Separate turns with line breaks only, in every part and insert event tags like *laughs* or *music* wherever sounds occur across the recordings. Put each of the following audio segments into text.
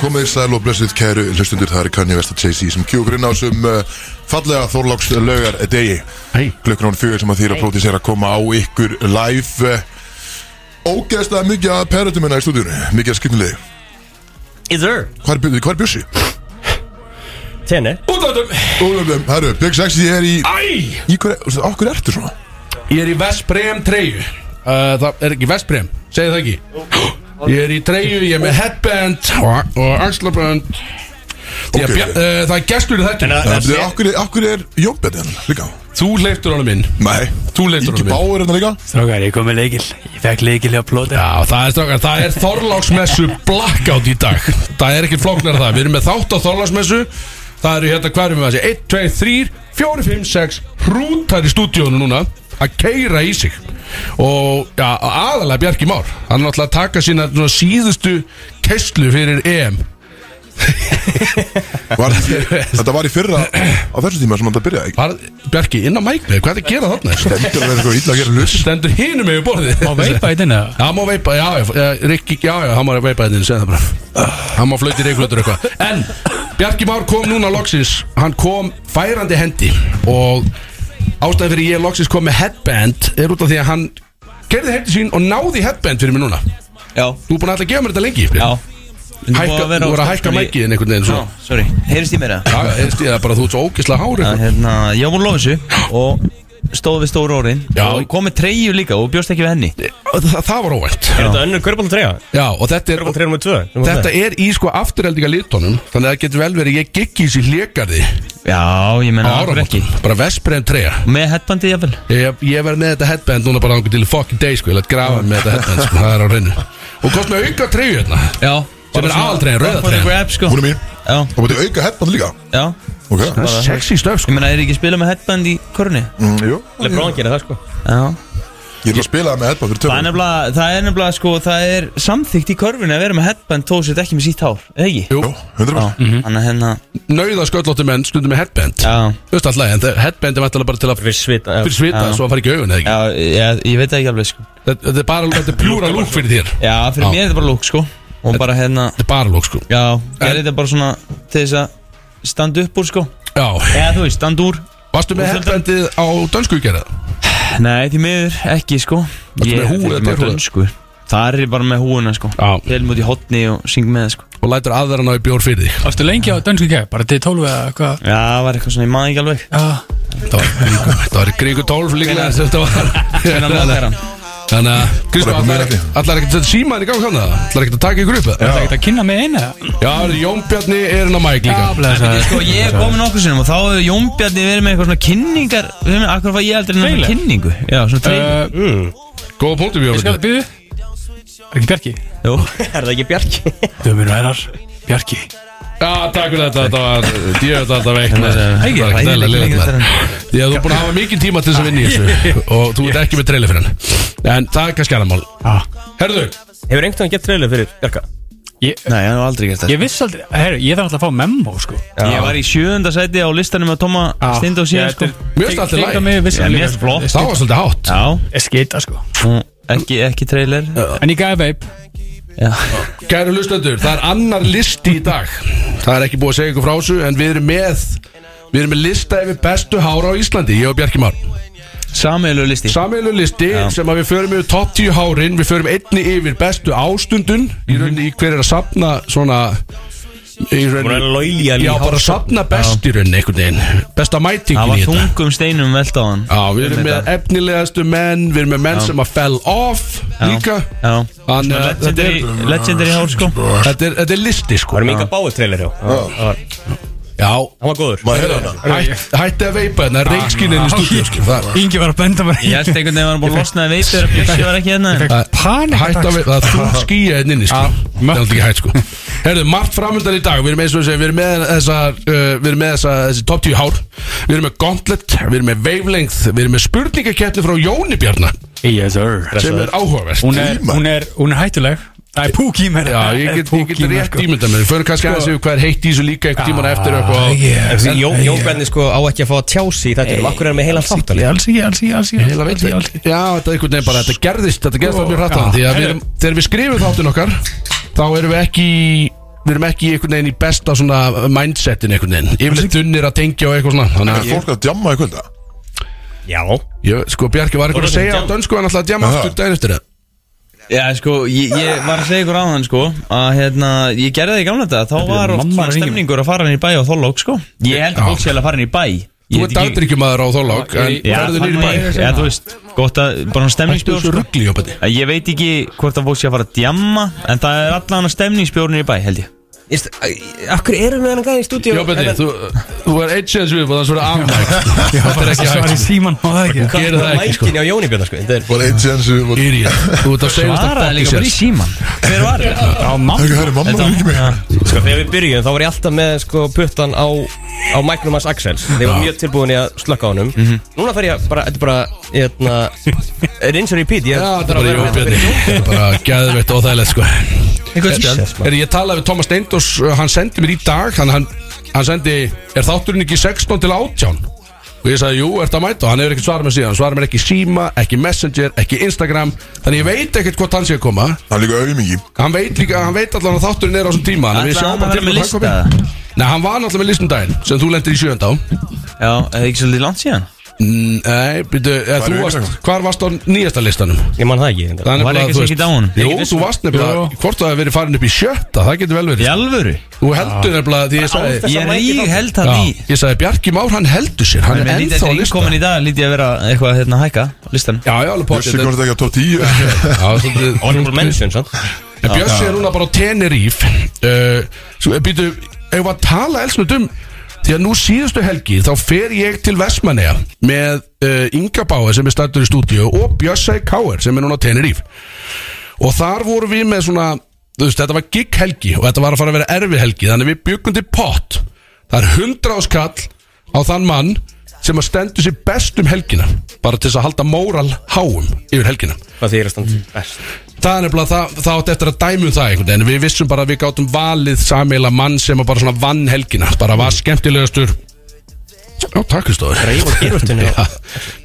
komið sæl og blessið kæru hlustundur það er Kanye West og Jay-Z sem kjúkurinn á sem uh, fallega Þorláks laugar degi
Hey.
klukkan án fjögur sem að þýra hey. prótis er að koma á ykkur live uh, ógeðslega mikið að perratum hérna í stúdíunni mikið að skynnileg
Is there?
hvað er bjössi? Hvað er bjössi?
Tenni
Útöndum
Ólöfum, herru, Big Sexy er í
Æ
í hver, okkur ertu svona?
Ég er í Vesprem treyju uh, Það er ekki Vesprem, segir það ekki Ég er í treyju, ég er með headband og, og axlabönd okay.
Ok. Eh,
uh, Það er Eh, gestur í þetta
að-
Það er okkur, okkur er Jónbett hérna líka
Þú leiftur honum inn
Nei,
Þú leiftur
ekki
honum inn
báður hérna líka
Strákar, ég kom með leikil Ég fekk leikil hjá plóti
Já, það er strákar, það er Þorláksmessu blackout í dag Það er ekki flóknar það, við erum með þátt á Þorláksmessu Það eru hérna hverjum við að segja 1, 2, 3, 4, 5, 6 Hrútar í stúdíónu núna Að keira í sig Og já, aðalega Bjarki Már Hann er náttúrulega að taka sína svona, síðustu Keislu fyrir EM
var, Þetta var í fyrra á þessu tíma sem þetta byrjaði
Var, Bjarki, inn á mækni, hvað er að gera þarna?
Þetta er eitthvað ítla að gera hlut
Stendur hinum yfir borðið
Má veipa hérna? í þinna
Já, má veipa, já, já, já, Rikki, já, já, hann má veipa þetta, segð það bara Hann má flöyti reiklutur eitthvað En, Bjarki Már kom núna loksins Hann kom færandi hendi Og ástæðan fyrir ég loksins kom með headband Er út af því að hann gerði hendi sín og náði í headband fyrir mig núna
Já
Þú er búin að alltaf að gefa mér þetta lengi
Já
Hækka, Þú voru að hækka mækiðin einhvern veginn
Já,
svona
sorry Heyrist ég meira?
Já, ég stíða bara að þú ert svo ógislega hári
Já, hérna Ég var búin að lofa þessu Og stóð við stóru orðin
Já.
Og kom með treyju líka Og bjóst ekki við henni
Það, það var óvænt
Er þetta önnur körbóltreyja?
Já, og þetta er
Körbóltreyja nr. 2
Þetta er í sko afturheldinga litónum Þannig að það getur vel verið ég gikk í sér hlékarði
Já, ég menna
ára
okkur ekki
Bara Vesprem 3
Með headbandið jafnvel
Ég, ég verð með þetta headband núna bara ángur til fucking day sko Ég lætt grafa mig með þetta headband sko, það er á hreinu Og kost með auka treyju hérna
Já
Sem er aðaltreyjan, rauða
Up for the
treyjan.
grab, sko
Hún er mín
Já,
Og búið auka headband líka
já
Ok
Það er sexy stöf
Ég
sko
menna, er ekki að spila með headband í körni?
mm, Jú
Lebrón gerir það sko
Já
Ég er að spila með headband fyrir
Það er
tökum
nefnilega, það er nefnilega, sko, það er samþygt í körfunni að vera með headband þó sér ekki með sítt hár, eða ekki?
Jú,
Jú, 100
Já,
Mhm.
þannig að hérna,
nauða sköllóttu menn stundum með headband
já,
Þú veist alltaf, en það- headband er vantilega bara til að
Við svita
fyrir svita
Já.
Svo hann fari ekki í augun eða ekki
já, ég, ég veit það ekki alveg, sko.
Þetta- Þetta er bara, þetta er pjúra lúk fyrir þér Þetta
Já, fyrir
Já.
mér er þetta bara lúk, sko, og bara hérna,
er bara lúk sko
já, gerði þetta bara svona til þess að standa upp úr, sko,
Já,
eða þú veist, standa úr,
varstu með headbandið á dönsku í gerða?
nei, því miður, ekki, sko,
Ertu með húfu eða derhúfu?
dönn, sko, það er ég bara með húuna, sko,
Já,
helm út í hotni og syng með, sko.
og lætur aðra ná í bjór fyrir þig
Ástu lengi á dönsku kef Bara til 12 eða hvað
Já, það var eitthvað svona, ég maður ekki alveg.
Já
Það var í kringum- þetta var í kringu 12 líklega sem þetta var *laughs*
Hvernig að móta hann?
Þannig að,
Bara
Kristján,
eitthvað
allar
meira ekki.
allar ekkert að setja símaðin í gang hann það? Allar ekkert að taka ykkur upp það?
Það er ekkert að kynna mig eina
Já, heyrðu, Jón Bjarni er hann á mæk líka
blessa
Sko, ég er komin okkur sinnum og þá hefur Jón Bjarni verið með eitthvað svona kynningar við með, akkur var ég aldrei nefnir
Trailer?
kynningu Já, svona trailer
Ég
Eh, Góða punktum við
skal
okkur
það byrðu Er ekki Bjarki?
Jú,
*laughs* Er það ekki Bjarki?
Þau minn verðar Bjarki
Já, takk fyrir þetta, þetta var djöð þetta veikt maður.
Ekki,
Það var ekki
það er
dæla
ekki
liðið
lengra
maður. Því að þú er búin að hafa mikið tíma til þess að vinna í þessu og þú ert ekki með treyli fyrir hann En það er kannski annar mál Herðu,
Hefur einhvern veginn gett treylu fyrir Bjarka?
Ég
nei, hann var aldrei gert það
Ég viss aldrei Herru, ég þarf alltaf að fá memo sko
Ég var í sjöunda sæti á listanum að Tóma Stind og síðan sko
Mér finnst allt í lagi.
Mér finnst
Já, mér finnst flott.
það var svolítið hátt
Já,
Skita sko
og ekki, ekki trailer
En ég gæði veip
Já,
Kæru lustendur, það er annar listi í dag Það er ekki búið að segja ykkur frá þessu En við erum með Við erum með lista yfir bestu hára á Íslandi Ég og Bjarki Már
sameilu listi
Sameilu listi sem að við förum yfir top 10 hárin Við förum einni yfir bestu ástundun
Mhm.
Í rauninni í hver er að safna svona Í
Búin að
rauninni
lóilja
Já, bara að safna best í rauninni einhvern veginn Besta
Það
mætingin
var
í þetta
þungum steinum velt á hann
Já, við erum
Um
með
þetta.
efnilegastu menn Við erum með menn sem að fell off
Já.
líka
Já,
Þannig að þetta
legendary,
er-
legendary hár sko
þetta er- þetta er listi sko
Varum yngar báið treyler hjá Það var-
Já,
hann var góður
Maður hefði hana
Hætt, hætti að veipa hérna, reikskinninn í stúdíu sko, það er-
Ingi var að benda mér
Ég held einhvern veginn var hann búin að losna að veitur að Bjössi var ekki hérna
Fekk panik
Hætt að veipa, það er *laughs* þú skýja hérna inni sko. Það er aldrei ekki hætt sko Herðu, margt framöndan í dag, við erum eins og þessi Við erum með þessa, uh, við erum með þessa þessi top 10 hár Við erum með gauntlet, við erum með wavelength Við erum með spurningakettni frá Jóni Bjarna
Yes sir
Sem er áhugavert
Hún er, hún er, hún er hættuleg Það er púk í mér
Já, ég get, ég get rétt
sko.
ímynda mér Við förum kannski aðeins yfir hvað er heitt í þessu líka Eitthvað tíman eftir eitthvað
yeah.
Því Jón- Jón Bjarni sko á ekki að fá að tjá sig í þetta Akkur er með heilan þáttan
Alls ekki, alls ekki, alls ekki
Heila veit Já, þetta er einhvern veginn bara, þetta gerðist Þetta gerðist það mjög hrættan
Já.
Því að við
Herðu.
erum, þegar við skrifum þáttinn okkar Þá erum við ekki í við erum ekki einhvern veginn í besta svona mindsetin einhvern veginn Yfirleitt dunnir að tengja og eitthvað svona Þannig
Er
að
fólk að djamma í kvölda?
Já
ég, sko Bjarki var eitthvað að segja á dönsku hann alltaf að djama
Aha.
aftur daginn eftir það
Já, sko, ég, ég var að segja ykkur á hann, sko að hérna, ég gerði það í gamla þetta þá var oft
mamma
svona
að hringja.
stemningur að fara hann í bæ á Þollók, sko Ég held að fólk sé alveg að fara hann í bæ Ég
Þú
veit
ert
ekki-
dagdrykkjumæður á Þorlák En
Já,
ferðu
hann
nýri
er-
bæ
Já, þú veist, gott að, bara hann
Hættu
stemningsbjór
þessu
sko.
ruggli hjá bæti
En Ég veit ekki hvort að fólk sé að fara að djamma en það er allan að stemningsbjórnir í bæ, held ég
Íst, Akkur erum við hann gæði í stúdíu
Já, Benni, þú, þú er eitt séðans við og það er svona afmæk Það er ekki
Svar í
hægt
síman og það ekki
Gerðu það ekki, sko
Mækin á Jóni Björn sko Þetta er
Bara eitt séðan sem við
Írja, sko, þú ert að segja þetta
Svaraði líka bara í síman Hver var þetta?
Á mamma
Það er mamma
Þetta-
að ringi mig
Sko þegar við byrjum þá var ég alltaf með sko puttan á, á mæknum hans Axels Þeir var mjög tilbúin í að slökka á honum Núna fer ég bara, þetta er bara, hérna Rinse and repeat, ég
Já, þetta er bara Jón Björni Þetta er bara gæðveitt og óþægilegt sko
Jesus, maður.
Er ég talaði við Thomas Steindors uh, Hann sendi mér í dag Hann, hann, hann sendi Er þátturinn ekki 16 til 18? Og ég sagði, jú, ert að mæta Og Hann hefur ekkert svarað mér síðan Hann svarað mér ekki í síma, ekki í messenger, ekki í Instagram Þannig ég veit ekkert hvort hann sé að koma
Það er líka auðmingi
Hann veit líka, hann veit allan að þátturinn er á þessum tíma Þannig við
Ætlaði
sjáum
hann að
bara
vera
til
með
hvort
lista?
hann komi. Nei, hann var náttúrulega með listundaginn Sem þú lendir í sjönd á
Já, er það ekki svolítið langt síðan?
Mm, Nei, byrju, eða
Hvar
þú
er
varst
Instagram?
Hvar varst á nýjasta listanum?
Ég man það ekki
Það er
Var
nefnilega, þú
ekki sem
veist-
ekki dáin?
Jú,
Ekki
þú varst nefnilega, hvort það hefur verið farin upp í sjötta, það getur vel verið sko.
Í alvöru?
Þú heldur nefnilega því ég sagði
Ég er í held
Já,
hann í
Ég sagði Bjarki Már, hann heldur sér, hann
En
er
mér lítið
ennþá á
eftir
lista
innkomin í dag lítið að vera eitthvað hérna að hækka á listan
Já, já, alveg
Bjössi
potið
komst ekki að top 10
Honorable
Bjössi
mention, sant?
er núna bara á Tenerife uh, Svo, býtu, ef við að tala elsnut um Því að nú síðustu helgi þá fer ég til Vestmanneja með uh, Inga Báði sem er stættur í stúdíu og Bjössæ Káer sem er núna á Tenerife og þar vorum við með svona þú veist, þetta var gig helgi og þetta var að fara að vera erfi helgi þannig við byggum til pott það er hundra áskall á þann mann sem að stendur sér best um helgina bara til þess að halda móral háum yfir helgina
Hvað þýr að standa best
það er nefnilega það, það átt eftir að dæmi um það einhvern veginn, en við vissum bara að við gátum valið sammeila mann sem að bara svona vann helgina bara var skemmtilegastur Já, takk Kristóður
Reif og geirvörtunni.
Já,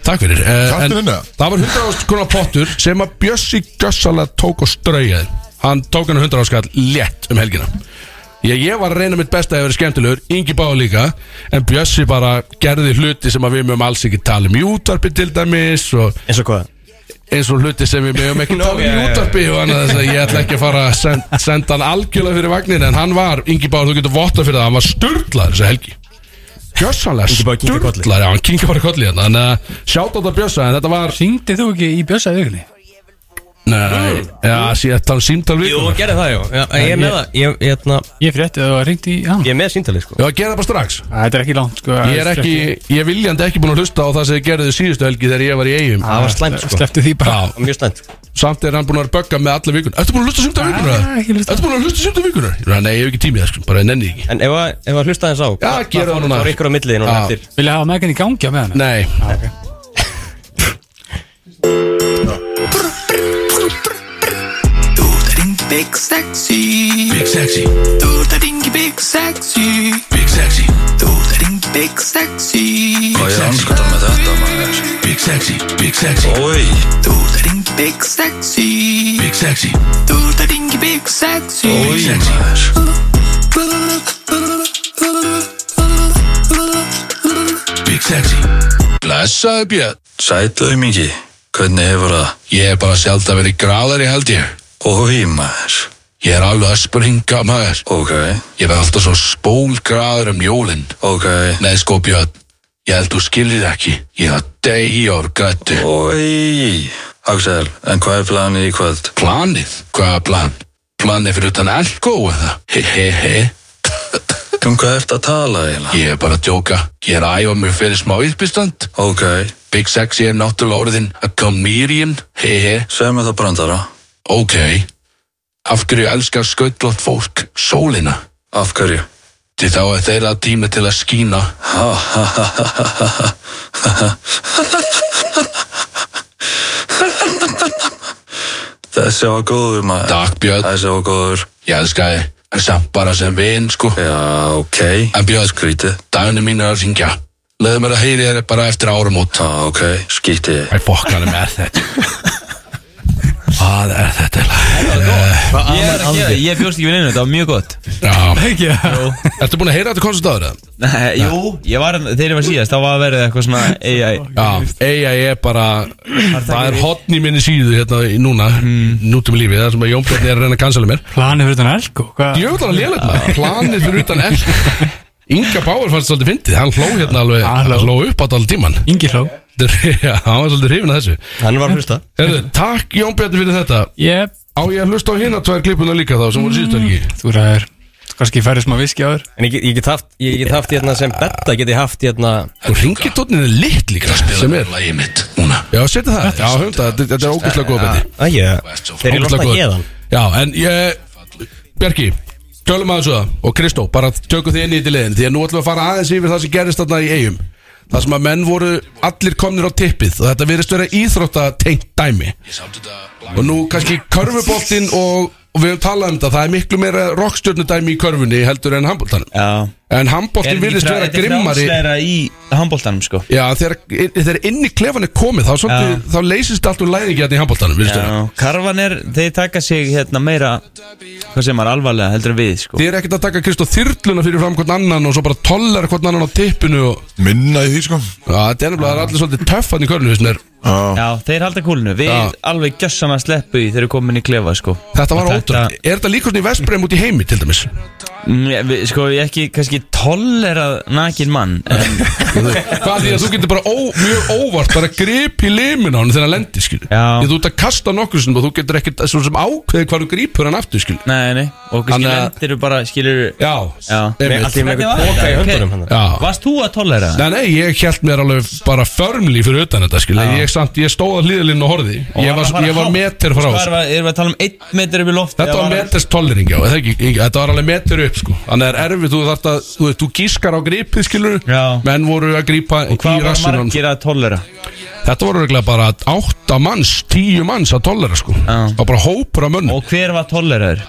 Takk fyrir Eh,
Takk
en
fyrir þetta.
Það var 100 áskonar pottur sem að Bjössi Gjössalega tók og straujaði Hann tók hann 100 áskall létt um helgina Ég, ég var að reyna mitt besta að vera skemmtilegur Ingi Báð líka En Bjössi bara gerði hluti sem að við mögum alls ekki tala um í útvarpi til dæmis og
Eins og hvað?
eins og hluti sem við meðum ekki tala um í útarpi og annað þess að ég ætla ekki að fara að send, senda hann algjörlega fyrir vagnin en hann var, Ingi Bár, þú getur votta fyrir það hann var sturlaður þessi helgi Gjössanlega
Ingi Bár kinkar kolli.
sturlaður, já, hann kingi bara kolli hérna en uh, sjátt á þetta Bjössa, en þetta var
Syngdi þú ekki í bjössa vikunni?
Nei, já, síðan tala um símtal við
Jú,
Já,
gerði það, já, já Ég er með það, ég, ég, hérna,
Ég frétti að það var ringt í hann
ég er með síndalið, sko
gera það bara strax
Þetta er ekki langt sko
Ég er ekki, ég er viljandi ekki búin að hlusta á það sem þið gerðuð síðustu helgi þegar ég var í eigum
Það var slæmt, sko
Sleftu því bara
Já,
Mjög slæmt sko.
samt er hann búin að vera að bögga með alla vikun Ertu búin að hlusta símtal vikunar?
Nei, ekki hlusta.
Ertu búin að hlusta símtal vikunar? Nei, ég hef ekki tími í það, sko, bara ég nenni því ekki
En ef að, ef að hlusta þess á
Já, gera það núna.
Það er ykkur á milliði núna
Já.
eftir
Vilja hafa megan í gangi á með hann?
Nei,
Þú það ringi Big Sexy
Big Sexy
Þú það ringi Big Sexy
Big Sexy
Þú það ringi Big Sexy
Hvað ég anskota með þetta maður?
Big Sexy Big Sexy
Ói,
Þú það ringi Big Sexy
Big Sexy
Þú það ringi Big Sexy
ói maður
Big Sexy Blessaði Björn
Sætlaðu mikið, hvernig hefur það?
Ég er bara sjálft að vera í gráðari held ég
Ói maður
Ég er alveg að springa maður
Ok,
Ég verð alltaf svo spólgráður um jólin
ok
Nei sko Björn Ég held þú skilir ekki Ég er að degi og grættu
Ói Axel, en hvað er planið í kvöld?
Planið? Hvaða plan? Planið fyrir utan alko eða? He he he
Um hvað ert að tala eiginlega?
Ég er bara að djóka Ég er að æfa mig fyrir smá yðbyrstand
Ok,
Big Sexy er náttúrulega orðin að comedian He he
segð mér það brandara
Ok, af hverju elskar skautlótt fólk sólina?
Af hverju?
Því þá er þeirra tími til að skína.
Ha ha ha ha ha ha ha ha ha Þessi var góður maður
Takk Björn,
Þessi var góður
ég elska þið, en samt bara sem vin, sko.
Eh,
Já, ok
En Björn,
Skrítið
dagunni mín er að syngja. Leðu mér að heyri þér bara eftir áramót.
Já, ok, skítið
*laughs* Æ, fokk hann er með þetta. Hvað er þetta? eiginlega? Eh,
Ég, er ekki, ég bjóst ekki við neina, þetta var mjög gott
Já,
Ekki það?
ertu búin að heyra þetta konsert áður? eða?
Nei, Jú, ég var, þegar ég var síðast, þá var að verið eitthvað svona AI
Já, eiga ég er bara Það er hotn í minni síðu hérna í núna Nútum í lífið, það sem að Jón Björn er að reyna að cancela mér
Planið fyrir utan elko Hvað?
Djöfðan að lélega maður, planið fyrir utan L Inga Bauer fannst svolítið fyndið Hann hló hérna alveg,
Hann
hann
hló.
hló upp á þetta alveg tíman
Ingi hló
*laughs* Já, hann var svolítið hrifin að þessu
Hann var að hlusta
Herðu, takk Jón Björn fyrir þetta
Jep,
Á ég að hlusta á hérna tvær klippuna líka þá sem voru síðustu ekki
þú ræður Kanski færið smá viski á þér
En ég, get- ég get haft, ég get haft hérna sem betta Get ég haft hérna
Og ringitónin er lit líka sem er
Lægið mitt núna
Já, setja það, já, hunda, þetta þetta er ógæslega góð beti
Æja Þeir
Ógeðslega
eru alltaf
góður.
hérðan
Já, en ég Bjarki, tölum aðeins um það Og Kristó, bara tökum þið inn í þetta liðin Því að nú ætlum við að fara aðeins yfir það sem gerist þarna í eigum Það sem að menn voru allir komnir á tippið Og þetta virðist vera íþrótta tengt dæmi Og nú kannski körfuboltinn og, og við höfum talað um þetta Það er miklu meira rockstjörnu dæmi í körfunni heldur en handboltanum
Já
En handboltinn virðist vera grimmari
Þetta er frjálsleira í handbóltanum, sko
Já, þegar, þegar inn í klefan er komið Þá, svolítið, þá leysist allt úr læðingi hérna í handboltanum virðist vera.
Já, karvan er, þeir taka sig hérna meira Hvað sem er alvarlega heldur en við, sko
Þið er ekkert að taka Kristó þyrluna fyrir fram hvern annan og svo bara tollar hvern annan á tippinu og
Minna í því sko
Já, þetta er nefnilega það er allir svolítið töffan í körnu þessum er
Já,
Já, þeir halda kúlinu Við
Já.
alveg gjössan að sleppu í þeir eru komin í klefa, sko
Þetta var
Og
ótrúlega, er þetta líka svona í Vestbreim út í heimi til dæmis?
Mm, ég- við- Sko, ég ekki, kannski tollerað nakin mann en,
*laughs* Hvað því að þú getur bara ó, mjög óvart bara grip í limin á hann þegar hann lendir skil
Já.
Ég þú ert að kasta nokkur sinni og þú getur ekkert svo sem ákveði hvar þú grípur hann aftur skil
Nei, nei, og kannski
Þannig að-
lendir bara, skilur
Já,
Já.
einmitt.
Allt í með eitthvað
Hvernig var
boka í
þetta?
höndunum
Ok.
hann
Já.
Varst þú að tollera það?
Nei, nei, ég held mér alveg bara förmli fyrir utan þetta skil Ég, samt, ég stóð að hlýðalinn og horði Ég var, ég var meter frá
Hvað var, erum við að tala um 1 meter upp í loft
Þetta var meters tollering, já, eða ekki, ekki, þetta var alveg metur upp, sko Þannig er erfið, þú þarft að, þú veist, þú gískar á gripið, skilur
Já.
Menn voru að grípa í
Hvað var
rassunum
margir að tollera?
Þetta voru reglega bara átta manns, tíu manns að tollera, sko
Já.
Og bara hópur af mönnum
Og hver var tolleraður?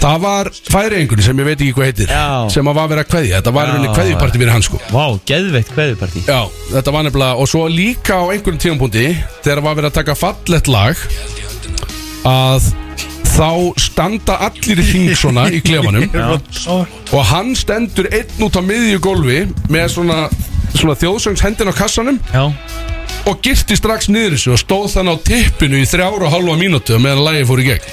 Það var færiðingunni sem ég veit ekki hvað heitir
Já.
Sem að var verið að kveðja, þetta var
Já.
verið kveðjuparti fyrir hann, sko
Vá, geðveikt kveðupartí
Já, þetta var nefnilega, og svo líka á einhverjum tímapunkti Þegar var verið að taka fallett lag Að þá standa allir í hring svona í klefanum og hann stendur einn út á miðju gólfi með svona, svona þjóðsöngshendin á kassanum
Já
og girti strax niður þessu og stóð þann á tippinu í þrjára og halva mínútu meðan lagið fór í gegn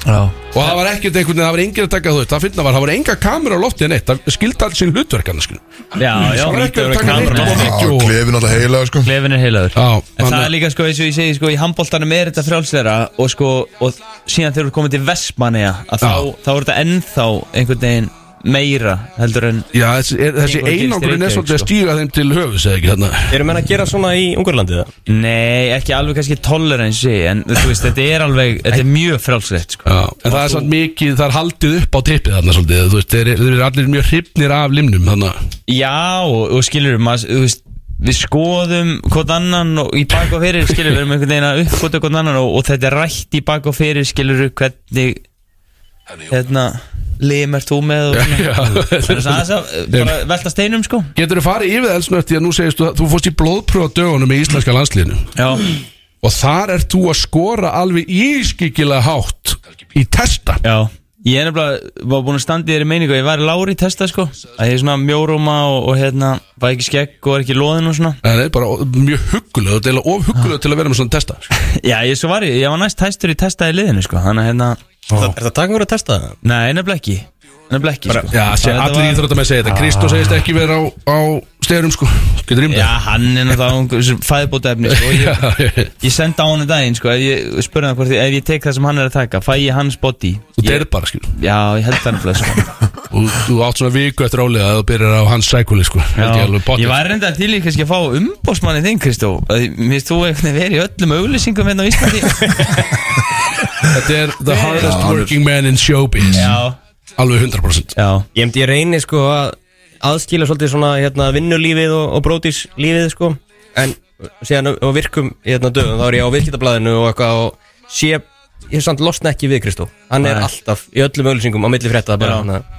Já
og það var ekkert einhvern veginn, það var engin að taka þú veist, það finna var, það var enga kamera á lofti en eitt það skildi alls sín hlutverkana skil
Já, já
það var ekki að taka neitt
Kameran.
og video og-
klefin alltaf heila sko
Klefin er heilaður
Já,
En það
þannig-
er líka sko eins og ég segi sko í handbóltanum er þetta frjálsleira og sko og síðan þegar þú komið til Vestmanneja að þá,
Já.
þá er þetta ennþá einhvern veginn meira heldur en
Já, þessi, er, þessi
Gengur að gerist í
einangurinn er
Reykjavík,
svolítið að
sko.
stíga þeim til höfus eða ekki þarna
Eru menn að gera svona í Ungurlandið það?
Nei, ekki alveg kannski tolerance en þú veist, þetta er alveg, þetta er mjög frálslegt sko.
Já, en það er samt mikið, það er haldið upp á tippið þarna svolítið, þú veist, þeir eru- þeir eru allir mjög hrifnir af limnum þannig að-
Já, og, og skilur maður, þú veist Við skoðum hvort annan og í bak og fyrir skilur við erum einhvern veginn að uppgóta hvort annan og, og þetta er rætt í bak og fyrir skilur við hvernig hérna, lim er þú með og *laughs* svona
Já.
Það er aðeins að bara velta steinum sko
Getur þú farið yfir það elsnögt því að nú segist þú að þú fórst í blóðpróf á dögunum í íslenska landslíðinu
Já,
og þar ert þú að skora alveg ískikilega hátt í testa
já Ég er nefnilega, var búin að standa í þeirri meiningu að ég væri lári í testa sko að ég er svona mjóróma og, og hérna var ekki skegg og er ekki loðin og svona
Það er bara mjög huggulega, þetta er eiginlega of huggulega til að vera með svona testa sko.
Já, ég svo var ég, ég var næst hæstur í testa í liðinu sko þannig að hérna,
Er það takkum fyrir að testa það?
nei nefnilega ekki nefnilega ekki sko
Já, sé,
Þetta
allir
var- Ah.
íþróttar með segja þetta Kristó segist ekki vera á, á stegurum sko Getur *laughs*
Já,
rýmda
hann er náttúrulega fæðbóta efni sko. ég, ég sendi á hann í daginn sko, ef ég spurði hann hvort ég, ef ég tek það sem hann er að taka fæ ég hans body
Þú
ég,
deyrð bara skil
Já, ég held það nefnilega sko.
og þú átt svona viku eftir álega að þú byrjar á hans sækuli sko *laughs* Held ég alveg
Já,
pottþétt.
Ég var reynda til í kannski að fá umbósmanni þinn Kristó Að því- Mér finnst þú eitthvað verið í öllum auglýsingum hérna á Íslandi
*laughs* Þetta er the hardest working man in showbiz
Já,
Alveg 100%
já
Ég myndi ég reyni sko að aðskila svolítið svona hérna, vinnulífið og, og brótíslífið sko en síðan á- á virkum hérna dögum þá er ég á viðskiptablaðinu og eitthvað og sé, ég samt losna ekki við Kristó hann er
Nei.
alltaf í öllum ölsingum á milli frétta bara
Já.
hann að-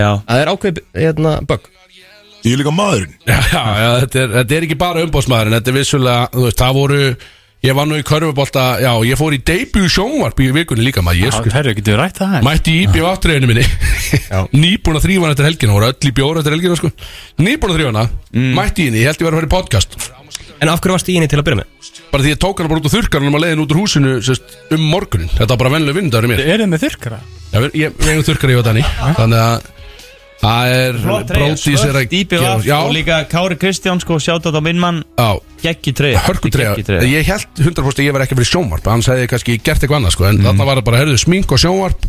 Já,
það er ákveð hérna bögg
Ég er líka maðurinn
Já, já, já þetta, er, þetta er ekki bara umbóðsmaðurinn Þetta er vissulega, þú veist, það voru Ég var nú í körfubolta, já, ég fór í debut sjónvarp í vikunni líka maður, ég sko
Herru, getur við rætt það?
Mætti í IBF áttræðinu minni *laughs* Nýbúin að þrýfa hann eftir helgina voru öll í bjóra eftir helgina sko Nýbúin að þrýfa hana,
Mm.
mætti í henni, ég held ég var að fara í podcast
En af hverju varst í henni til að byrja með?
Bara því ég tók hana bara út á þurrkarunum að leiðin út úr húsinu sest, um morgunin Þetta var bara venlega vindaður í mér
Er þið með þurrkara?
Já, við- ég- Við eigum þurrkar í og Dani Þannig að það er Brótis er að
gera
Já,
Og líka Kári Kristján sko Sjátt á minn mann
já
Gekki treyja
hörkutreða
Gekki treyja
ég held 100% að ég var ekki fyrir sjónvarp hann sagði kannski gert eitthvað annað sko
Mm.
en þarna var það bara herðu smink og sjónvarp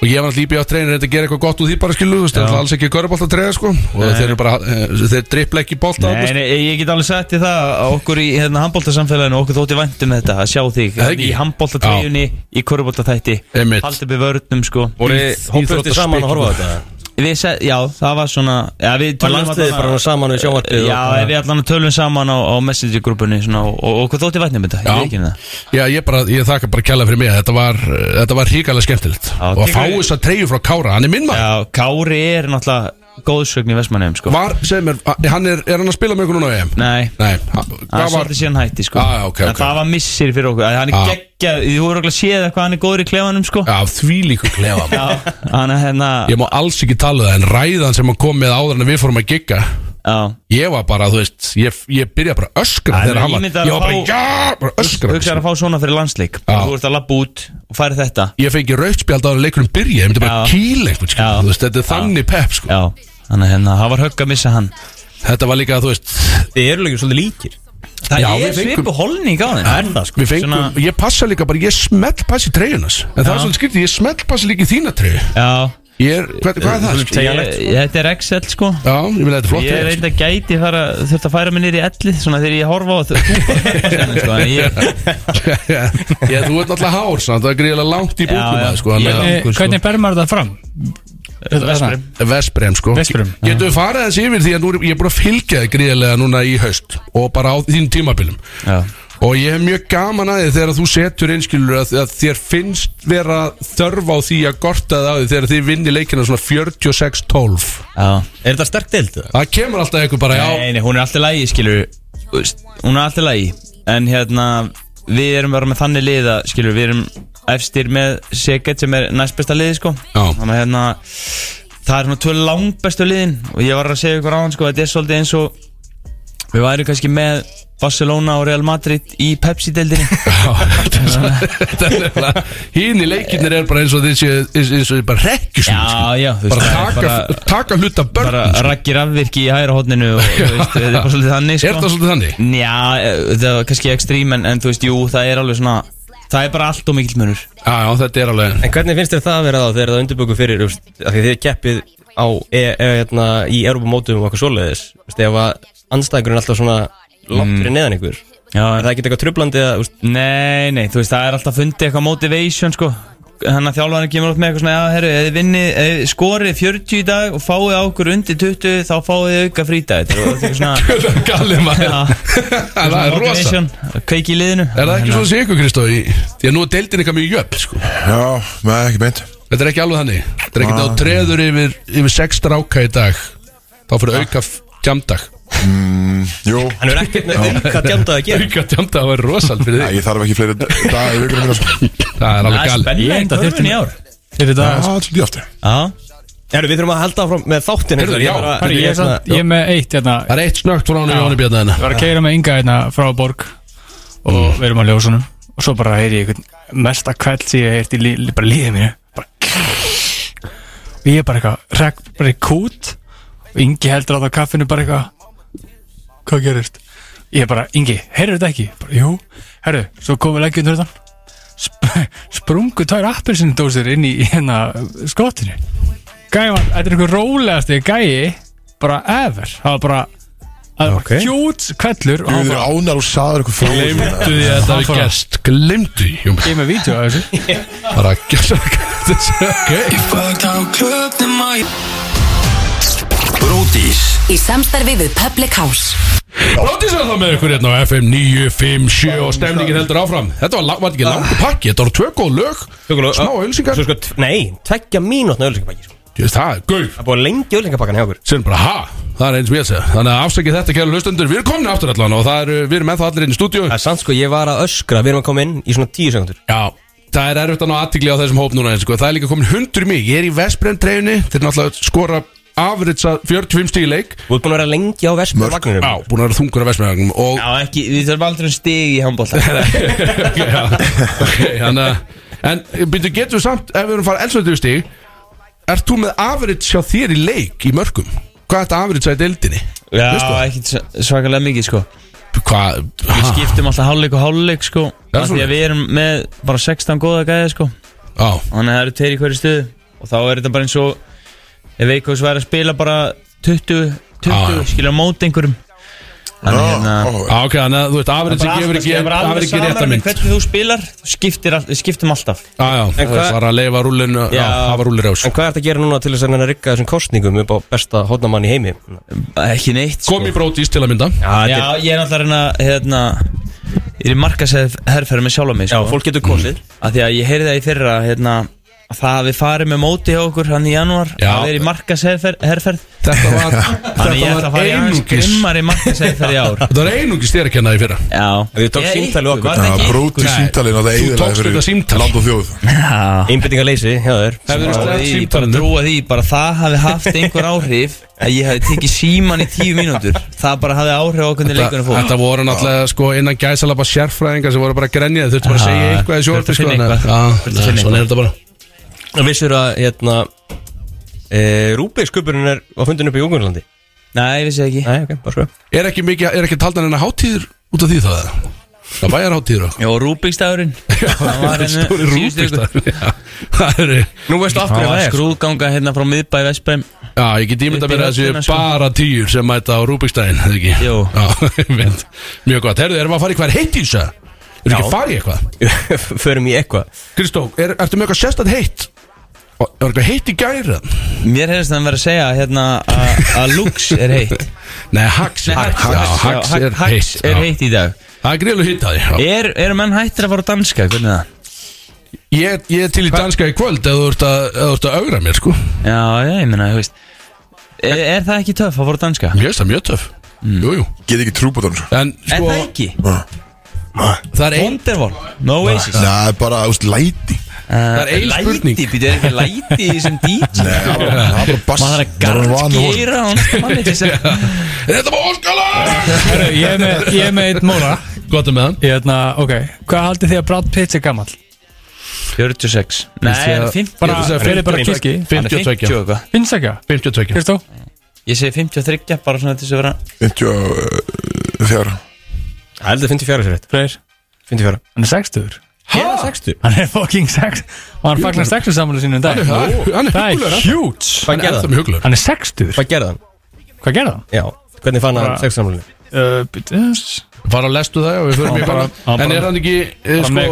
og ég var alltaf lípið á treinu reyndi að gera eitthvað gott úr því bara skilu þú veist það er alls ekki körubolt að treða sko og þeir eru bara eh, þeir drippla ekki sko. bolt á
Nei, nei, ég get alveg sagt í það að okkur í hérna handbóltasamfélaginu okkur þótti væntum þetta að sjá þig
Það ekki?
í handbóltatreyjunni, í korubóltatætti
Einmitt.
haldið við vörnum sko
Hópuðu þið saman að horfa á þetta?
við se, Já, það var svona já, við
Var
tölum
landsliðið
allan-
bara saman við sjónvarpið og-
Já, við allan tölum saman á, á messenger-grúpunni svona, og, og okkur þótti væntum þetta, ég veit ekki um það
Já, ég, bara, ég þakka bara kjalla fyrir mig Þetta var, eh, þetta var híkalega skemmtilegt
Já,
Og að
tekur-
fá þess að treyju frá Kára, hann er minn maður
Já, Kári er náttúrulega góðsögn í Vestmannheim sko
Var, segir mér, hann er, er hann að spila með ykkur núna á EM?
Nei,
Nei,
það
hvað
er
var
svolítið síðan hætti sko
Ah, ok,
En
ok.
það var missir fyrir okkur, að hann
Ah.
er geggjað Þú voru okkur að séð hvað hann er góður í klefanum sko
Já, því líku klefa maður.
Já, hann er hérna
Ég má alls ekki tala um það En ræðan sem hann kom með áður en við fórum að gigga
Já,
Ég var bara, þú veist, ég, ég byrja bara að öskra
Æ,
þegar
menn,
hann var
ímyndaðu
Ég var bara,
að fá-
já, bara öskra
hugsaður að fá svona fyrir landsleik
Já.
Þú ert að labba út og færi þetta
Ég fengi rautspjald áður en leikunum byrja Ég myndi bara
Já.
kýla einhvern, sko,
Já.
þú veist, þetta er þannig pep, sko
Já, þannig að hérna, það var högg að missa hann
Þetta var líka, þú veist,
Þið eru líka svolítið líkir
Það
Já,
er
við fengum-
svipu holning á þeim
Er það sko?
við fengum,
Svona-
ég passa líka bara, ég smelt passi treyjunas En það er svolítið skriftið, ég smelt passi líka í þína treyju
Já,
Ég er, hvað, hvað er það, sko?
ég, ég, þetta er Excel sko
Já, ég vil að þetta er flott
Ég er
treyja, sko.
reynd að gæti fara, þurft að færa mig niður í ellið Svona þegar ég horfa á þau sko, en ég,
*laughs* Já, þú ert náttúrulega hár, samt, það er gríðilega langt í
Já,
búkum
já.
maður, sko, þannig að-
Hvernig, Eh, hvernig ber maður það fram? Vestbrim
Vesprem sko
Vestbrem, já.
Getum við farið þessi yfir því að nú, er- ég er búin að fylgja þig gríðarlega núna í haust Og bara á þín tímabilum
Já.
Og ég hef mjög gaman að þið þegar þú setur einskilur að, að þér finnst vera þörf á því að gorta það á því Þegar þið vinnir leikina svona 46-12
já
Er þetta sterk deild það?
Það kemur alltaf eitthvað bara já
Nei, nei, hún er alltaf lægi, skilur Hún er alltaf lægi En hérna, við erum bara með þannig liða Skilur, við erum efstir með Seget sem er næst besta liði, sko
Já.
Þannig að hérna Það er svona tvö langbestu liðin Og ég var að segja ykkur á hann, sko, þetta er svolítið eins og Við væri kannski með Barcelona og Real Madrid í Pepsi-deildinni
*laughs* Hín í leikinir er bara eins og þið séu eins eins og þið bara rekkjusum
Já, já, þú veist,
Bara
það er
taka,
bara-
taka hluta *laughs*
Bara
börnum sko.
rakkir afvirki í hæra hodninu og, þú veist, Þetta er bara svolítið þannig, sko
Er það svolítið þannig?
Já, eh, það var kannski ekstrím en, en þú veist, jú, það er alveg svona Það er bara allt og mikill munur
Já, já, þetta er alveg *laughs*
En hvernig finnst þér það að vera þá þegar það undirböku fyrir þú veist, af því þið keppið á e, e, hérna, í Europamótum og eitthvað svoleiðis þú veist, ef að anstæðingurinn er alltaf svona
Mm.
langt fyrir neðan ykkur er
Já, en
það ekki eitthvað trublandi að þú veist,
Nei, nei, þú veist, það er alltaf fundið eitthvað motivation, sko Þannig að þjálfarnir kemur upp með eitthvað svona Já, herru, ef þið vinnið, ef þið skorið 40 í dag og fáið á okkur undir 20 þá fáið þið auka frítag Þetta er eitthvað
*laughs*
svona
Gallið maður
Já,
Það er rosa
motivation, kveik í liðinu
Er það ekki svona sem ykkur Kristofi? Því að nú er deildin eitthvað mjög jöfn sko.
Já, með ekki beint
Þetta er ekki alveg þannig Þetta er
Ah.
ekkert að þú treður yfir, yfir sex stráka í dag Þá fyrir auka f-
Ah.
tjamdag
Jú,
hann er ekkert með auka djanda að gera
Auka tjamdag var rosal fyrir
Æ,
þig
ég þarf ekki fleiri dagar í vikunum mína sko.
Það er alveg gali
Ég enda þurftum í ár
Fyrir
Já,
það
svolítið aftur
Já,
Herru, við þurfum að halda áfram með þáttin
Heyrðu, já,
Herru, ég, er samt- ég er með eitt hérna
Það er eitt snögt frá hann í
Já.
Jóni Björn
Ég
þarna.
var að keira með Inga hérna frá Borg og við erum á ljósunum og svo bara heyri ég einhvern mesta kveld sem ég heyrti í lí, lí- bara líðið mínu bara og ég er bara eitthvað rekk bara í kút og Ingi heldur á það kaffinu bara eitthvað hvað gerist ég er bara Ingi, heyrðu þetta ekki bara, jú, heyrðu, svo komum við leggjum þetta Sp sprungu tvær appelsindósir inn í í hérna skotinu gæði, þetta er einhver rólegasti gæi bara ever, það var bara
Ok.
Hjúts kvellur og
Þú
hann
eru
bara
ánar og saður eitthvað frá
Glimtu því að þetta
Hann
er
fór að-
gæst Glimtu því Jón.
Ég er með vídeo af þessu
Bara að gæst
Fucked á klubnum að ég
Bródís
Í samstarfi við Public House
Bróttis er það með ykkur hérna á FM 957 og stemningin heldur áfram Þetta var, lang- var ekki langur pakki, þetta voru tvö góð lög Smá ölsingar
Svo sko, t- nei, tveggja mínútna ölsingabæki sko.
Ég veist það, gaur
Það er búið lengi öllingapakkan hjá okkur
Sér bara, ha, það er eins og ég að segja Þannig að afsækið þetta, kæru hlustendur, við erum komin aftur allan Og það eru, við erum ennþá allir inn í stúdíu
Það er sant sko, ég var að öskra, við erum að koma inn í svona tíu sekundur
Já, það er erfitt að ná aðtigli á þessum hóp núna eins, sko. Það er líka komin hundur í mig, ég er í Vestbrenn treyjunni Þeir náttúrulega skora afritsa 45 stíð leik
Þú ert búin að vera lengi á vespa vagninum
Já, búin að vera þungur að Vestbrenn Og
Já, ekki, við þurfum aldrei um stig í
*laughs*
handbólta
Já, ok, þannig að En byrju, getum við samt, ef við erum farið elsvöldu stíg Ert þú með afrits hjá þér í leik í mörgum? Hvað er þetta afritsa í deildinni?
Já,
Veistu það?
ekki s- svakalega mikið, sko
Hvað?
Við
ha?
skiptum alltaf hálfleik og hálfleik, sko
Það er
Af Því að
svoleiðis.
við erum með bara 16 góða gæði, sko
Já,
Þannig að það eru tveir í hverju stuðu Og þá er þetta bara eins og Ef Veikos væri að spila bara 20, 20
Já.
skilja á móti einhverjum Þannig hérna
Ah. Já, Ah, ok, þannig að þú veist, afritsi gefur ekki,
Það er bara
gefur
alveg
ekki
saman
rétta
með
mynd
hvernig þú spilar Þú skiptir all, við skiptum alltaf
Já, Ah, já, það er
hvað-
bara að leifa rúlinu, já,
Já.
hafa rúlir ás
En hvað ert að gera núna til þess að reyna að rigga þessum kostningum upp á besta hotnamann í heimi?
Ekki neitt sko.
Kom í brótis til að mynda
Já, ég er alltaf hérna, hérna Ég er í markasæð herrferð með sjálf mig
Já,
sko.
fólk getur kosið
að því að ég heyrði það í fyrra hérna, að það að við farið með móti hjá okkur hann í janúar,
Já.
að við erum í markasherferð
Þetta var,
þannig ég
þetta
ætla að
var
fara í aðeins
einungis
grimmari markasherferð í ár
Þetta var einungis þér að kenna því fyrra
Já,
Við tók
Ég-
símtalið
ykkur,
okkur.
var það
Það
ekki
bróti
Nei.
símtalið að það
Þú
eiginlega
tókst þetta símtal.
land og þjóð
Já.
Einbyttingarleysi, hjá þér
Hefur þú
Og
sleppt
Ég bara
símtalinu?
trúa því, bara það hafi haft einhver áhrif að ég hafi tekið síman í tíu mínútur það bara hafi áhrif á hvernig
Þetta
leikunum fór
þetta voru náttúrulega sko innan gæsalapa sérfræðingar sem voru bara að grenja þau þurftu bara að segja
Já,
eitthvað í sjórfi
þurftu að
sko
finna
þannig að-
eitthvað. Þurftu að
Já,
finna
svona er þetta bara
Og vissur að, hérna e, Rúbeigskuburinn er á fundin upp í Jókunlandi
Nei, ég vissi það ekki
Nei, ok, bara sko
Er ekki mikið, er ekki taldan hennar hátíður út af því það eða? Það bæjar hátíður og
Jó, Rúbíkstæðurinn
*laughs* Stóri rúpistar Það eru
Nú veistu
hérna- Það var
af hverju það er sko
skrúðganga hérna frá miðbæ Vestbæm
Já, ég get ímynda
Upp í
mér að
röddina,
þessu
sko.
bara týjur sem mæta á Rúbikstæðin, eða ekki?
Jú.
Já, *laughs* ég veit. Mjög gott. Herðu, erum við að fara í hver heitt í þessu? Erum við ekki að fara í eitthvað?
Förum í eitthvað
Kristó, er, ertu með eitthvað sérstætt heitt? Og- Er eitthvað heitt í gæra?
Mér hefðist þannig að vera að segja hérna, að- að Lux er heitt
Nei, Hax er heitt. Já, Hax er heitt.
Hax er
já.
heitt í dag
Það er greiðlega hitt að því. já.
er, Eru menn hættir að fara að danska, hvernig er það?
Ég, ég er til í danska í kvöld ef þú ert að, ef þú ert að augra mér, sko.
Já, já, ég meina, þú veist er, er það ekki töff að fara að danska?
Mér finnst það mjög töf. Jú, jú.
Get ekki trúbútt á hann sko.
Mm. En,
Er
sko,
það ekki?
það er ein,
Wonderwall, no Oasis
Næ, það er bara, þú veist, læti
Það
er ein spurning.
Læti, býtu, er ekki læti í þessum
*laughs*
DJ?
Það er bara bass
Maður er að
Það bara vanur.
gargera hann
*laughs*
manni til þess að
þetta var óskalag!
Herru, Ég er með, ég er með eitt móla
Gott með hann.
Ég er hérna, ok Hvað haldið þið að Brad Pitt er gammal?
46
Ég
Nei, er
sé-
50
Bara,
Ég ætla að segja
fyrir bara
50.
kíski
52.
og eitthvað
Finnst ekki það?
52.
Kristó?
Ég segi 53, bara svona til þess að vera
54
Það heldur 54 sér rétt
Freyr?
54
Hann er 60
Hæ?
Hann er fucking 6 Og hann fagnar 60 samanlega sínum í dag
Hann er- hann er
Það
huggulegur,
er
hann.
huge
Hvað gerði
Það
hann?
er mjög huglega.
Hann er 60
Hvað gerði hann?
Hvað gerði hann?
Já, hvernig fann hann
Bara-
sexsamlunni?
Uh, bitus.
fara að lestu það og við förum
Já,
í
bara- já,
bara en
bara-
er hann ekki eh,
bara
sko,
með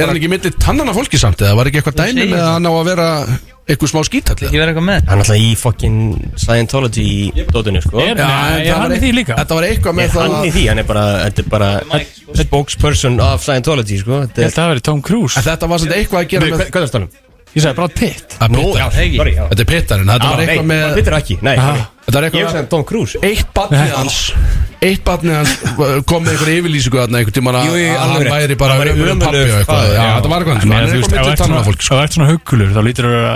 er hann ekki millir tannana fólki samt eða var ekki eitthvað dæmi með
segi
að
það.
hann á að vera eitthvað smá skítall
Ekki
eða?
vera eitthvað með
Hann er alltaf í fucking Scientology í dótunni sko
Er-
Er
Nei,
en
er
það
hann
var
í
e-
því líka?
þetta var eitthvað með það
hann í
að-
því? Hann er bara, þetta er bara þetta er Spokesperson of Scientology sko
Ég
Þetta
held að það verið Tom Cruise
en þetta var samt eitthvað að gera
Nei,
með
Hvað hvað er það stannum?
Ég sagði Brad Pitt
að pita
um? Sorry, já Ah,
þetta er pitarinn þetta var eitthvað
Nei,
með
Pitt er ekki, nei
Ah.
þetta var
Ég
eitthvað
hugsaði um Tom Cruise
eitt barnið hans eitt barnið hans uh, kom með einhver yfirlýsingu þarna einhvern tímann að
Jú, jú,
að hann
alveg rétt.
væri bara
Hann væri
ömurlegur pabbi
ömurlegur
og eitthvað
faðir,
Já, þetta var eitthvað
Ég
hann
meina,
er
þú veist, ef þú
eitthvað millir
ert
tannana
svona-
fólk
Ef þú ert svona huggulur þá lítur þú að vera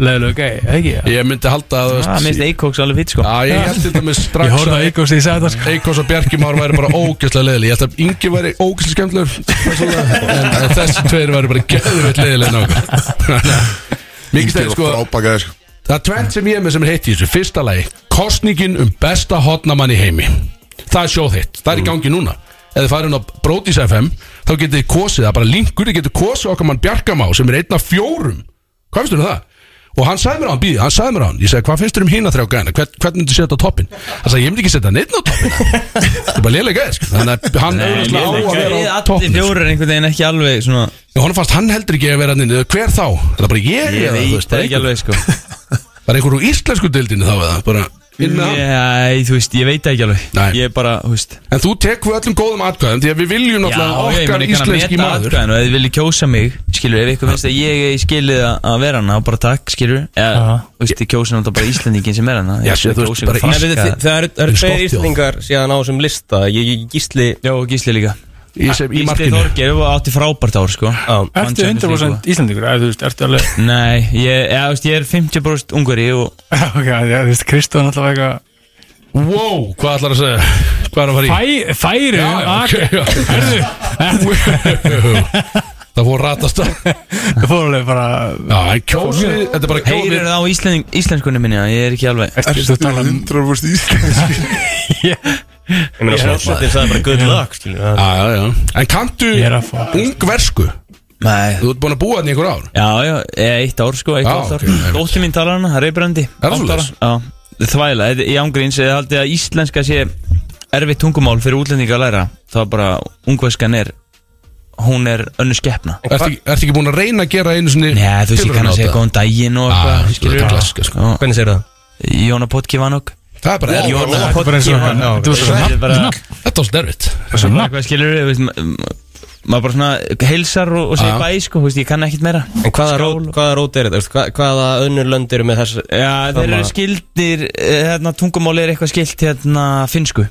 leðilega gæi, eða ekki?
ég myndi halda að þú
Það
veist
minnst Eikoks alveg fýtt sko
Já, ég held til dæmis
Ég
strax
horfði að ykkur sem ég sagði það sko
Eikos og Bjarki Már væri bara ógæslega leiðileg Ég held að Ingi væri ógæslega skemmtilegur En en þessi tveir væri bara gæðvitt leiðileg nákvæm *laughs* Mikið
Yngri
stæði
og
sko
frábaka þér
Það er tvent sem ég er með sem er heitt í þessu Fyrsta lagi Kostningin um besta hotnamann í heimi Það er sjóð hitt Það er í gangi núna Ef þið farið inn á Brodís FM Þá getið þið kosið Það er bara linkur Þið getið kosið okkar mann Bjarkamá Sem er einn af fjórum Hvað finnst þér um það? Og hann sagði mér á hann býði Hann sagði mér á hann Ég sagði hvað finnst þér um hina þrjá gæðina Hvern, Hvernig myndi setja á toppin Það sagði ég myndi ekki setja neitt á
*laughs*
toppin Það er bara lélega gæð sko. Þannig að hann auðvitað á að
Við
vera á
allir
toppin
fjórir einhvern veginn ekki alveg svona
Hún fannst hann heldur ekki að vera hann Hver þá? Er það bara ég,
Ég
eða, þú
veit
veist, bara
það ekki
einhver-
alveg sko
Var einhver úr íslensku deildinu þá eða? Bara, inn með það?
Nei, þú veist, ég veit það ekki alveg
Nei.
Ég er bara, þú veist
En þú tekur öllum góðum atkvæðum Því að við viljum náttúrulega
ég
okkar
meina, ég kann að
íslenski
meta
maður
atkvæðin og ef þið viljið kjósa mig skilur, ef ykkur finnst að ég er skilið að- að vera hana bara takk, skilur eða,
Aha.
þú veist, þið kjósa náttúrulega bara Íslandingin sem er hana
Já, þú veist, bara
Nei, veitu, þi-
Íslandingin
Það eru- það eru tveir
Skottþjóð.
íslendingar síðan á þessum lista Ég, ég gísli
Já, og Gísli líka
Í, sem, í
Gísli
markinu
Þorgeir var átti frábært ár, sko
á,
Hann
Ertu
Champions League,
100% Íslandingur? Eða, þú veist, ertu alveg
Nei, ég, eða, þú veist, ég er 50% ungari og
Ok, *laughs* já, þú veist, Kristó er náttúrulega eitthvað
Wow, hvað ætlar að segja? Hvað er að fara í?
Fæ, Færi
Já, já, ok, já.
*laughs*
Það fór að ratast að
Það fór alveg bara
Já, en kjósið, þetta er bara
Heyrið
kjósið
það á Íslanding, íslenskunni minni, að ég er ekki alveg
Ertu þú
Ertu
tala um
100% íslenski?
Ég meina svolítið Það er bara good luck skilur við.
Já, já, já En kanntu
Ég er að fá-
ungversku?
Nei
Þú ert búin að búa þetta í einhver ár
Já, já, eða eitt ár sko, eitt
Já,
ah, ár
ok, einmitt.
Dóttir mín talar hana, reybrandi
það svoleiðis?
Já, þvæla, þetta- ég ángríns eða haldið að íslenska sé erfitt tungumál fyrir útlendinga að læra þá bara ungverskan er hún er önnu skeppna
Ertu ekki- ertu ekki búin að reyna að gera einu sinni
Nei, þú veist, ég
tilraun
kann
á
að segja
þetta?
góðan daginn og
Já,
eitthvað,
Ah, þú
skilur
ert klassika, sko.
Já.
Hvernig segir það?
Jóna Potki var nokk
Það er bara erfitt.
Jóna
Þetta
bara eins og
Potki var
hann-
nokk
þú veist,
Þetta er bara
er svolítið erfitt
Svo nafn
eitthvað skilur við, veist, ma- maður bara svona heilsar og, og segir
Já.
bæ, sko, þú veist, ég kann ekkit meira
En hvaða rót, hvaða rót er þetta? Veistu, Hvað, hvaða önnur lönd eru með þess
Já, þeir eru
Sama-
skildir, eh, hérna, tungumál er eitthvað skilt hérna finnsku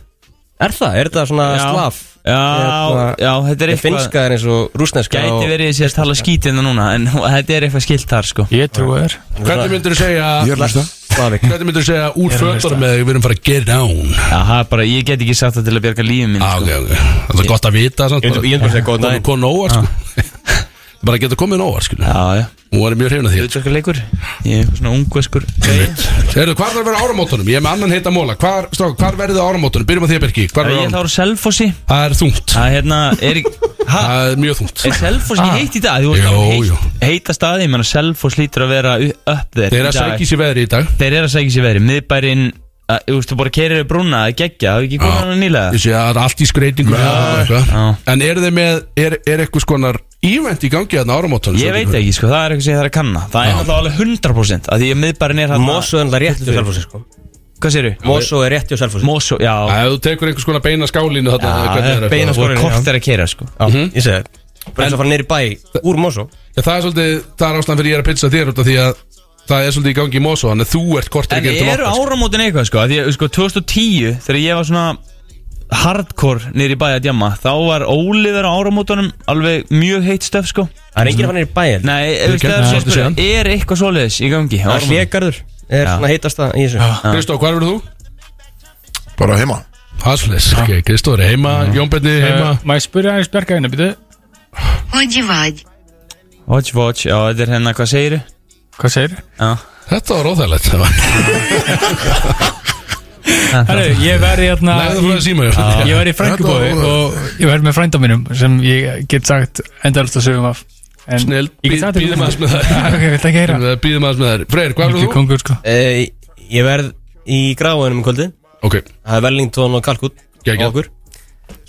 Er það? Er þetta svona
Já.
slaf?
Já,
Hérna-
já, þetta er
Ég
eitthvað
finnska er eins og rúsneska
Gæti
og
verið sér að tala skítina núna En þetta er eitthvað skilt þar sko
Ég trú þér
Hvernig myndur þú segja
Ég er að hlusta
slavik
Hvernig myndur þú segja úr
Ég er að hlusta.
fötunum eða við erum farið að get down
Já, það er bara, ég get ekki sagt það til að bjarga lífið minn
ah,
sko.
okay, okay. Það er gott að vita samt,
Ég myndi- ég myndi bara segja góðan
Komið-
daginn.
komið nóvar sko. *laughs* Bara að geta komið nóvar sko.
Já, já,
Hún var mjög hrifin að því
hlutverka leikur Ég er eitthvað svona ungveskur
Heyrðu, hvar þarf að vera á áramótunum? Ég er með annan heita móla Hvar, stráka, hvar verðið á áramótunum? Byrjum að því að Birki Hvar
Það
verðið á
er þá
áramótunum?
á Selfossi
Það er þungt
Það er hérna, er ekki Ha, Ah.
Það er mjög þungt
er Selfoss ekki heitt í dag? Þú veist,
Jó,
það er
jó.
heitt, heita staði Ég menna Selfoss lítur að vera u- upp þeir
Þeir eru að sækja sér veðri í dag
Þeir eru að sækja sér verið Miðbærin, að- þú veist, þú bara keirir brúna Það er geggja, það er ekki
Já.
konan að nýlega
Ég sé að það er allt í skreitingu
Já.
En eru þeir með Er, er eitthvað skonar Event í gangi þarna á áramótunum
Ég veit ekki, sko, það er eitthvað sem ég þarf að kanna Það er náttúrulega alveg 100% að Því að miðbærin er hérna
Mosó er náttúrulega rétt hjá Selfossi sko
Hvað séru?
Mosó er rétt hjá Selfossi
Mosó, já,
Ef þú tekur einhvers konar beina skálínu þarna, hvernig er eitthvað?
beina
skórin
skórinni,
Hvort
já.
er að keira, sko
Ég segi það Bara eins og að fara neyri bæ úr Mosó
Já, það er svolítið, það er ástæðan fyrir ég er að pizza þér út af því að það er svolítið í gangi í Mosó Þannig að þú ert kortir
En eru áramótin eitthvað, sko Því að, sko, 2010, þegar ég var svona Hardcore niður í bæ að djamma Þá var óliður á áramótunum Alveg mjög heitt stöf, sko
Það er enginn að fara neyri bæ heldur.
Nei, ef við
Ég gerði
stöðum svo
það
spyrja
síðan.
Er eitthvað svoleiðis í gangi? á
Það er
áramótunum?
hljegarður Er
Já.
svona heitast það í þessu
Kristó, hvað verður þú? Ah.
Bara heima
Hasfles, ok, Kristó er heima, Jón Benni er heima
Má ég spyrja aðeins hérna, bjarga henni, býtu?
Onde vai?
Watch, watch, já, þetta er hérna, hvað segiru?
Hvað segir?
Þetta var óþægilegt það var-
Herru, ég verði hérna
Lagðu frá þér síma, Jón.
Ég verði í frængubóði
Þetta var-
og ég verði með frænda mínum sem ég get sagt endalast að sögum af En
Snilld,
ég
bý-
get sagt þetta
býðum
líka.
aðeins með það.
Já, Ah, Ok, vilt ekki heyra
Við *laughs* Býðum aðeins með þær Freyr, hvað
Ég er
verður þú?
kongur sko
Eh, Ég verð í gráðunum um kvöldið
Ok,
Það er Wellington og Kalkut
Geggjað.
Okkur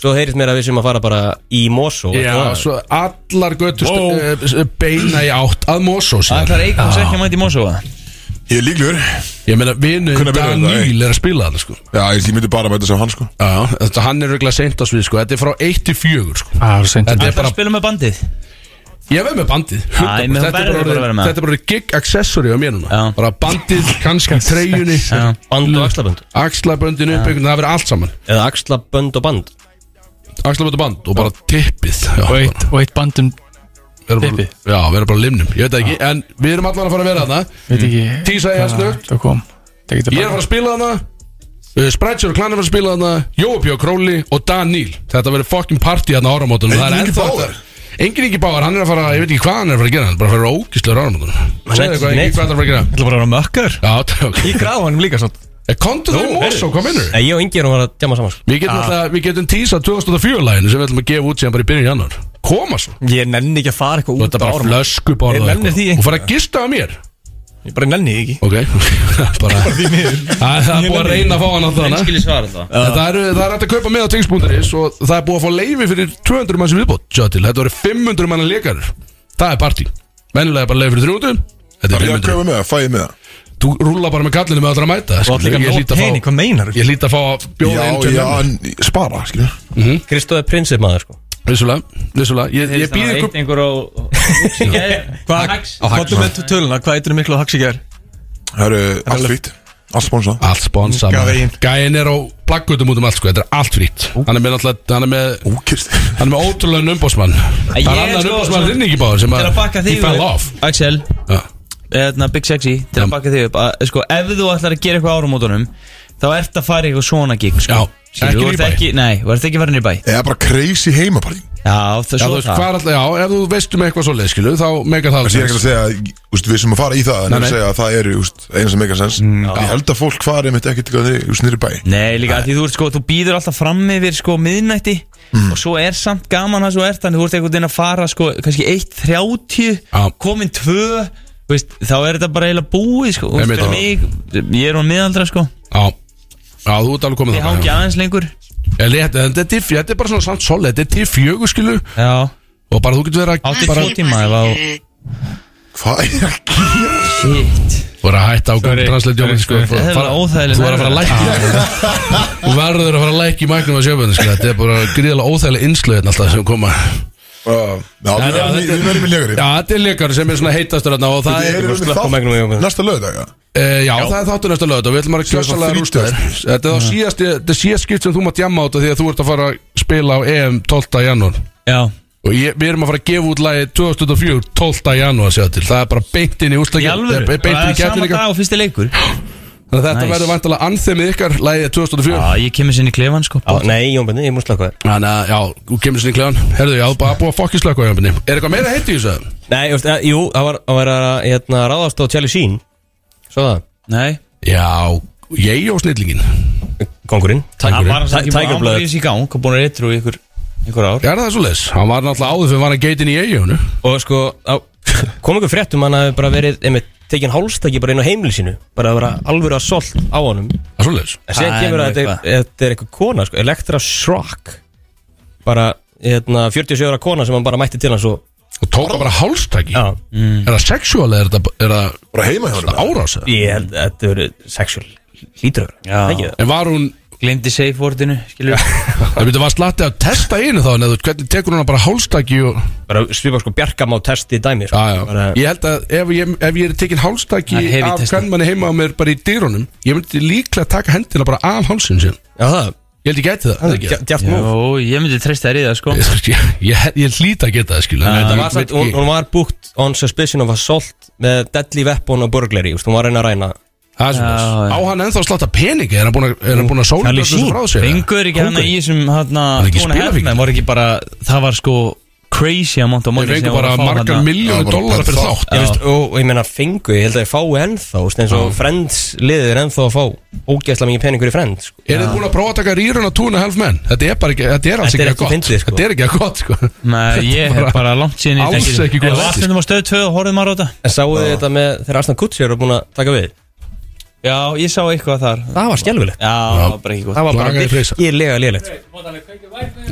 Svo heyrist mér að við sem að fara bara í Mosó
já,
Það-
svo allar göttur wow. beina í átt að Mosó
Það
síðan
er eitthvað sem ekki að mæti í Mosóa
Ég er líklegur
Ég meina, vinu
Hvenær byrjar þetta,
Daniel er að spila þarna sko
Já, ég ég myndi bara mæta sem hann sko
Já, þetta hann er regla seint á svið sko Þetta er frá 1 til 4 sko
Á, það er seint
Þetta er
Það er
bara,
að spila með bandið
ég verð með bandið 100%.
Æ, menn,
Þetta er bara
verður bara að vera
orðið-
með.
þetta er bara orðið gig accessory á mér núna
Já.
Bara bandið, kannski treyjunni
Já.
Band og axlabönd
Axlaböndin uppbyggun, það verður allt saman
Eða axlabönd og band
Axlabönd og band og bara tippið Já,
Og
bara-
eitt, og eitt bandum,
Við erum bara,
Tippið?
já, við erum bara á limnum, ég veit það ekki En við erum allan að fara að vera þarna
veit ekki
Tísa ég að snögt,
Það kom Það getur
ég er að fara að spila þarna uh, Sprætsjör og Klan er að fara að spila þarna Jópi og Króli og Dan Níl Þetta verður fucking party þarna á áramótunum Það er
Enginn Ingi
ennþá
Báðar?
Engin Ingi Báðar, hann er að fara, ég veit ekki hvað hann er að fara að gera Hann er bara að fara ógislega á áramótunum Segðu
Neitt,
eitthvað, Ingi,
neitt.
hvað hann er að fara að gera
Það er bara að mökkar
Já, *laughs* það er ok
Í gráðunum líka svo
Eh, Komdu þau mós og kom innur
Nei, Eh, ég og Ingi erum að fara að djama saman sko.
Við getum alltaf, við getum tísað 2004-læginu sem við ætlum að gefa út síðan bara í byrjun janúar Koma svo,
Ég nenni ekki að fara eitthvað
þú
út
ert að bara flösku
Ég
borða
nenni því ekki.
Og fara að gista að mér
Ég bara nenni því ekki
Ok, *laughs* bara Æ, *laughs* Það er búið að reyna að fá hann á þannig
Einskili svar alltaf
Það er það er hægt að kaupa með á tengspunkturis og það er búið að fá leifi fyrir 200 mann sem viðbót sjá til. Þetta voru 500 manna leikar Það er partí Venjulega er bara leifi fyrir 300 Þetta er
Ég að
500
köpa með það, fæ ég með það
Þú rúla bara með kallinu með allra að mæta
Og allir
skilur, Ég
ekki nót
hlýt að
pening,
fá
hvað meinar
Ég hlýt að fá að
Já,
bjóða inn til
já,
mömmu.
en spara, skilur
Kristóð er prinsip maður sko
Vissulega, vissulega Ég, ég býð ykkur
einhver á
Hvað, hvað er með töluna, hvað eitthvað miklu á hax í gær?
Það eru allt fýtt, allt sponsa
Allt sponsa
Gaf
maður.
ein.
Gæinn er á plaggutum út um allt sko Þetta er allt frýtt Hann er með alltaf Hann er með
Úkist
Hann er með ótrúlega umbósmann Það
Ég
er
er
annan
sko-
umbósmann
svo-
þinn ekki báður sem
Til að bakka
He
þig
fell off
Axel,
Já.
eðna, Big Sexy Til
Já.
að bakka þig upp að, sko, Ef þú ætlar að gera eitthvað áramótunum Þá ert að fara í eitthvað svona gig sko.
Já,
Skilur,
ekki
þú ert
í bæ.
ekki- Nei, þú ert ekki farin í bæ
Eða bara crazy heimapartí
Já, það
Já, þú
svo
veist,
það
hvað er alltaf, já, ef þú veist um eitthvað svo leið, skilu, þá meika það
Það sé ekki að segja, úst, við sem að fara í það En
Nei,
ég
nei.
segja að það eru úst, eina sem meika sens En ég held að fólk fari mitt ekki til að þið úst, nýri bæ
Nei, líka að því þú, ert, sko, þú býður alltaf fram yfir sko miðnætti
Mm.
og svo er samt gaman að svo ert þannig þú ert einhvern veginn að fara sko kannski 1.30,
Já.
komin 2 þú veist, þá er þetta bara eiginlega búið sko, Þú veist,
Einmitt.
fyrir mig, ég er á miðaldra sko,
Já, já, þú ert alveg komið
ég hangi aðeins lengur
Ég lét, en Þetta er til- þetta er bara svona samt solid, þetta er til fjögur, skilu
Já,
Og bara þú getur verið að
Átti
bara,
tvo tíma eða á-
Hvað er að gera?
shit
Þú er að hætta á Google Translate jobbandi, sko
Það er
Fara-
verið óþægileg
Þú verður að fara að lækja Þú verður að fara að lækja í mæknum að sjöfandi, skilu sko. Þetta er bara gríðilega óþægileg innslöðin alltaf sem koma
Uh, Já,
Nei,
við
já,
verðum í-
þetta-
við verðum í legari
Já, þetta er leikar sem er svona heitastur þarna og það
Við
er
erum við
slökkum
þátt
egnum í okkur.
Næsta lögðag
Uh, já, það er þáttur næsta lögut og við ætlum að
Síðasta
kjössalega rústa þér
þrítugasta.
Þetta er þá síðast, þetta er síðast skipt sem þú mátt jamma át af því að þú ert að fara að spila á EM 12. janúar
Já,
og ég, við erum að fara að gefa út lagi 2004 12. janúar sér til, það er bara beint inn í
í
ústakir
alvöru,
beint inn í
það er sama
kæftin ykkar
dag og fyrsti leikur Já,
Þannig að þetta
Nice.
verður vantilega anþemið ykkar lagið 2004
ég kemur sinni í klefan sko
Á, Nei, Jón Benni, ég múst slaka þér
Þannig að, já, þú kemur sinni í klegan Herðu, já, bara búið að fokkislega hvað jöfnbunni Er eitthvað meira heiti í þessu?
Nei, just, eh, jú, það var, það var að hérna, ráðast á Charlie Sheen Svo það
Nei,
Já, ég og snillingin
Kongurinn
það var hans
Ti-
ekki búin
Tiger
að
Blood.
ámæða í gang og búin að reytru ykkur, ykkur ár
Er það svo leis? Hann var náttúrulega áður fyrir hann að geitin í eigjónu
Og sko, á, *laughs* kom ykkur fréttum hann hafi bara verið einmitt, tekin hálstæki bara inn á heimili sínu bara að vera alvöru að solt á honum en
Það er svo leis
síðan
Það er
kemur
nú
að þetta er- þetta er eitthvað kona sko, Elektra Shrock bara hérna, 47 ára kona sem hann bara mætti til hans og
Og tók það bara hálstæki
já,
Er það sexuál eða er það, er það
Bara heima hjá honum
árás? eða?
ég held að þetta verið sexual lítur
Já.
En var hún,
Glemdi safe wordinu, skilur
það byrja var slatti að testa einu þá neður, hvernig tekur hún bara hálstæki og
bara svipa sko bjargam á testi dæmi sko.
Já, já,
Bara,
ég held að ef ég, ef ég er tekinn hálstæki
Það er heavy
af
testa.
kannmanni heima á mér bara í dýrunum ég myndi líklega taka hendina bara af hálsin sin
já það,
ég held ég gæti það, það ekki
dja- djátt múf
Jó, ég myndi treysta þér í það sko
ég, ég, ég, ég hlýta að geta það skilu en þetta
Hún
var
var, samt,
samt-
hún,
ég-
hún var búkt on suspicion of assault með deadly weapon og burglary, just, hún var að reyna að ræna
það er svona.
Já, já.
á hann ennþá slatta peningi er hann búin að- er hann búin að sóla
Charlie
öllu þessu
Sheen.
frá sér
Fengur ekki hann í þessum hérna
Var ekki
Dona
spilafíkill?
Hellman var ekki bara Það var sko crazy amount of money
þeir
sem
fengur
voru
bara
að fá
margar
þarna.
Já,
miljónu
bara
dólar
per
fyrir
þátt.
þátt
Ég veist, og, og ég meina fengu, ég held að ég fái ennþá þú veist, eins og Friends liðir ennþá að fá ógæsla mikið peningur í Friends sko.
er þið búin að prófa að taka rýrun á túnu half menn þetta er bara ekki, þetta er alls
Þetta
ekki að
er ekki
gott
fyndið, sko.
þetta er ekki að gott sko *laughs*
Nei, ég hef bara langt síðan
Alls ekki góð
góð Við
þættir.
aðstundum á stöð 2 og horfðum að ráta
en sáu þið þetta með þegar Aslan Kutsi eru búin að taka við
Já, ég sá eitthvað þar Já,
það var skjálfilegt
það var bara ekki góð
það var bara
Lagaði freysa.
virkilega liðlegt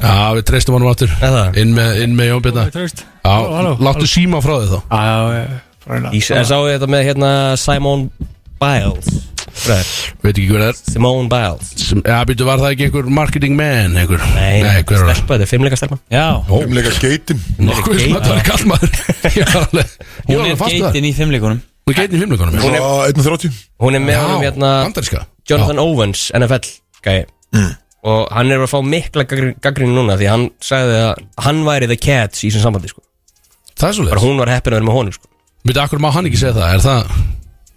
Já, við treystum honum aftur
Er það?
Inn með, inn með Jón Björna
Traust
Já,
Halló, halló,
láttu síma frá þig þá
Já, Ah, já, já, frá hérna.
en sáu þið þetta með hérna Simon Biles Fræður.
Veit ekki hver það er
Simone Biles
Sem- Já, býttu, var það ekki einhver marketing man einhver? Nei hver var það?
stelpa, þetta er fimmleika stelpa
Já,
Umleika skeitin
Nokkuð sem þetta var kall maður Ég var alveg Ég var
hún
alveg
er
fast við það
geitin í fimmleikunum
Hún er geitin í fimmleikunum
Svo 1.30
hún er með
Já,
honum hérna
bandaríska
Jonathan Owens, NFL gæi og hann er að fá mikla gaggrinni núna því hann sagði að hann væri the cats í þessum sambandi sko.
Já, Það er svo
bara
leið
hún var heppin að vera með honum sko.
Býttu, akkur má hann ekki segja það Er það?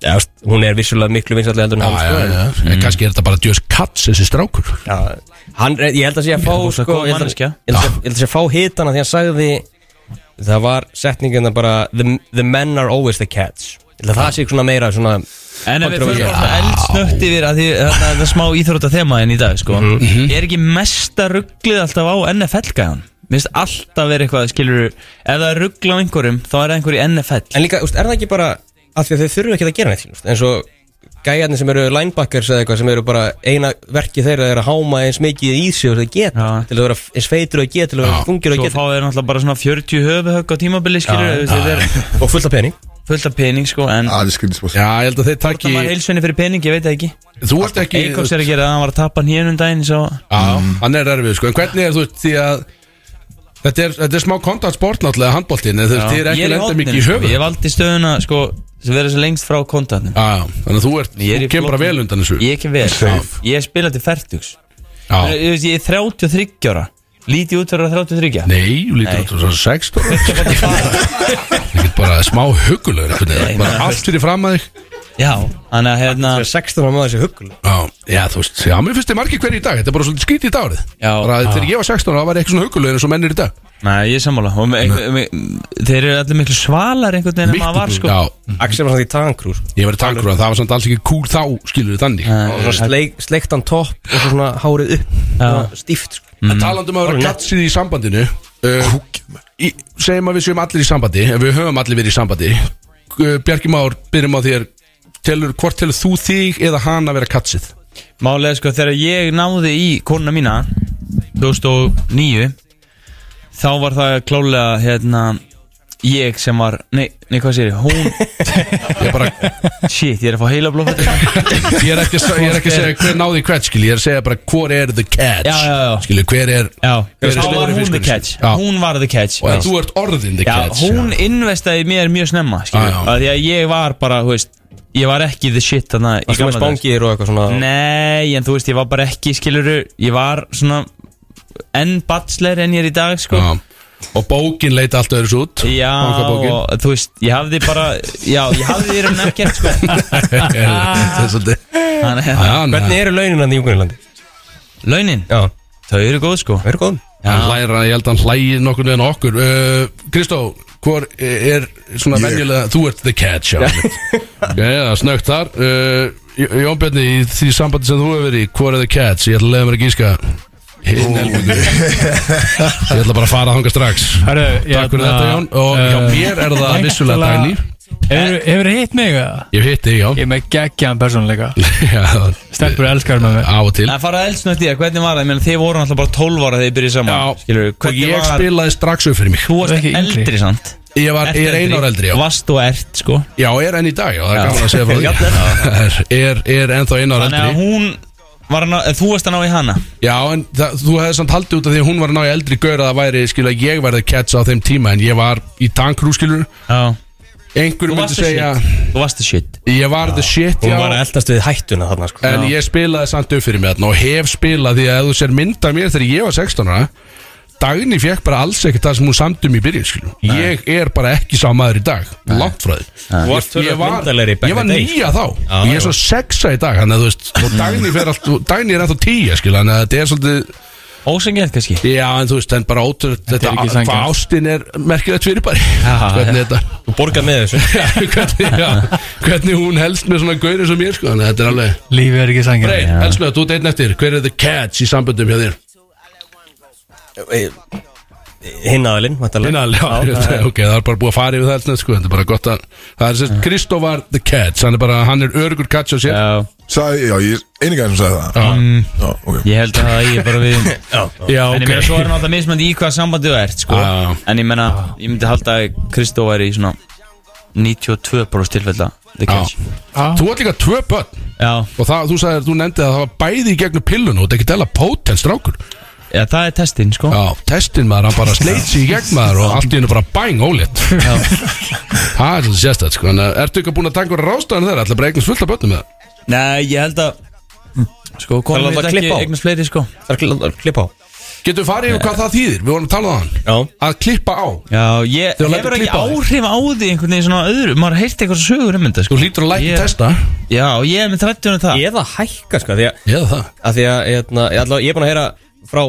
Já, veist, hún er vissulega miklu vinsallið heldur en
Já,
hann
já, Mm.
sko, en-
já En kannski er þetta bara djöðs kats þessi strákur
já. Hann, er- ég held að sé að fá
hún er
sko,
góð
ég held að-
manneskja.
ég held að sé- ég held að sé að fá hitana því hann sagði það var setningin að bara the, the men are always the cats Ég held að það sé svona meira svona
En ef við
Kontroversial.
fyrir bara eldsnögt yfir að því þarna er það smá íþrótta þemaðin í dag sko
Mhm.
Er ekki mesta rugglið alltaf á NFL-gæðan? Mér finnst alltaf verið eitthvað, skilur Ef það er ruggl á einhverjum, þá er það einhver í NFL
En líka, úst, er það ekki bara að því að þau þurfu ekki að gera neitt úst, eins og gæjarnir sem eru linebackers eða eitthvað sem eru bara eina verki þeirra er að háma eins mikið í sig og það geta
Já.
til að vera eins feitur og það geta til að vera þungir og
Svo
það
fá þeir náttúrulega bara svona 40 höfuhögg á tímabili skilur ja, ja,
geta og fullt af pening
fullt af pening sko En
Það er skrítið spór
Já, ég held að þeir
það
takki
var heilsunni fyrir pening, ég veit það ekki
Þú ert ekki
Eikoks er að gera það, hann var að tappa nýjunum daginn Svo
Já, hann er erfið sko En hvernig er þú veist því að Þetta er, þetta er smá kontaktsport náttúrulega handbóltin En þú veist, þið er
Ég
ekki
er í
lenda
horninu,
mikið í
sko.
höfu
Ég valdi stöðuna sko sem verður svo lengst frá kontatnum
Já, þannig að þú ert,
Ég er
þú
í
kemur bara
flottum.
vel undan þessu
Ég er ekki vel
Safe.
Ég er spilað til færtugs
Já,
Ég ég er 33 ára Lítið út fyrir að vera 33
nei, þú lítur
Nei.
út svo 16
Ég fætti fara.
Ég get bara smá hugulegur einhvern
Nei,
veginn Bara
nei,
allt fyrir fram að þig
Já, þannig að hérna
Það er 16 ára maður sem huggul
Já, já, þú veist, já, mér finnst þið margir hverju í dag Þetta er bara svolítið skítið í dárið
Já.
Bara þegar ég var 16 ára, það var ég eitthvað svona hugulegur eins og mennir í dag
Nei, ég er sammála Og me- me- Þeir eru allir miklu svalar einhvern veginn en maður var sko
Já,
Mhm. Axel var samt í tankrú sko.
ég verið tankur að það var samt alls ekki cool þá skilur við þannig
Nei,
Og svona sleik, sleiktan topp og svo svona hárið upp svona Stíft sko.
mm.
En talandum að vera gatsið í sambandinu uh, í, Segjum að við séum allir í sambandi En við höfum allir verið í sambandi uh, Bjarki Már, byrjum á þér telur, Hvort telur þú þig eða hann að vera katsið?
Málega sko þegar ég náði í konuna mína 2009 Þá var það klálega hérna Ég sem var, nei, nei hvað sér ég,
*laughs*
hún,
Ég er, bara,
shit, ég er að fá heila blófættu
ég er, ekki, að se- ég er ekki að segja hver náði hvert skil Ég er að segja bara hvor er the catch
Já, já, já.
Skilur, hver er
Já,
Hver er
þá
stóri
var hún the
fiskurinn?
catch
Já.
Hún var the catch
Og
já.
að þú ert orðin the
já,
catch
Hún investaði í mér mjög snemma skilur
Já, já.
við. Af Því að ég var bara, þú veist Ég var ekki the shit þarna í
Og svona
gamla daga.
spangir og eitthvað svona
Nei, en þú veist, ég var bara ekki, skiluru Ég var svona enn bachelor en ég er í dag, sko
Já. Og bókin leita allt öðru svo út
Já, *laughs*
Bankabókin.
og þú veist, ég hafði bara Já, ég hafði þeirra
*laughs*
nekkert, sko
*laughs* Það er svolítið
Þannig að
Já, nei.
Hvernig eru launin hann í Júkunilandi?
Launin,
Já,
þau eru góð, sko
verður góðum
Hann hlæra, ég held að hann hlægir nokkur neðan okkur Uh, Kristó, hvor er svona
Ég.
venjulega Þú ert the catch Já, já snögt þar uh, J- Jón Bjarni, í því sambandi sem þú hefur verið í, Hvor er the catch, ég ætla að leiða mér að gíska Hinn helmingur Ég ætla bara að fara að hanga strax
Herru, hérna, eh,
Takk fyrir þetta Jón Og hjá
uh,
mér er það vissulega Dagný
Hefur þið hitt mig eða?
Ég hitti, já,
Ég er með geggjaðan persónuleika
*laughs* já
Stelpur elskar með mig
Á og til
Það fara eldsnögt í það, hvernig var það? Ég meina, þið voru alltaf bara 12 ára þegar þið byrjuð saman
Já.
Skilur,
Og
hvernig
ég
var
spilaði strax upp fyrir mig
Þú varst
Ekki
ekki
yngri.
eldri, sant?
Ég var, ég er einar eldri, já
Vast og ert, sko
Já, er enn í dag, já, það
Já.
er gaman að segja
*laughs* Já,
frá því *laughs* Er, er ennþá einar
Þannig
eldri
að hún var að ná, eða Þú varst að ná í hana
Já, en það, þú hefði samt haldið út af því að hún var að ná í eldri gaur að það væri, skilja, ég verði catch á þeim tíma en ég var í tankrú, skilur
Já
einhverjum
Þú
myndi
varst the
segja,
shit Þú varst the shit
ég var the shit,
Hún var að
já
eldast við hættuna þarna sko.
en ég spilaði samt upp fyrir mig þarna og hef spilað því að ef þú sér mynda mér þegar ég var 16 ára Dagni fekk bara alls ekkert það sem hún samt um í byrjun, skilur Ég er bara ekki sá maður í dag, langt frá því
Þú
Ég-
varst töluvert
Ég var,
myndarlegri back
ég var
in the day,
nýja þá og Ég er svo sexa í dag, þannig að þú veist og Dagni, fer allt, og Dagni er ennþá tíja, skilja þannig að þetta er svolítið
Ósengið kannski
Já, en þú veist, en bara ótrúð Þetta,
er ekki
þetta
sanngjarnt.
hvað ástin er merkilegt fyrir bara Hvernig þetta *laughs*
Þú borgar með þessu
já, hvernig, já, hvernig hún helst með svona gaurið sem ég sko Þannig að þetta er alveg
Lífið er ekki sangir
Brein, elskulega, þú ert einn eftir Hver er the catch í samböndum hjá þér?
Hinn aðalinn væntanlega.
Linnal, já, ok, það er bara búið að fara yfir það elskulega, sko, Þetta er bara gott að Það er sérst, Kristó var the catch Hann er bara, hann er örugur catch á sér Já,
Já
Sæði, já, ég er einingar sem sagði það Mm. Já, ok
Ég held að það eigi bara við um- Já En ég meina svo er
ok
náttúrulega mismandi í hvaða sambandi þú ert sko
Ah.
Já.
En ég meina Ég myndi halda að Kristó væri í svona 92 bros tilfella The
Ah.
catch
Já. Þú ert líka tvö börn
Já
Og það, þú sagðir, þú nefndi að það var bæði í gegnum pillun Og þetta er ekki dela potens strákur
Já, það er testinn
Ah.
sko
Já, testin maður, hann bara sleit sig í gegn maður og allt í hennu bara bæng ólétt Það er svolítið sérstætt sko en, uh, Ertu ekki búin að taka einhverja rástaðan þeirra Ætla bara að eignast fullt af börnum með það
Nei, ég held að Sko, konum
láta
við
klippa
ekki
á.
eignast fleiri sko
Það er kl- að klippa á
Getum við farið yfir hvað það þýðir, við vorum að tala það
Já
Að klippa á,
Já, ég
Þegar þú lætur
hefur ekki
klippa á þig.
áhrif á því einhvern veginn svona öðru Maður heyrti eitthvað sögur um þetta sko
þú lítur að lækja
Ég-
testa
Já, ég er með 30 um það
Eða hækka sko Því að,
Eða það
að, því að hérna, ég, allavega- ég er búin að heyra frá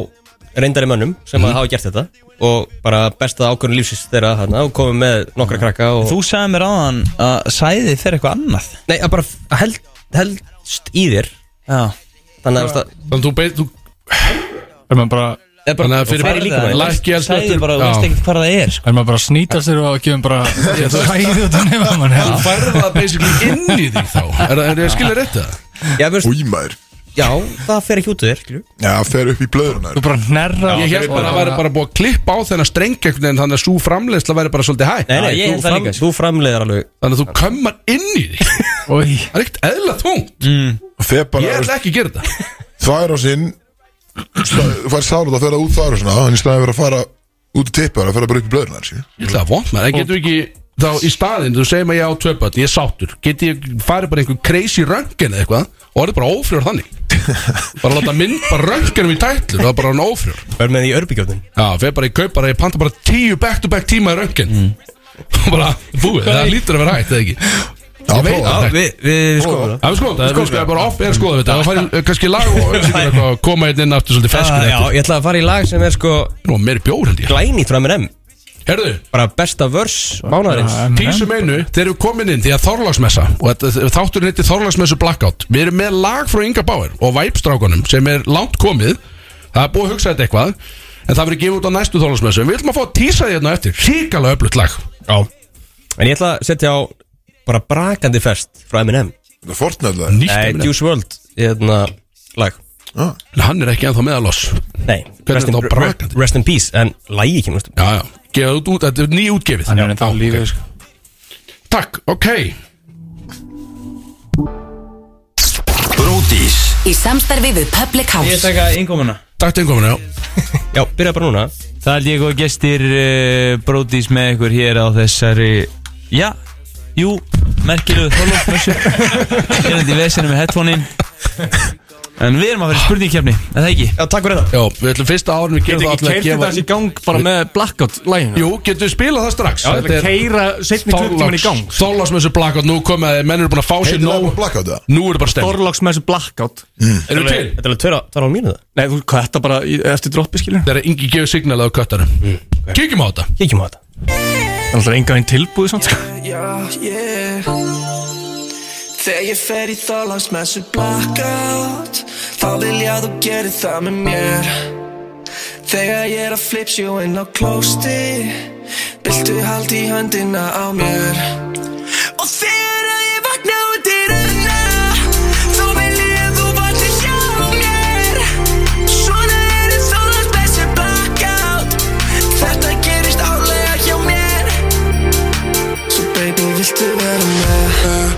reyndari mönnum sem að hafa gert þetta og bara besta ákvörðun lífsins þeirra hérna, og komið með nokkra krakka og
Þú sagði mér áðan að sæði fer eitthvað annað
Nei, að bara f- held, heldst í þér
Já
Þannig að það
Þannig að þú beit, þú
Er maður bara
er bara
Þannig að fyrir
færi
bara-
líka
Lækki eldsneyti.
Sæði bara, þú
Já.
veist ekkert hvað það er sko.
Er maður bara að snýta sér og gefum bara
*laughs*
Sæðið út af nefnum mann
færði það basically inn í þig þá Er, er ég skilja rétt það?
Já, veist,
Új, maður
já, það fer ekki út af þér skilur.
Já, fer upp í blöðurnar
Þú bara hnerra
Ég held bara að það væri bara búið að klippa á þennan streng einhvern veginn þannig að svo framleiðsla væri bara svolítið hæ
Nei, nei,
Já, ég
þú,
held það líka, sko.
þú framleiðir alveg
Þannig að þú kömmar inn í því Það
Új,
er ekkert eðla þungt
Fer
Ég
bara
ætla ekki að gera þetta
þvær á sinn Þú fær sálut að ferða út þvær á sinna En í staðið verið að fara út í tippar að ferða bara upp í blöðurnar sí.
Ég ætla að vond maður Það getur ekki Þá í staðinn, þú segir maður ég á tvö börn, ég er sáttur Geti ég farið bara einhver crazy röntgen eða eitthvað Og orðið bara ófrjór þannig Bara láta mynd bara röntgenum í tætlur Það er bara hann ófrjór
Verð með því örbygjóðin
Já, fyrir bara í kaup bara, ég panta bara tíu back-to-back tíma í röntgen Og *laughs* bara, búið, það lítur að vera hægt, eða ekki
Já,
Ég veit
prófa
að
það.
Við, við skoðum
Já, við skoðum þetta, við skoðum bara off er skoðum þetta Það færi eh, kannski lag og öllsíkur eitthvað að koma einn inn aftur svolítið
það
Ah,
feskur
Já,
eftir
ég ætla að fara í lag sem er sko
Nú, meiri bjór held ég
glænýtt frá M&M
Herðu,
Bara besta vörs mánaðarins
tísum einu, þeir eru komin inn því að Þorlagsmessa og þetta, þátturinn heitir Þorlagsmessu Blackout Við erum með lag frá Inga Bauer og Væpstrákunum sem er langt komið Það er búið að hugsa þetta eitthvað En það verður gefið út á næstu Þorlagsmessu En við ætlum að fá að tísa því hérna á eftir Ríkalega öflutt lag Já
En ég ætla að setja á bara brakandi fest frá M&M
Það er fortnæðlega
Nýtt
Nei,
emni.
Juice WRLD Hérna, lag
Ah.
En Hann er ekki ennþá meðaloss Já,
Nei,
Hvernig
rest in,
er þetta á brakandi?
rest in peace En lagi ekki, veist
já, gefið út, út, þetta er nýútgefið
Hann er enda á
Já,
lífi
ok.
sko.
Takk, ok
Bródís
Í samstarfi við Public
Ég
House
taka innkomuna
Takk til einhverjum, já
Já, byrja bara núna
Það er ég og gestir uh, brótis með ykkur hér á þessari Já, jú, merkilegu þorlófmessu Ég er í vesinu með headphonein En við erum að fara í spurningkefni, er það ekki?
Já, takk fyrir það
Já, við ætlum fyrsta árum við gerum það
Getur ekki
allir að
keirti
gefa
þessi í gang bara með blackout-læginu?
Jú, getum við spilað það strax
Þetta er að keira setni klukkutíman í gang
Þorláksmessu blakkátt, nú komið að menn eru búin að fá sér
Heitir það
nóg
bara blackout það?
Nú er bara stefn
Þorláksmessu blackout
Erum við til?
Þetta er alveg tveira, tveira á mínu það
Nei, þú kvæta bara í, eftir droppi skilur
Það er ingi gefið signalað á köttarum
Mm,
Kíkjum á þetta
Kíkjum á þetta
Það er alltaf enga einn tilbúið samt sko
Já, yeah Þegar ég fer í þálagsmessu blackout Þá vil ég að þú gerir það með mér Þegar ég er að flipsjú inn á klósti Viltu haldi í höndina á mér Og þegar að ég vakna út í rönna Þá vil ég að þú vakna hjá mér Svona er þálagsmessu blackout Þetta gerist álega hjá mér So baby, viltu vera með?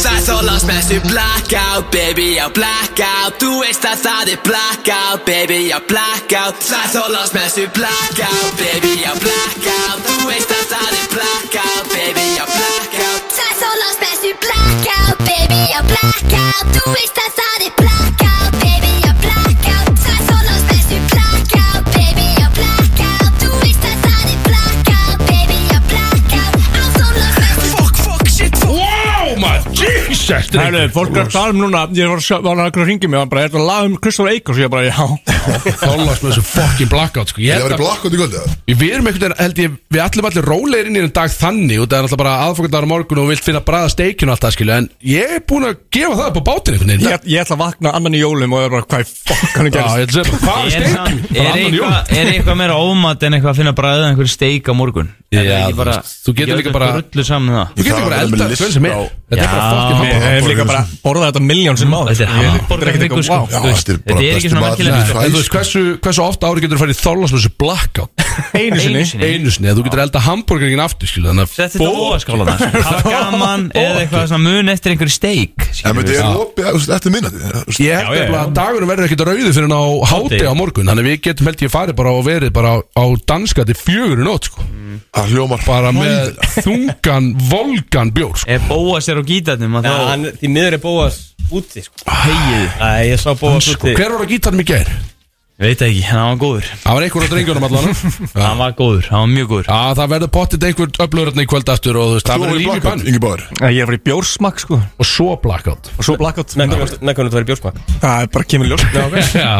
Það er þólas með þessu blackout, baby, já blackout Þú veist að það er blackout, baby, já blackout Það er þólas með þessu blackout, baby, já blackout Þú veist að það er blackout, baby, já blackout
Það er Þorláks bestu blackout, baby, ég blackout Þú veist að það er blackout, baby, ég blackout Það er Þorláks bestu blackout, baby, ég blackout Þú veist að það er blackout, baby, ég blackout Á Þorláks bestu
Fuck, fuck, shit, fuck
Wow, maður, jesus
Það er fólk er að tala um núna Ég var að sjá- var að að ringja mig og hann bara Er þetta lag um Kristofur Eikos? Ég bara, já
Þorláksmessu fucking blackout, sko Ég
Það
held
verið
að-
blakkátt í kvöldi það
Við erum einhvern veginn, held ég, við ætlum allir rólegir inn í enn dag þannig og það er alltaf bara aðfokkandar á morgun og vilt finna bræða steikinu og allt það skilju en ég er búin að gefa það upp á bátinn einhvern veginn
Ég, ég ætla að vakna annan í jólum og er bara Hvað í fokk hann er
Já, ég
gerist?
ætla að segja, hvað er steikinu?
Er, samt- er, eitthvað, er eitthvað meira ómat en eitthvað að finna bræðið en einhver steik á morgun? Er það
Já,
ekki bara-
þú getur líka
ekki
bara-
Rullu saman um það
Þú getur
Það
bara
er
eldað
með
hvern sem
list
er
á-
Þetta er bara
Já.
fucking
Ég
hátt
hef líka bara borðað þetta miljón sem áður
Þetta er
Ég-
hamar.
þetta er ekkert eitthvað, wow.
Já,
Þú veist,
þetta er
þetta er
bara
ekki
besti
svona
maður
merkilegt.
sem
En þú veist
fæst.
hversu, hversu ofta ári getur þú farið í þorlasmessu blackout
Einu sinni
Einu sinni, eða þú getur elda hambúrgeringin aftur skilu Þannig að
Sett þetta á óaskálan Hafa
*laughs*
gaman eða eitthvað svona mun eftir einhverju steik
En
skilur
þetta
við.
er opið þú veist, eftir minnandi
ég held nefnilega að dagurinn verður ekkit rauði fyrir á háti á morgun Þannig að við getum held ég farið bara og verið bara á- á danska til fjögur í nót sko
Það hljómar
Bara með þungan, volgan bjór sko
Ef Bóas er á gítarnum að
Já,
þá
hann, því miður er Bóas úti, sko Hegið Æ, ég sá Bóas úti
Sko, Hver var að gítarnum í gær?
Veit ekki, hann var góður
Það var einhver á drengjunum allan Já,
Hann var góður, hann var mjög góður
Já, það verður pottit einhver öflurinn í kvöld aftur og þú veist, það
Þú
verður
er
líf í
blakkátt,
bann
Ingi Báður
Ég er að fara í bjórsmakk sko
Og svo blackout
Og svo blackout
Með hvernig þú verið bjórsma
Það er bara kemur ljós Það
*laughs* Já,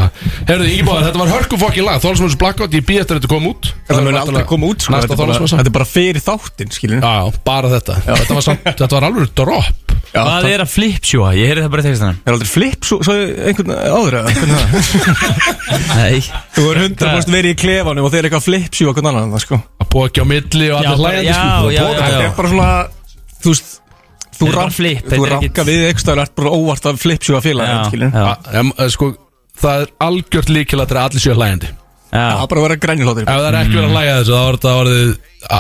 herruðu, Ingi Báður, þetta var hörku fokkin lag Þorlsmjöls Blackout, ég býð eftir að þetta kom út
mun
verður
aldrei
náttúrulega
koma út sko
Næsta
Þetta er bara-
Þorlsmjöls
þetta er bara fyrir þáttinn skilur
Já, já, bara þetta þetta, var samt, þetta var alveg drop
Hvað er að flipsjúa? Ég heyrði það bara í textanum
Er aldrei flip svo, svo einhvern áður eða? Hvernig er það?
Nei
Þú er 100% verið í klefanum og þeir eru eitthvað flip svo hvern annan það sko
Að bókja á milli og sko.
Já,
allir hlægjandi
já, já, já,
Það
já.
er bara svona, þú veist
Þú rann flip
Þú ranka við eitthvað ert bara óvart að flipsjúa félag skilur.
Já,
A- em, eh, Sko, það er algjört líkilætt að allir séu hlægjandi Ef
Það
já,
er bara að vera grænjulóttir
það er ekki verið að hlæja þessu, þá er þetta orðið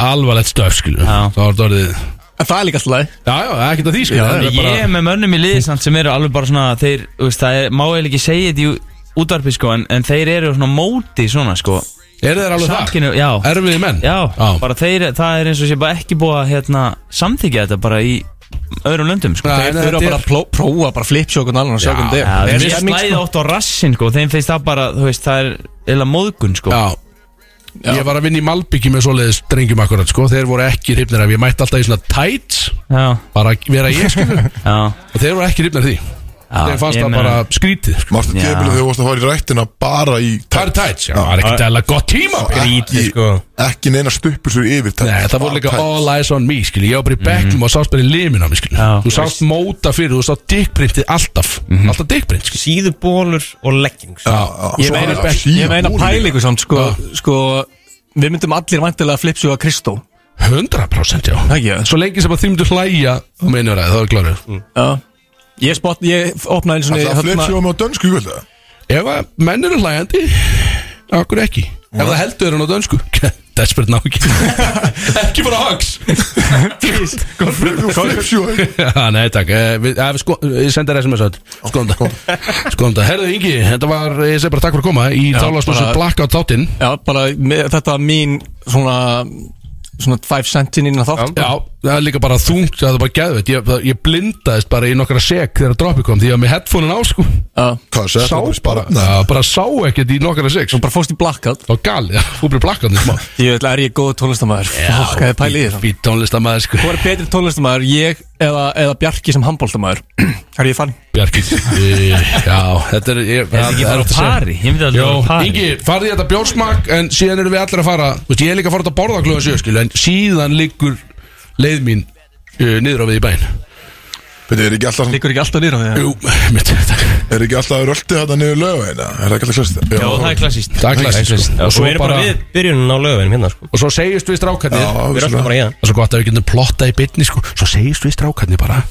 alvarlegt stöf, skilju
Já.
Þá er þetta orðið
En það er líka alltaf lagi.
Já, já, ekkert að því, sko. skilju
Já,
það er
Ég
bara-
er með mönnum í liði samt sem eru alveg bara svona þeir, þú veist, það er, má eiginlega ekki segja þetta í útvarpi sko, en, en þeir eru svona móti svona sko
Eru þeir alveg það?
Samkynu, já,
Erfiði menn?
já, bara þeir, það er eins og sé bara ekki búið að hérna, samþykja þetta bara í öðrum löndum sko
Nei,
Þeir
nei,
þurfa
þetta er-
bara að pló- prófa bara flipsjúa hvernig annan og sjá hvernig
Já,
þetta
mér
er
finnst
Stemming,
slæðið
sko.
oft á rassin sko, þeim finnst það bara, þú veist, það er eða móðgun sko
Já Ég var að vinna í Malbyggi með svoleiðis drengjum akkurat sko Þeir voru ekki hrifnir af, ég mætti alltaf í svona tights
já,
Bara að vera ég *laughs* skilur Og
já,
þeir voru ekki hrifnir af því
já
Þeir fannst
ég
það
meina-
bara skrítið sko.
Mástu
Já.
tímabilið þegar þú varst að fara í rættina bara í
Það er tights, já, sko. það er ekkert eða gott tíma Nei,
Ekki, ekki neina stuppur sér yfir tights.
það voru líka
Bara tights.
all eyes on me skilur Ég var bara í bekknum og sást bara í limin á mig skilur
Já.
Þú sást móta fyrir, þú sást dickprintið alltaf Alltaf dickprint skilur
Síðubólur og leggings
Já,
Svo
Ég meina,
er það
bekk-
síðan
ég meina
úr líka.
pælingu samt sko, sko, Við myndum allir vantilega flipsjúa Kristó
100% já
Ekki, já.
Svo lengi sem að þýmdu hlæja þá meinur það, það er klárið
Já. Ég spott, ég opnaði
Það
einu sinni
er að
hérna-
flipsjóa með á dönsku, ég veit það
Ef að menn eru hlægandi Akkur ekki Ef það heldur hann á dönsku *laughs* Desperate now *laughs* Ekki bara hugs
Flipsjóa
*laughs* Já, Nei takk eh, við- eh, við sko- Ég sendi þér SMS að Skoðum það Skoðum það Herðu Ingi Þetta var Ég segi bara takk fyrir að koma Í
bara-
þálasmössu Blackout þáttinn
Já, bara með, þetta var mín svona svona 5 centin innan þátt
Já Það er líka bara þungt Það er bara geðveit Ég, það- ég blindaðist bara í nokkra sek Þegar droppi kom Því að með headphone-in á sko
Já.
Hvað segir
Sá
það?
bara
Nei.
Já, Bara sá ekkert í nokkra sek
Bara fórst í blackout
Það var gali Já, Þú blir blackout í smá.
Ég veit, er ég góð tónlistamæður Fokk, það er pælið í það
Fýt tónlistamæður sko
Hvað er betri tónlistamæður, ég eða, eða Bjarki sem handbóltamæður? Það *clears throat* er ég fann
Bjarki Já, þetta er ég-
Er þetta
það
ekki bara
oft að segja.
pari? Ég myndi aldrei
Jó,
bara pari
Ingi, farði í þetta bjórsmak En síðan erum við allir að fara Þú veist, ég er líka að fara út að borða klóðan sjö skilu, En síðan liggur leið mín uh, Niður á við í bæn
Þetta er ekki alltaf
Liggur ekki alltaf nýra á því
Jú, mitt Takk,
Er ekki alltaf röltið þetta niður lögu eina? Er það ekki alltaf klassist?
Já, það er klassíst
takk læst sko. Og
Og svo
svo
erum bara
bara
við byrjunum á lögum hérna sko
Og svo segist við strákarnir
Já,
Við erum
vissulega.
alltaf bara hérna
Það er svo gott að við getum plottað í bytni sko. Svo segist við strákarnir bara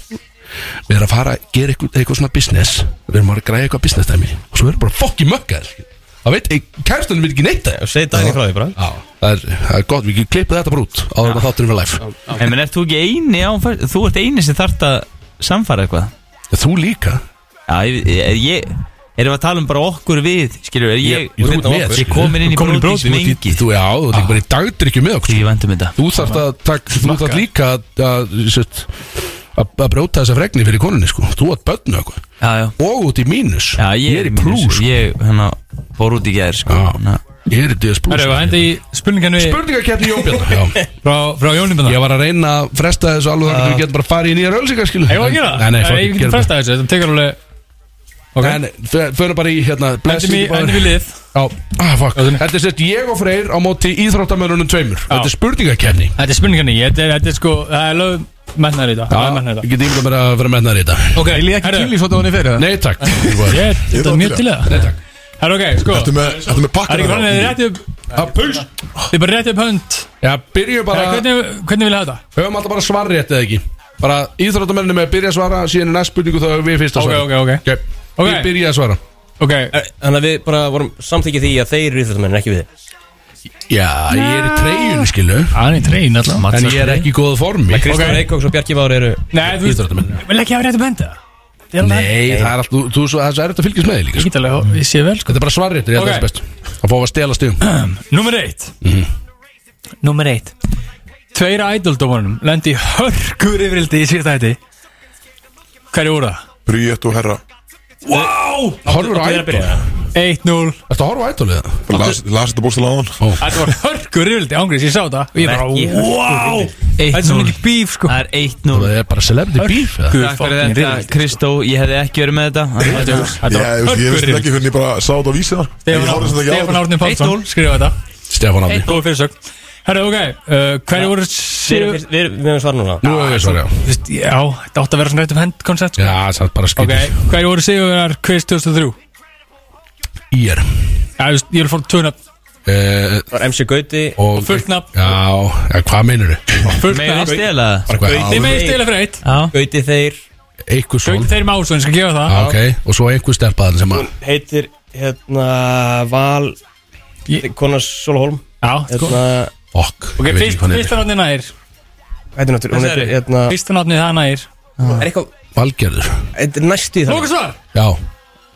Við erum að fara að gera eitthvað, eitthvað svona business Við erum að græja eitthvað business dæmi Og svo erum bara fokki mökkar Það veit, kærstunum vil ekki neitt það
Og segið daginn frá því bara
Já, það er, það er gott, við getum klippið þetta bara út Áður en að þáttunum við live
En menn, ert þú ekki eini á föst- Þú ert eini sem þarft að samfara eitthvað
Þú líka
Já, ég, ég, ég Erum við að tala um bara okkur við Skilur, er ég
Ég- þú ert með,
hérna Ég komin inn í
Komin í
brótis
þú ert í-
mengi
Þú, já, þú ert ekki bara í dagdrykju með okkur
Ég vendum þetta
Þú þarft að takk, þú þarft líka að, að, sett, að, að brjóta þessa fregni fyrir konunni sko Þú ert börnu okkur
Já, já
Og út í mínus
Já, ég,
er í
mínus-
plús sko.
Ég, hérna, fór út í gær, sko
Já.
Ná.
Ég er í DS plús
Herru, það hendi í spurningarnu
Spurningakeppni Jónbjörn sko. Já
frá, frá Jónibjörn
Ég var að reyna að fresta þessu alveg þannig að við getum bara að fara í nýja rölsingar skilu
Ég var að gera
Nei, nei,
það
fokk,
Ég
gerum
get
það.
fresta þessu, þetta tekur alveg Ok,
En f- förum bara í hérna
endum í,
blessing bara-
endum í lið
Já, ah, fuck Þetta er sett ég og Freyr á móti íþróttamörunum tveimur Þetta er spurningakeppni
Þetta er spurningarnu, þetta er, þetta er sko, það er lög mennaður í þetta Það er
Ég
metnaður í
get ímda mér að vera mennar í þetta
þetta Ok,
Ég líði ekki
herru,
til í svona hann í fyrir það
Nei takk Ég
ég-
Ég
Þetta
var
er mjög
til í
til í
Nei,
það
takk.
Herru, ok, sko
Ertu með, ertu með
Það er
pakkar
ekki farnir, þið rétti upp
Puls
Þið bara rétti upp hönd
Já, byrjum bara
Herru, hvernig, hvernig vil ég hafa þetta?
Höfum alltaf bara svar rétt eða ekki Bara íþróttamenninu með að byrja að svara Síðan er næst spurningu þá höfum við fyrst að
Ok,
svara
ok, ok
ok
Ok.
Ég byrja að svara
Ok,
Þannig að við bara vorum samþykkið því að þeir eru íþjóttumenn ekki við þið
Já, ég er í treyjunu skilu
hann er trein alltaf
En ég er ekki í góðu formi
Kristján Reykjóks og Bjarki Vár eru
Nei, þú veist,
Íþróttamenn
vil ekki hafa rétti upp hönd eða? Þetta er alveg-
Nei, sko. það er allt Þú, þú, það er svo erfitt að fylgjast með því líka
Ég
sko.
get alveg, ég sé vel sko
Þetta er bara svar rétt, ég held að
Ok.
það er best Að fá að stela stigum
Númer eitt Númer eitt Tveira ædoldómanum lendi hörkur yfirildi í síðasta hætti Hverju voru það?
Bríett og herra
Wow!
Horfur á ædol
1-0
Ertu að horfa á ædol eða?
Bara Las las þetta bóstil á hann
Þetta var hörkur yfirildi ángrís, ég sá það Og ég bara,
Ekki hörkur
wow! Þetta er svo
1-0
mikið bíf sko
Það er 1-0
Það er bara celebrity beef eða?
Takk fyrir þetta, Kristó Ég hefði ekki verið með þetta Hérna.
Þetta
Ég
var
veist- ég veist
hörkur
ekki hvernig ég bara sá þetta á vísi þar Ég horfði þetta ekki á þetta
Stefán Árni Pálsson
1-0.
skrifa þetta
Stefán Árni
Góð fyrirsögn Herru, ok, uh, hverju voru
Við erum
sigur
fyrst- við erum- við erum svara núna
Nú hefur ég svara, já
Þú veist, Já, þetta átti að vera svona rétt um hend koncept sko
Já, það er bara
Ok,
skýtið
hverju voru sigurverðar quiz 2003?
Ír
Já, þú veist, ég vil fór tuna
Eh,
Það var MC Gauti
og,
Fullt nafn.
Já, ja, hvað meinur þau?
Megum við stela það?
Þið megið stila fyrir eitt
Já
Gauti þeir
Eitthvað svo
Gauti þeir másun, skal gefa það
Ok, og svo einhver stelpaðan sem að
Hún heitir hérna Val
Ég-
Kona Solholm
Já, sko
Hérna
Fuck,
Ok,
ég veit ekki
fyrst-
hvað hann
fyrsta náttin nær
Hættu náttúr Hún heitir hérna
Fyrsta náttin það nær
Er eitthvað
er Valgerður
Þetta er næstu í það
Lókusvar
Já,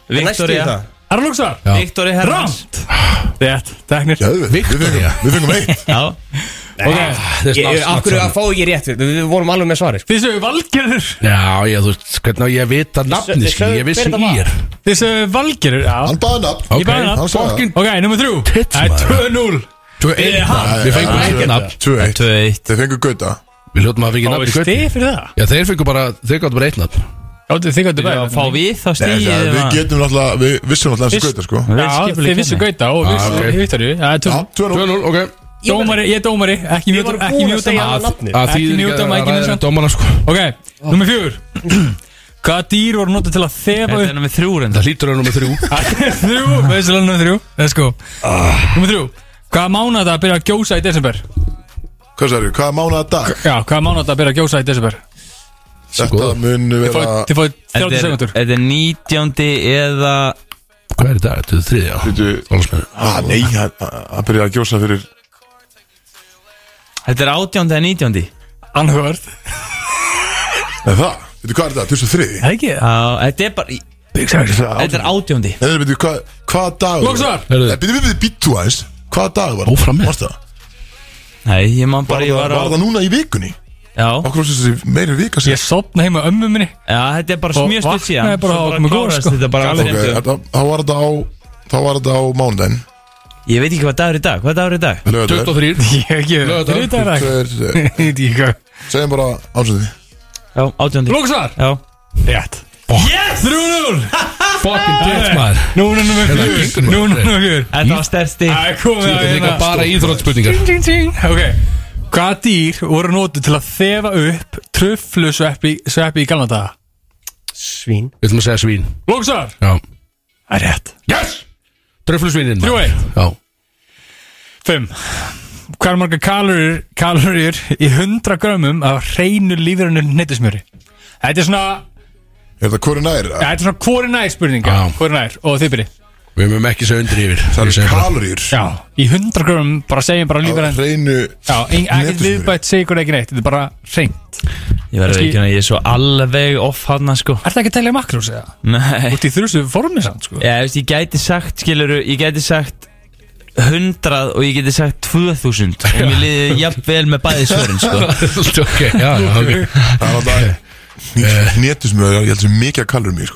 Viktoria
Viktoria
Það
Það er Lókusvar
Já.
Viktoria Hermans
Rámt Rétt, teknir
Geðveikt. Við fengum- við fengum eitt
Já
þess
Ég-
náttúrulega
Af hverju að fá ekki rétt við, við vorum alveg með svarið sko.
Þið sögum Valgerður
Já, ég, þú veist, hvernig á ég að vita nafni,
Sögðu-
skil, ég vissi um
hver þetta var?
ír
Þið sögum Valgerður Já
Hann baði nafn
Ok,
baði nafn.
Hann sagði
Ok, nummer þrjú
Tits,
Það
maður.
er 2-0
Tvö einn
það
nafn, við fengum
Já,
ekki
já,
nafn
2-1
2-1
Þeir fengu gauta
Við hljóttum að við ekki
Fáðu
nafni
stið
kvöld
fyrir það
Já, þeir fengu bara, þeir gáttu bara eitt nafn
Já, þið gætu
Fá
bæði
við þá
Nei,
stíðið
það- Við getum náttúrulega Við vissum náttúrulega þessi
Fyrst-
gauta sko
Já, þið vissu Gauta og
Ah, ok.
vissu Viktoríu Það er
Já,
2-0
2-0
2-0, ok
Dómari, ég er dómari Ekki mjúta Ekki mjúta
hann nafnið
Að
Ekki
þýðir
mjúta
að
mækinu
ræða
samt.
Dómana, sko
Ok, nummer fjögur Hvaða dýr voru notið til að þefa
Þetta
upp
er nummer þrjú reyndar
Það hlýtur að nummer þrjú
*laughs* Ah. Þrjú, veðsilega nummer þrjú Let's go Nummer þrjú Hvaða mánuða það byrja að gjósa í desember?
Hvað sagður við? Hvaða mánuða dag?
Já, hvaða mánuða það byrja að gjósa í desember?
Þetta mun vera
Þið fóðu 30
Þetta er-
sekundur
Þetta er nítjóndi eða
Hvað er þetta? Þetta er þriðja
Bíddu.
Þorláksmessu.
Ah, Nei, hann hann byrjaði að gjósa fyrir
Þetta er átjóndi eða nítjóndi
Anhörð
Nei, það Veitu hvað er þetta? 2003?
Það ekki
Já, þetta er bara Þetta er átjóndi
Nei, veitu hvað Hvað dag
Lóksvar.
Nei, veitu, veitu, býttu aðeins Hvað dag var
Áfram með.
Varst það?
Nei, ég man bara ég
Var
var á
það núna í vikunni?
Já,
Okkur ásins þessi meiri vika
Ég
sér
sopna heima ömmu minni
já, þetta er bara
Og
smjöstuð síðan
vaknaði bara
Svo
á- með glóru,
klárast
sko.
Þetta bara á
Ok,
þremtu.
þetta- þá var þetta á Þá var þetta á mánudaginn
Ég veit ekki hvað dagur er í dag, hvað dagur er í dag?
Lögðar
23
Ég hef ekki
Laugardagur.
Þriðdagar *laughs* Lóksvar
eh, Segjum bara ásöndi
Já, átjóndi Já,
Rétt Yes 3-0
Fucking bitch, maður
Núna nummer
Þetta er
fjör
Hérna gengur, maður.
Núna nummer fjör
þetta var stærsti
Það er komið að
Þetta er líka
hérna
bara íþróttspurningar
Ting, ting, ting. Ok Hvaða dýr voru notuð til að þefa upp tröflu sveppi, sveppi í galna daga?
Svín
Við ætlum að segja svín
Lóksar!
Já
Það er rétt
Yes Dröflusvinin
Þrjú eitt.
Já
5 Hvað er marga kalorir, kalorir í 100 grömmum af hreinu lífurinu nettismjöri? Þetta er svona
Er þetta hverju nær?
ja, Þetta er svona hvori nær spurning
Já.
Hvori nær og þið byrji
Við mögum ekki segja undir yfir
Það
Ég
eru
segi bara-
kaloríur
Já Í 100 grömmum bara segjum bara
Það er
lífurinu
hreinu
Já, ein- ekkert
Nettismjöri.
viðbætt segur ekki neitt Þetta er bara hreint
Ég verður
Kannski-
ekki að ég er svo alveg off hann sko
Er það ekki að telja makrós eða?
Nei
Þú ert í þrjusu formið samt sko
Já, þú veist, ég gæti sagt, skiluru, ég gæti sagt 100 og ég gæti sagt 2000 og *laughs* mér liði jafnvel með bæði svörin, sko
Ok, já, já, ok
Það er alltaf Nétusmjöður Ég held sem mikið að kalur mér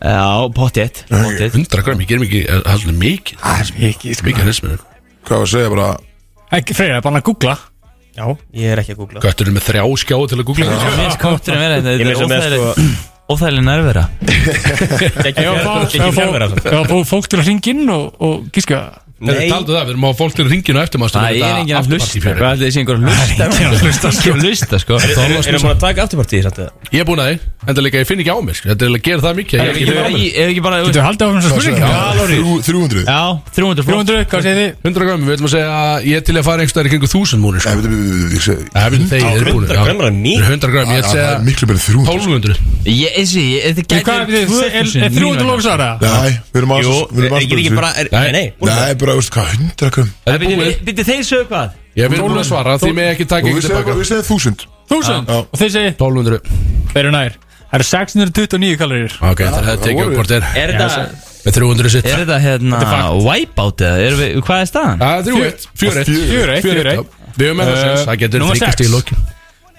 Já, pottétt, pottétt
100 gram, ég gerum ekki allir mikið Það er mikið sko. Mikið nesmið
Hvað var að segja bara
Ekki freyra, bara að googla
Já Ég er ekki að googla
Göttur með þrjá skjáu til að googla
Mér finnst kátturinn vera hérna, þetta,
Ég
þetta
með
er
sem með
óþægileg-
sko
*clears throat* óþægileg nærvera
Ekki
Ef að fá- ef að fá- ef að fá fólk til að ringa inn og, og gíska
Nei Taldu það, við erum á fólk til ringinu eftir maður
Það er enginn að hlusta, hvað er þetta, ég sé einhver að hlusta
að hlusta,
Ekki að hlusta, sko
Erum
Þorlagsmessu
maður að taka afturpartíð samt eða?
Ég er búin að þið Enda líka, ég finn ekki á mér sko. Þetta er að gera það mikið að
Ef
ég er ekki-
ekki- ef ekki bara,
Þú haldið áfram svo spurning
Kaloríur 300
já, 300 flott.
300, hvað segir þið?
100 gram, við ætlum að segja að Ég er til að fara einhverstaðar í kringu 1000 múnir sko.
Nei, veitu, veitu, veitu, ég segi-
Það er
100 grömmar er mikið.
100 gram,
Það
ég ætlum að
það
segja
er miklu meira en 300
1200
Ég, eins og ég, þetta
Hvað er
gæti
þið? Er- Er 300 lóksara?
Nei, við erum
Jú,
aðeins Við erum aðeins
ég er ekki bara er-
Nei.
Nei, nei
Nei, bara, veistu hvað, 100 gram
Það er búið
Býtti þeir sögðu hvað?
Ég er búin að svara Því mig ekki
Og
taka
við
ekki
segjum
tilbaka
bara- við segjum 1000
1000 Og þið segir,
1200
þeir eru nær Það eru 629 kalorir
Ok, það er Eh. að tekið upp hvort er
Er þetta,
Með 300 sitt
er þetta hérna, wipeout eða, erum við, hvað er staðan?
Það er 3-1 4-1
4-1,
4-1 Við höfum með það
Eh,
sens Það getur
númer
þryggjast í
sex.
lokin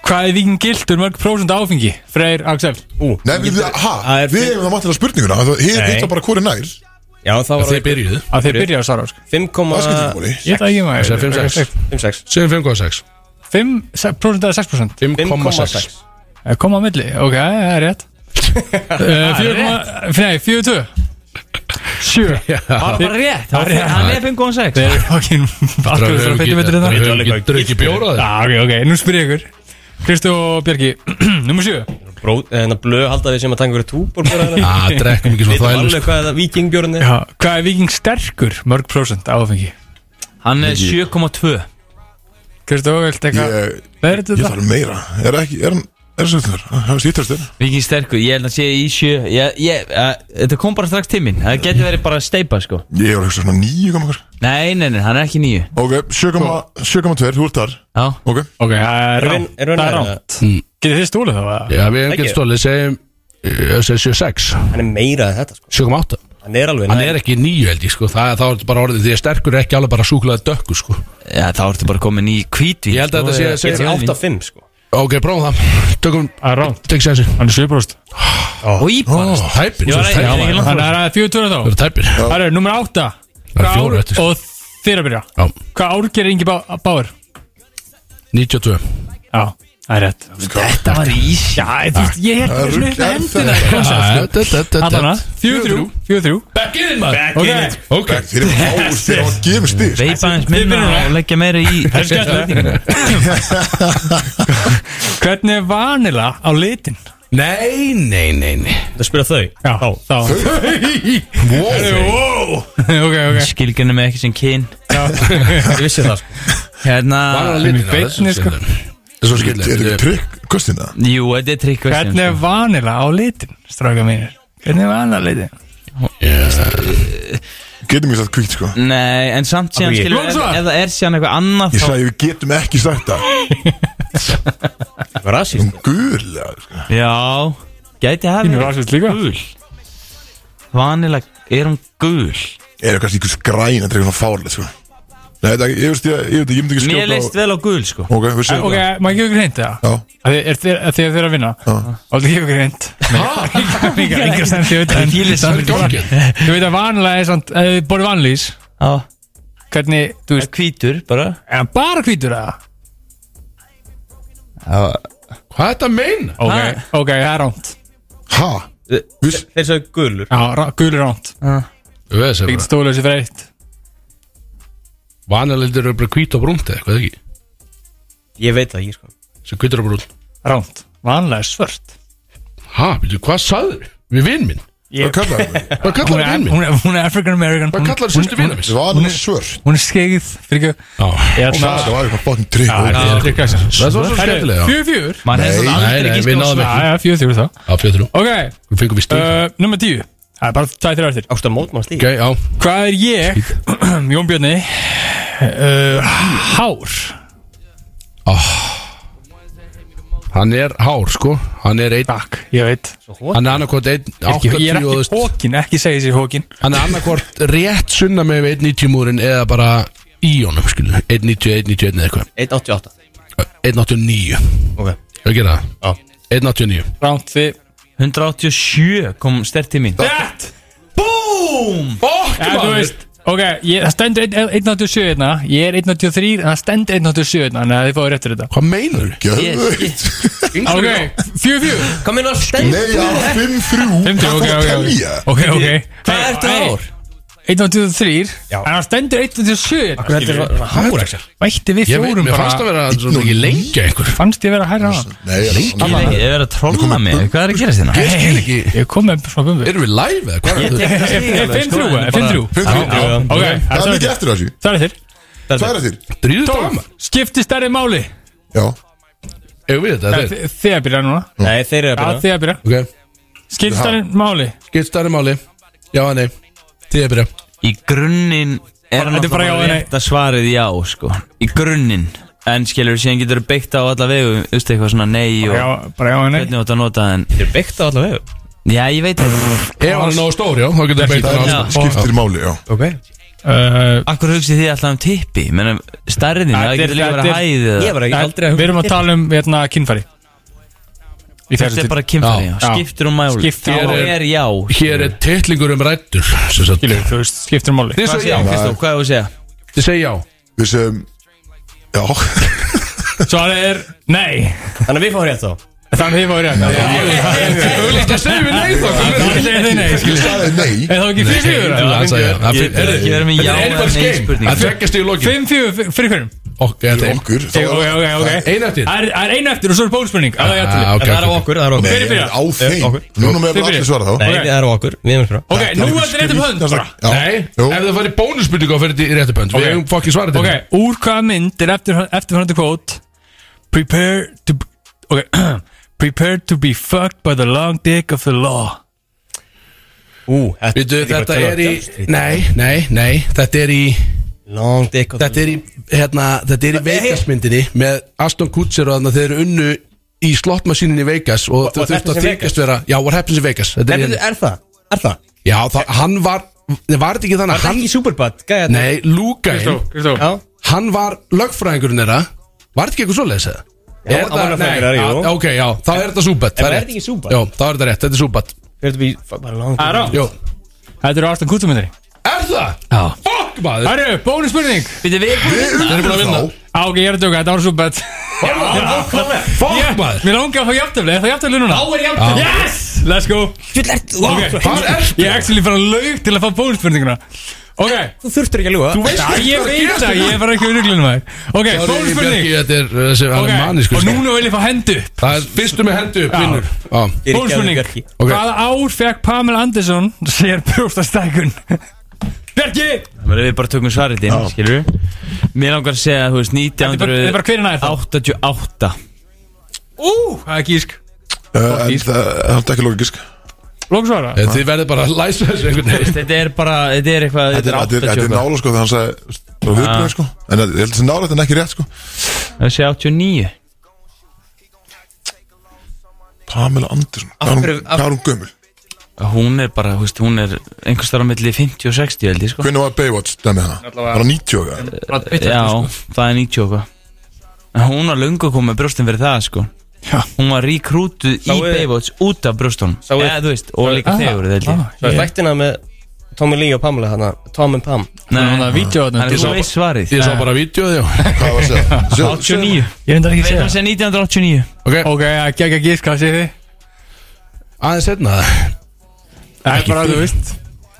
Hvað er vikin gildur mörg prósund áfengi? Freyr, Axel
Nei, við, ha,
það er-
við hefum það mættilega spurninguna Það er hitt bara hvori nær Það
Já, þá var
Þeir byrjuðu
Að þeir byrja að svara sko.
skiptir ekki
5,56
máli
Ég veit það ekki maður
Það er 5-6 Segum 5,6
5% eða 6%
5,6
Eh, Koma á milli, ok, það er
*laughs*
rétt Eh, 4, Nei, 42
*laughs*
7
Bara bara rétt, það var- hann er 5,6
Þeir eru fokkin Akkur þessar feitum vittur
Við
þetta
höfum ekki drukkið bjóra
Já, ok,
það
ok, nú spyr ég ykkur Kristi og Bjarki, *clears throat* nummer 7
Þannig að hérna, blöð halda við sem að taka einhverju túbor Við
Það Ah, drekkum ekki svona
veitum
þvælust
alveg hvað það vikingbjörn er
Já, hvað er viking sterkur mörg prósent áfengi?
Hann er
Mikið.
7,2
Kristó, viltu eitthvað
Ég, ég
verður þetta?
þarf meira Er ekki, er hann, er hann sérstæður? Hann er sérstæður
Vikið sterkur, ég held að sé í 7 ég, ég, uh, Þetta kom bara strax til mín Það getur verið bara að steipa sko
Ég var eitthvað svona nýju koma ykkur
Nei, nei, nei, hann er ekki 9
Ok, 7,2, þú ert þar
Já,
Ok,
Ok, það er
Erum
rámt
við- erum við
Það er
nærri
rámt Getið þið stúlið þá? eða?
Já, við hefum
Ekki.
gett stólið, segjum eh, Ég segi 76,
Hann er meira en þetta sko
7,8
Hann er alveg
Hann er ekki nýju held ég sko Það þá er þetta bara orðið Því að sterkur er ekki alveg bara súklaði dökku sko
já þá ertu bara komin í hvítvín
Ég held að
sko,
þetta sé-
eða-
sé-
Ég-
8-5 sko
Ok, prófum það Tökum,
Það er rámt
tek sér
Hann er 7%
Í, bara-
Tæpir,
Ég
þú ert tæpir.
var ekki
Þannig
langt
að
frá
það er 42
Þú
þá
ert tæpir
Það eru nummer 8
Það er fjóru eftir
Og þeir að byrja
Já,
Hvað ár gerir Ingi Bá- Báir?
92
Já, það er rétt
Þetta var ís
Já, þú veist, ég er
Það er
svona upp með
rugl-
hendina
það er-
Allana,
Allana,
4-3 4-3
Back in maður
Ok,
Ok,
þeir eru fáur Þeir eru að gefa mér stig
Veipa aðeins minna
byrjum.
og leggja meira í
er skemmt.
spurninguna.
*laughs* hvernig er vanila á litin?
nei, nei, nei, nei
Það spyrja þau
Já, þá Wow *laughs* Ok, ok
Skilgjörnum er ekki sem kyn
Ég vissi það sko
Hérna
beinni, sko.
Það er svo
Er þetta
skilja
trygg kostina?
Jú, þetta er trikk sko.
Hvernig er vanila á litin, stráka mínir? Hvernig er vanila á litin?
Getum ekki sagt kvíkt sko
Nei, en samt síðan
Af hverju?
skilur
Lóks
ef,
það?
ef það er síðan eitthvað annað
Ég
þá
sagði við getum ekki sagt það
Það var rasist
Hún gula sko.
Já, gæti hafi
rasist líka
Vanilag, er hún gul?
Er það kannski ykkur skræn Þetta er eitthvað fárlega sko Nei, þetta er- ég veist ég Ég veit ekki, ég myndi ekki
Mér leist
skjóta á
vel á gul, sko
Ok, við segjum
Ok,
það
maður gefur greint það?
Já,
Þegar þið er að vinna
já
Og þið gefur greint *laughs* Engar sem þið veit en
Fílis
Þið veit að vanila er samt Ef þið borðið vanilís
Já,
Hvernig, þú veist,
hvítur, bara
er hann bara hvítur eða?
Hvað er þetta að meina?
Ok,
Ha?
ok, það er ránt
Ha? Viss-
Þeir sagði gulur
Já, rá- gulur ránt
Þú veist það
Ég
bara
get stóla þessi fyrir eitt
Vanalindir eru bara hvít og brúnt eða eitthvað ekki
Ég veit það ekki sko
Sem hvítur og brúnt
Ránt Vanlega er svört
Ha, veitu, hvað sagður við vinn minn?
Hvað kallar það?
*laughs*
Hvað
Hún
kallar
er,
við vinn
hún
minn?
er, hún er African American
Hvað
Hún-
kallar
hún-
sýstu vinn minn?
Svan er svört
Hún er skeið Fyrir ekki
Já,
Ég ætla
Það var eitthvað bókin trygg
Já,
ok.
þetta er kassan.
það var svo
Herru,
skemmtilega já.
Fjögur fjögur
Man hefði
Nei.
svona
Nei, nei,
aldrei ekki
við
skjóð
náðum
svart
Já, já, fjögur fjögur þá
Já, fjöður
Ok,
Við fengum við stíl
uh, nummer tíu Það er bara tæði þér eftir
Ástu að mótmála stíð
Ok, já
Hvað er ég, *clears throat* Jón Björni uh, Hár
Hann er hár, sko Hann er einn
Takk, ég veit
Hann er annarkvort einn
Ekki, Ég er
80 og
ekki
þú veist
hókin, ekki segja þessi hókin
Hann er annarkvort rétt sunna með 190 múrin eða bara í honum, skilu 190, 191 eða eitthvað
1.88
189
Ok
Hefur ekki það? Já 189
Ránt þið
187 kom stert til mín
Rétt
Búm!
Ja, þú veist Ok, ég, það stendur einn- einn- 1.87 hérna Ég er 1.83 en það stendur 1.87 hérna Þannig að þið fáið réttur þetta
Hvað meinar þú?
Gjöðvögt
Ok, fjögur fjögur
Hvað minna stend?
Nei, já, 5-3
Fimmti, ok, ok, ok. Ok, ok
Hvað
Hey,
ertu
hey,
ár?
1.23 En það stendur 1.27
Hvað þetta er svona hár ekki?
Vætti hérna. við
Ég veit,
fjórum
mér fannst að
bara
vera svo mikið lengi einhver
Fannst ég vera að hæra hana
Nei,
Ég
já
er ekki- ég er verið að trolla mig, hvað er að gerast hérna?
Ég skil ekki
Ég kom með svona bumbu
Erum við live eða hvað er þetta?
Er 5-3,
sko, en
er 5-3
bara-
5-3
Ok,
Það
það
er
er
mikið
þér
eftir þessu
Það er þér
Það er eftir
Dríðu tóma
Skipti stærri máli
Já
Ef við þetta, þetta er
Þi- Þið að byrja núna
Nei, þeir eru að
Já,
byrja
þið að byrja
Ok,
Skipti stærri máli
skipt stærri máli Já, nei, þið er byrja
Í grunninn er
Þetta er bara já
náttúrulega
og nei.
rétt að svarið já, sko Í grunninn En skilur, síðan getur þú byggt á alla vegu Þú veist eitthvað svona nei og
Já, bara já og nei
Hvernig þú átt að nota það en
Þeir eru byggt á alla vegu
Já, ég veit það
Ef hann er nógu stór, já, þá getur það beitt
Það
hann
Já.
er skiptir máli, já
Uh,
Akkur hugsið þið alltaf um tippi Menna, stærðin,
Þetta
það
er-
getur líka
þetta
verið
er-
hæðið
Ég
eða-
var ekki aldrei
Við erum að tala um hérna kynfæri Í
Þetta
þessu
er bara kynfæri, já,
Já.
skiptir um máli
Skiptir
Þá
um máli.
er já
Hér er titlingur um rættur sem sagt.
Skilur, þú veist, skiptir máli
Þið
Hvað
segja
segja,
já,
Kristó, hvað er þú að segja?
þið segja já
Við segjum Já
Svarið er nei
Þannig að við fáum rétt þá
Þannig hefur verið
Auðvitað segjum við nei þá
Þannig segir þið nei,
Ég
skilur
sagði nei
En það var ekki fyrir fjögur
Það er það, já. Það
Ég-
er
ég er með já
Það er
eða
bara
nei
skeim
spurningu.
Það tveggjast í lokin
Fimm fjögur fyrir hverjum
Ok, þetta er
Okkur þá
Ok,
er-
ok, ok
Einn eftir
Það er- það er einu eftir og svo er bólspurning Það er
Ah,
jættileg
ok,
Það er á
ok, ok.
okkur, það er á okkur
Nei,
Hver er byrjað?
á þeim Núna með
Hver
allir
byrjað?
svara þá
Nei,
ok.
það er á okkur, við erum frá
Ok, nú er þetta rétt um hönd bara.
Já.
Nei,
Jú.
ef það farið bónusbyrningu á fyrir þetta í réttu pönd Við
Ok.
hefum fokkin svarað til
Ok, úr hvaða mynd er eftir, eftirfærandi kvót Prepare to Ok *clears throat* Prepare to be fucked by the long dick of the law
Ú, þetta
Vitu, þetta er í Nei, nei, nei Þetta er í
Long dick og
Þetta er í Hérna Þetta er í Vegasmyndinni Með Aston Kutcher og þannig að þeir eru unnu Í slottmasíninni í Vegas Og þau
what
þurftu
happens
að
in
þykjast vera Já, what happens in Vegas Þetta er
Er,
í henni.
er það? Er það?
Já, það- hann var Nei, var þetta ekki þannig að
Hann
hann
ekki superbad, gæja þetta.
Nei, Lugain
Kristó
Já,
Hann var lögfræðingurinn þeirra Var þetta ekki eitthvað svoleiðis eða?
Já,
Er
hann var
þetta- nei,
lögfræðingur,
já,
jú.
Ok, já, þá Sko. er þetta súbett
En var þetta ekki Súbat?
Já, þá er þetta rétt, þetta er súbett
prepare to be fucked by the long dick
Það er á
Jó,
Þetta eru Arstan Kútumindari
er það? Já Fuck maður
Herru, bónusspurning
Býttu við
Þeir
eru búin að vinna.
Á, ok, ég er að djóka, þetta var svo bett
Fuck maður
Mér langar að fá jafntefli, er það jafntefli núna? Á er jafntefli Yes, let's go
Hvað er
Ég er actually bara laug til að fá bónusspurninguna Ok
Þú þurftur ekki að ljúga
veist Já, ég veit það, ég er bara ekki unnuglinum að Ok,
Sorry,
bónusspurning
Bjarki, þetta er þessi hann
Ok,
er manískur
og
sko.
núna vil ég fá hendu upp.
Það er fyrstu með hendu upp
Já.
vinnur Já.
Ég er ekki að
Bónusspurning
ljúga, Bjarki.
Ok.
Hvaða ár fekk Pamela Anderson sér brjóstastækun? Bjarki!
Það er við bara tökum svarið inn, skilur við Mér langar að segja, þú veist,
Þetta er bara- þetta er bara
1988
hverjana er það?
*laughs*
Ú, það er gísk
Uh, En það það er ekki sko. lóka gísk
Lóksvara
Eh, Þið verðið bara að læsa þessu einhvern veginn
Þetta er bara, þetta er eitthvað
Þetta er- þetta er- þetta er
88
nála sko þegar hann sagði Það var viðbröð sko En þetta- ég held að þetta er nála þetta en ekki rétt sko
Það sé 89
Pamela Andersson Hvað er hún-
hverju- af-
hvað er hún gömul?
Hún er bara, þú veist, hún er einhvers þar á milli 50 og 60 held ég sko
Hvernig var Baywatch dæmið hana? Var hann 90 og eitthvað?
Já, það sko. er 90 og hvað En Hún var löngu að koma með brjóstum fyrir það sko
Já.
Hún var rekrútuð í
Sáuði-
Baywatch út af brjóstum
Sáuði-
Eða þú veist, og líka
Ah,
þegur það held ég
ah,
Það er þættina með Tommy Lee og Pamela hana Tom and Pam
Nei,
Þannig að vídeo þarna.
þannig að
Ég
þú
sá-
veist svarið
Ég sá bara vídeoð, já
Hvað var að segja? Sjá- sjá-
89
Ég reyndar ekki
Veit
að
það
segja
sem 1989
Ok,
Ok, það er gegg að gísk, hvað sé þið?
aðeins setna
Það er bara, þú veist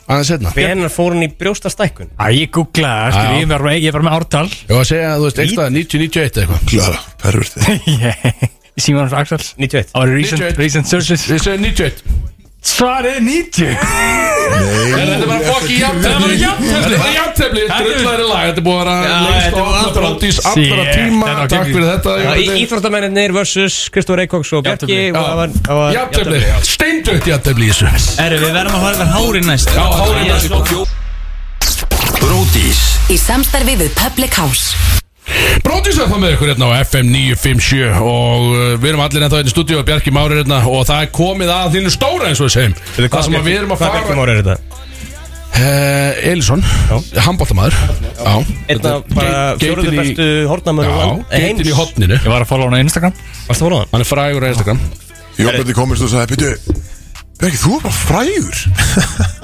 Aðeins setna
Hvenær fór hann í brjóstastækkun?
Æ, ég googlaði það,
Já.
skil, ég er bara- ég er bara með ártal
Ég var að segja, þú veist, eitthvað 90-91 eitthvað
Klara, pervertið
*laughs* Ég síma hans Axels
91
Our recent,
91.
recent searches
Ég segi 91
Svarið er 90
Nei,
Þetta er bara fokki jafntefli Þetta er bara jafntefli Drullæri lag Þetta er búið að vera
Já,
lengst
þetta
og
var
allra
allra-
brótis allra
Shit,
tíma
þetta var
Takk
geggjum.
fyrir þetta
Já, í-
Jafntefli.
Íþróttamennir versus Kristóf Reykjóks og Bjarki
Jafntefli.
og það var- það var-
Jafntefli Steindögt jafntefli í þessu
Erru, við verðum að fara verð hári næst
Já, hárið
Ég er
næst.
svo-
Bródís
Í samstarfi við Public House
Bróðisar það með ykkur hérna á FM 957 og uh, við erum allir ennþá hérna í stúdíu og Bjarki Mári er hérna og það er komið að þínu stóra eins og við segjum Það sem að við erum að
Hvað Bjarki
fara
Már er þetta?
uh, Elisson, handbóltamæður Já,
Einn af bara
Geit- geitin
fjóruðu
í-
bestu
já,
hornamönnum
geitin í hotninu
Ég var að follow hana á Instagram
Varst þú hólaðan?
Hann er frægur á Instagram
Jón Bjarni komist og sagði Býtu, Bjarki, þú er bara frægur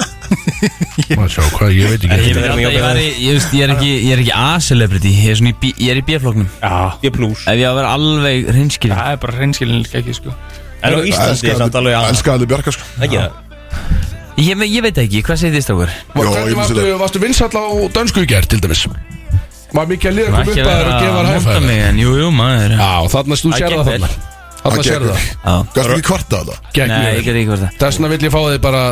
Má sjá hvað, ég veit
Ég
ekki
veit alltaf, ég væri- ég veist, ég er ekki, ég er ekki A-celebrity Ég er svona í B- ég er í B-floknum
Já
Ég plus
Ef ég á að vera alveg hreinskil
Það er bara reynskilin líka ekki, sko
En á Íslandi er samt alveg annað
Elskaði allir Bjarka sko
Ekki það?
Ég, me- ég veit það ekki, hvað segir þið strákur?
Já, ég
Hvernig
vissi
varstu,
það.
varstu vinsall á dönsku í gerð til dæmis? Var mikið að liða
Má
kom
ekki
upp að þér
vera
og gefa þær
að monta
hæfæði
mig en jú, jú, maður
Já, þarna þú sér
Það gekk
það
vel.
þarna Þarna sér það
Já.
Gæst ekki kvarta þetta
Gekk
Nei, ég
mjög vel.
get ekki verið það
Þess vegna vill ég fá þig bara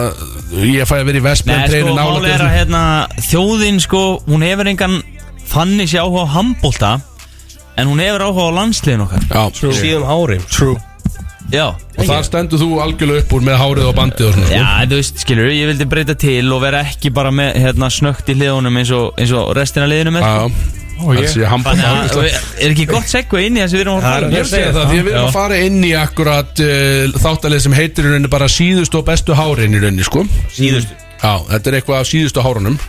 Ég fæ að vera í Vestmenn
Nei, sko, mál er að hérna, þjóðin, sko, hún hefur engan fannig sér áhuga á handbólta En hún hefur áhuga á landsliðin okkar
Já,
Síðum árim
True.
Já,
Og þar stendur þú algjörlega upp úr með hárið og bandið og svona sko.
Já, þú veist, skilur, ég vildi breyta til og vera ekki bara með, hérna, snögt í hliðunum eins og, eins og restina liðunum er
Já, þannig sé ég handbóð
Þannig að, er ekki gott segva inn í þessi við erum að
Ég vil segja það, því að við erum að fara inn í akkurat uh, þáttalið sem heitir í rauninni bara síðustu og bestu hárin í rauninni, sko
Síðustu
Já, þetta er eitthvað af síðustu hárunum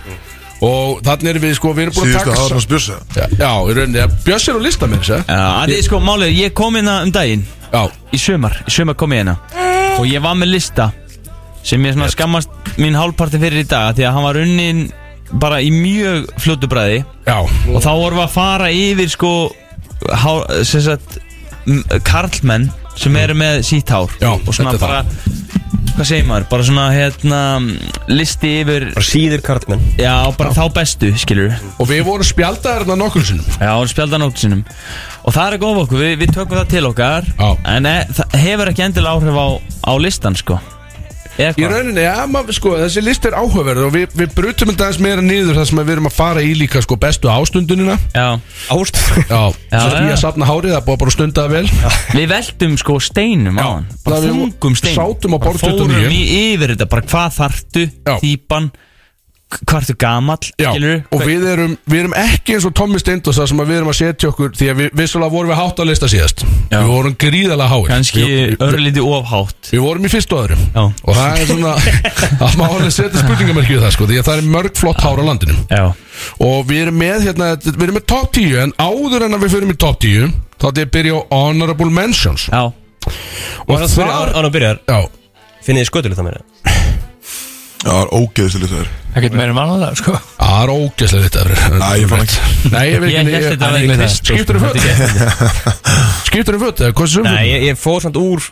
Og þannig erum við, sko, við erum búin að
Síðustu
taka
hárun hans bjössa
Já, í rauninni, að Björs er á lista með þess
Já, að þið, sko, málið, er, ég kom hérna um daginn
Já,
í sömar, í sömar kom ég hérna og ég var með lista sem ég svona skammast mín hálfpartin fyrir í dag því að hann var unnin bara í mjög fljótu bræði
já,
og þá vorum við að fara yfir sko há, sem sagt m- karlmenn sem eru með sítt hár
Já,
og svona
þetta er
bara hvað segir maður, bara svona hérna listi yfir,
Síður karlmenn
já bara þá bestu skilur,
Og við vorum spjaldaðarna nokkur sinnum
já og spjaldan okkur sinnum og það er góð af okkur, við, við tökum það til okkar
Já.
en e, það hefur ekki endilega áhrif á, á listan sko eða
Í
hvað,
rauninni, já, maður, sko, þessi list er áhugaverð og við, við brutum þetta aðeins meira niður þar sem við erum að fara í líka sko, bestu ástundunina
já,
Ást
Já,
Já,
þess að
já.
ég safna hárið, það er búið að bara stunda það vel
við veltum sko steinum á hann, bara
Það við
þungum steinum
sátum á
Bara
borð
fórum
29.
í yfir þetta, bara hvað þartu
Já.
típan, hvað ertu gamall
Já,
skilur,
og við erum, við erum ekki eins og Tommy Steindos þar sem að við erum að setja okkur því að við vissulega vorum við hátt á lista síðast
Já.
Við vorum gríðalega háir
kannski
Við, við,
örlíti ofhátt
við vorum í fyrstu og öðru
Já.
og það er
*laughs*
svona að maður alveg setja spurningamerki við það sko því að það er mörg flott hár á landinu
Já,
og við erum með hérna, þetta- við erum með top 10 en áður en að við förum í top 10 þá þetta er byrja á honorable mentions
já,
og þar,
Án að byrjar
já,
Finnið þið skötulegt að mér
Já, það er ógeðslega það er
Ekkert meira mannalega, sko
það er ógeðslega þetta Efri.
Næ, ég fann ekki
Nei, ég veit
Ég
ekki
hélt þetta væri
ég-
Kristó.
Skiptirðu föt? Skiptirðu föt eða hvað sem
Nei, ég, ég fór samt úr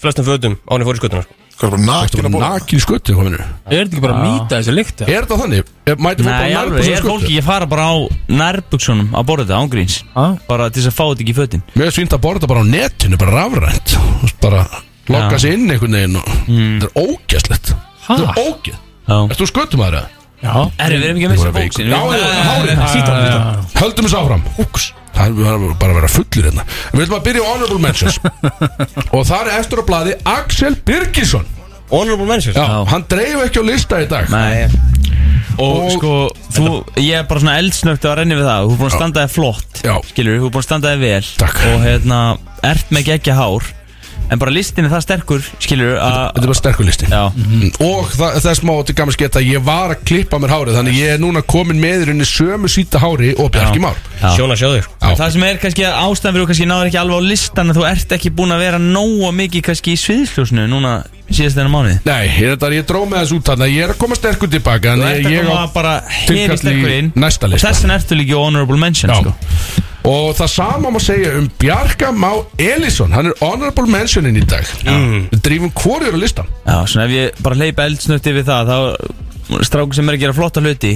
flestum fötum án ég fór í skötuna sko.
Hvað er bara nakin að borða?
Nakin sköttu, hvað minnur?
Er þetta ekki bara að mýta þessu lykt?
Er það þannig? Er- Mæti fólk
nei,
bara
alveg,
nærbuxum
ég er fólki,
sköttu?
ég fara bara á nærbuksunum að borða þetta ángríns
Ha?
Bara til þess að fá þetta ekki í fötin
Mér er svínt að borða bara á netinu, bara rafrænt Þú veist, Bara lokka
Já. Mm.
sig inn einhvern veginn og Það er ógæslegt Það er ógæð
Já,
Erst þú sköttum aðra?
Já
Herri, við erum ekki að missa bóksin
Já, já, hárið,
Sítan, sítan
Höldum þessu áfram Úks Það er við verðum bara að vera fullir hérna Við viljum að byrja á Honorable
*laughs*
Mentions Og þar er eftir á blaði Axel Birgisson
Honorable mentions
Já,
Já.
hann dreif ekki á lista í dag
Nei, og
Og-
sko, þú, ég er bara svona eldsnögt að renni við það Þú er búin að standa þig flott,
Já.
skilur, þú er búin að standa þig vel
Takk.
Og hérna, ert með geggja hár En bara listin er það sterkur, skilur,
Þetta
að
er bara sterkur listi
Já,
Mm. Og það, þess má til gammal sketa Ég var að klippa mér hárið Þannig ég er núna komin með í rauninni sömu síta hári Og bjarki már
Já.
Sjón að sjá þig sko.
Já.
Það sem er kannski að ástæðan fyrir þú kannski náður ekki alveg á listan að þú ert ekki búin að vera nóga mikið kannski í sviðsljósnu núna síðast þennan mánuði
Nei, ég, þetta, ég dró með þessu út Þannig að ég er að koma sterkur tilbaka
Þú
Þannig
ert
að
að
ég
koma
á
bara
tilkall
heri sterkur
í
inn
næsta
og
lista.
þessan ertu líka í honorable mention
Já.
sko.
Og það sama má segja um Bjarka Má Elísson Hann er honorable mentionin í dag Við drýfum hvorið á listan
Já, svona ef ég bara hleypa eldsnötti við það þá strákur sem er að gera flotta hluti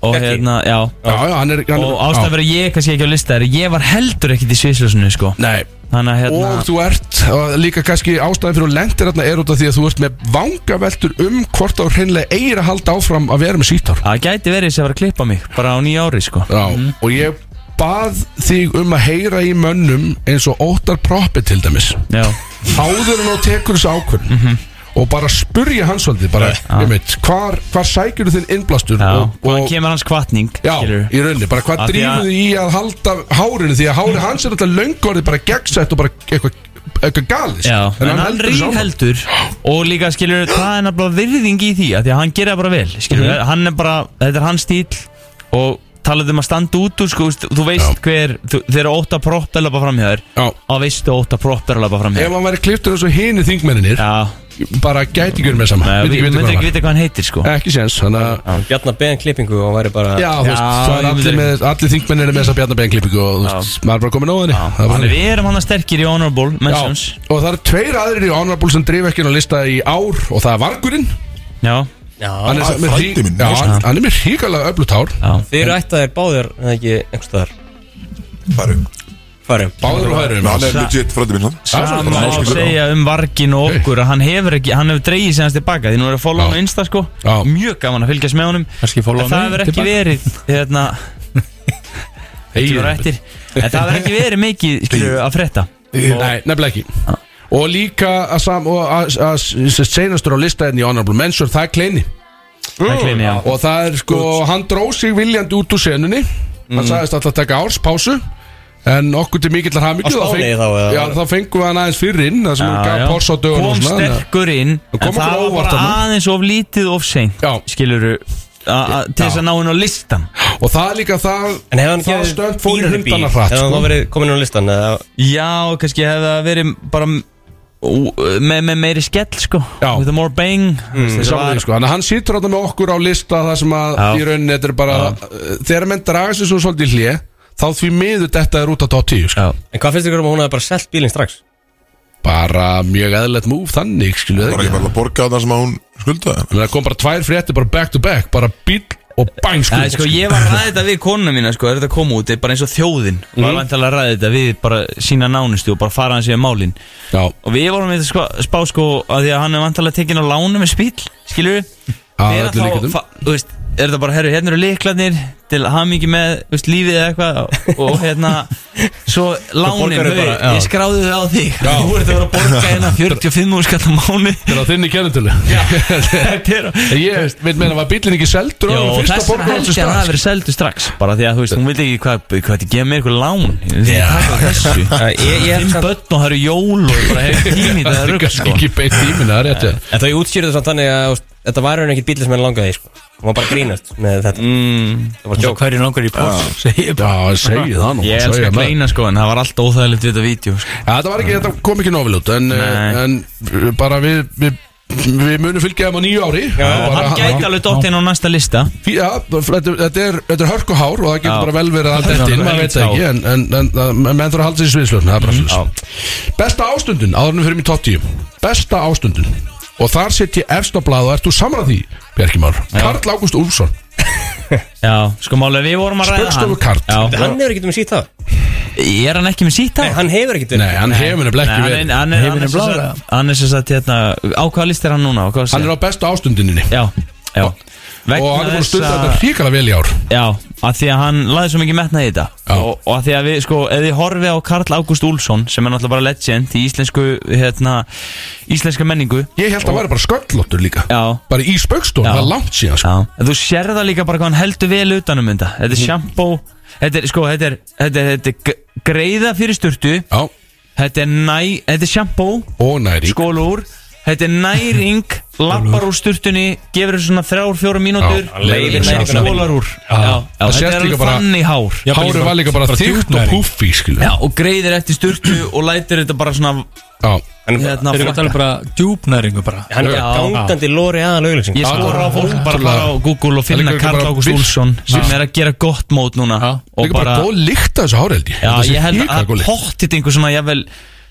og
Ekki.
hérna, já
Já, já, hann er, hann er
og ástæðan
já.
fyrir að ég er kannski ekki á lista er að ég var heldur ekkit í sviðsljósnu sko.
Nei,
þannig að hérna
og þú ert og líka kannski ástæðan fyrir að lendir þarna er út af því að þú ert með vangaveltur um hvort þá hreinlega eigir að halda áfram að vera með sítár
það gæti verið sem var að klippa mig bara á nýja ári sko.
Já, og ég bað þig um að heyra í mönnum eins og óttar proppi til dæmis
Já,
áður en þú tekur þessu ákvörn
Mhm.
og bara spurja hans svolítið bara, ég veit, hvar, hvar sækir þú þinn innblastur
já.
og,
og hann
og
kemur hans kvatning
Já,
skilurðu.
í rauninni, bara hvað
Af því
drífum
að-
þið í að halda hárinu því að hárið hans er alltaf löngorðið bara gegnsætt og bara eitthvað eitthvað galið sko.
Já, en hann
heldur þessu
ríð
áfram.
heldur Og líka skilur, það er nefnilega virðing í því af Því að hann gera bara vel skilur,
Mhm.
Hann er bara, þetta er hans stíl Og talað um að standa út úr sko, veist, Þú
Já.
veist hver, þú, þeir eru óta propp að lappa fram hjá þér
Já,
Og veistu óta propp er að lappa fram hjá
ef
þér
hann væri kliftur eins og hini þingmenninir
Já,
bara gæti ekki verið með sama,
Nei,
veit
við
ekki veit
myndum
hvað
ekki
hann var
vita hvað hann heitir sko
ekki séns, þannig að
Bjarnar beðan klippingu og væri bara
Já, þú veist,
Já,
það er
ég myndi
allir, með, allir þingmennir með þessa bjarnabæðinklippingu og þú veist, maður er bara komin á henni Það er bara
Þannig
þannig.
við erum hann sterkir í Honorable
Já,
Mentions
og það eru tveir aðrir í Honorable sem drif ekki inn á lista í ár og það er Vargurinn
Já,
Hann er
það er
með
frændi
hrí-
minn,
Já,
veist.
hann- hann er með hríkalega öflut hár
já,
Þeir eru ætti að þeir báðir eða ekki einhvers staðar
Færum
Farum
Báður og hægri um
Hann er legit frændi minn hann
Sama má segja um vargin og okkur að hann hefur ekki, hann hefur dreigið sér hans tilbaka því nú er að follow
Já.
hann á Insta sko
Já.
mjög gaman að fylgjast með honum
Kannski fólk
en það hefur ekki verið hérna, sem var eftir, en það hefur ekki verið mikið skilur, að frétta
Nei, nefnilega ekki Og líka að sam og að, að, að seinastur á lista enn í Honorable Mention það er Kleini
það er kleini, já.
og það er sko, hann dró sig viljandi út úr senunni hann sagðist alltaf að taka árspásu en okkur til mikillar
Á
hamingu
Spáni þá, eða?
já, þá fengum við hann aðeins fyrir inn það sem
Já,
hann
já.
gaf pors á dögun
kom sterkur inn
Og
en
kom
það
okkur
var
óvart
bara
þarna.
aðeins of lítið of seint
Já.
skilur til þess að ná henn á listan
og það er líka það
En hefði hann
það
gefið
stönd fór í
dýrari bíl,
hundana hratt
Hefði hann
sko.
þá verið komin á listan eða
já, kannski hefði það verið bara ú- með, með meiri skell sko
Já.
with a more bang mm,
Ég sá þig, sko. Þannig að hann situr þarna með okkur á lista það sem að
Já.
í rauninni þetta er bara Eh, þegar menn draga sér svo svolítið í hlje þá því miður þetta er út að top 10 sko.
Já.
En hvað finnst ykkur um að hún hefði bara selt bílinn strax?
bara mjög eðlert múf þannig skilu það
Var ekki
ekki
bara að borga það sem að hún skuldaði
Þannig að það kom bara tvær frétti bara back to back bara bíl og bæn
Það er
skuld
sko, ég var að ræða þetta við konuna mína sko, er þetta kom út, er bara eins og þjóðin mm. var vantilega að ræða þetta við bara sína nánustu og bara fara hans yfir málin
Já,
og við vorum við sko, spá sko að því að hann er vantilega tekin á lánu með spíl skilur við
að öllu líkindum.
þú veist, er þetta bara, herru, hérna eru liklarnir til hamingi með, þú veist, lífið eða eitthvað og- og hérna, *laughs* svo lánin,
borgarðu
hau,
bara, já.
ég skráði þau á þig þú ert að vera að *laughs* borga hérna 45 úrskatt á mánu
Þetta er á þinni kennitölu
*laughs* þetta er
*laughs* Ég veit meina, var bílinn ekki seldur á
Já,
honum
og
fyrsta
þess vegna
borgarhaldsins
held ég að það hafi verið seldu strax Bara því að þú veist, hún vildi ekki hvað Hvað þetta gefa mér eitthvað lán Já, þessu *laughs*
ég, ég hef
Fimm
samt,
börn og það eru jól og bara hefur *laughs* tími
*laughs*
Það er
Það er
rugg,
kannski
sko
ekki beint tíminn, það er rétt hjá þér.
En þau útskýrðu samt þannig að þú veist, þetta var raunin ekkert bíl sem henni langaði í, sko Hún var bara að grínast með þetta
Mm,
Það var djók
Hverju langar í Porsche, segi ég bara
Já, segi það nú
Ég elska
segi
að
maður.
kleina sko En það var alltaf óþægilegt við þetta vídeo sko.
Ja, Þetta var ekki, þetta kom ekki nófél út En,
Nei.
eh, en eh, bara við, við Við munum fylgja þeim á nýju ári Já,
Hann gæti alveg dótt inn á næsta lista
Já, þetta þetta er, þetta er hörku hár og það getur
Já.
bara vel verið að allt eftir, maður veit það ekki en, en, en það- menn þurfa að halda sér í sviðslöfn, það er bara
Mm,
slis Besta ástundun, áðurinnum fyrir mér tótt tíu Besta ástundun og þar sitt ég efst á blað og ert þú samrað því, Bjarki Már Karl Ágúst Úlfsson,
Já, sko málega við vorum að ræða
Spaugstofu
hann
Karl.
Já,
Hann hefur ekkert um sítt það
Er hann ekki með sítt á?
Hann hefur ekkert um
nei, hann hefur nefnilega
Nei,
ekki
hann
verið
er- hann er- hann er
Heiminum
sem
blár,
sagt- hann er sem sagt hérna Á hvaða list er hann núna?
Hann er á bestu ástunduninni
Já, já
og
Vegna
hann er búin að
þess
stunda þetta hrikalega vel í ár
Já, að því að hann laði svo mikið metna í þetta
Já.
og, og að því að við, sko, ef ég horfi á Karl Ágúst Úlfsson sem er náttúrulega bara legend í íslensku, hérna, íslenska menningu
Ég held að hann væri bara sköllóttur líka
Já.
bara í spaukstofn,
Já.
það er langt síðan sko.
Já, en þú sér það líka bara hvað hann heldur vel utanum þetta Þetta
Mhm.
er sjampó, þetta er, sko, þetta er, þetta er, þetta er g- greiða fyrir sturtu
Já,
Þetta er næ, þetta er sjampó,
og næri
skóla úr Þetta er næring, lappar úr sturtunni, gefur þessu svona þrjár, fjóra mínútur
Já, leiðir næringuna
skólar úr Já, já,
Það
þetta
sést
er
líka
alveg
bara-
þannig hár
Hárið var líka bara þygt og púffi, skilu
Já, og greiðir eftir sturtu og lætir þetta bara svona
Já.
Hann er
hérna
Þeir eru að tala
flakka.
um bara djúpnæringu bara
hann er bara
Já.
gangandi lóri aðal auglýsing
Ég skora á fólk bara að fara á Google og
Það
finna
er líka
Karl
bara
Ágúst
vilt.
Úlfsson sem er að gera gott mót núna og
Líka bara
bara,
góð lykt að þessu hári held ég
já,
Þetta sé
ég held
hrikalega
að
góð lykt.
pottit einhver svona, ég vel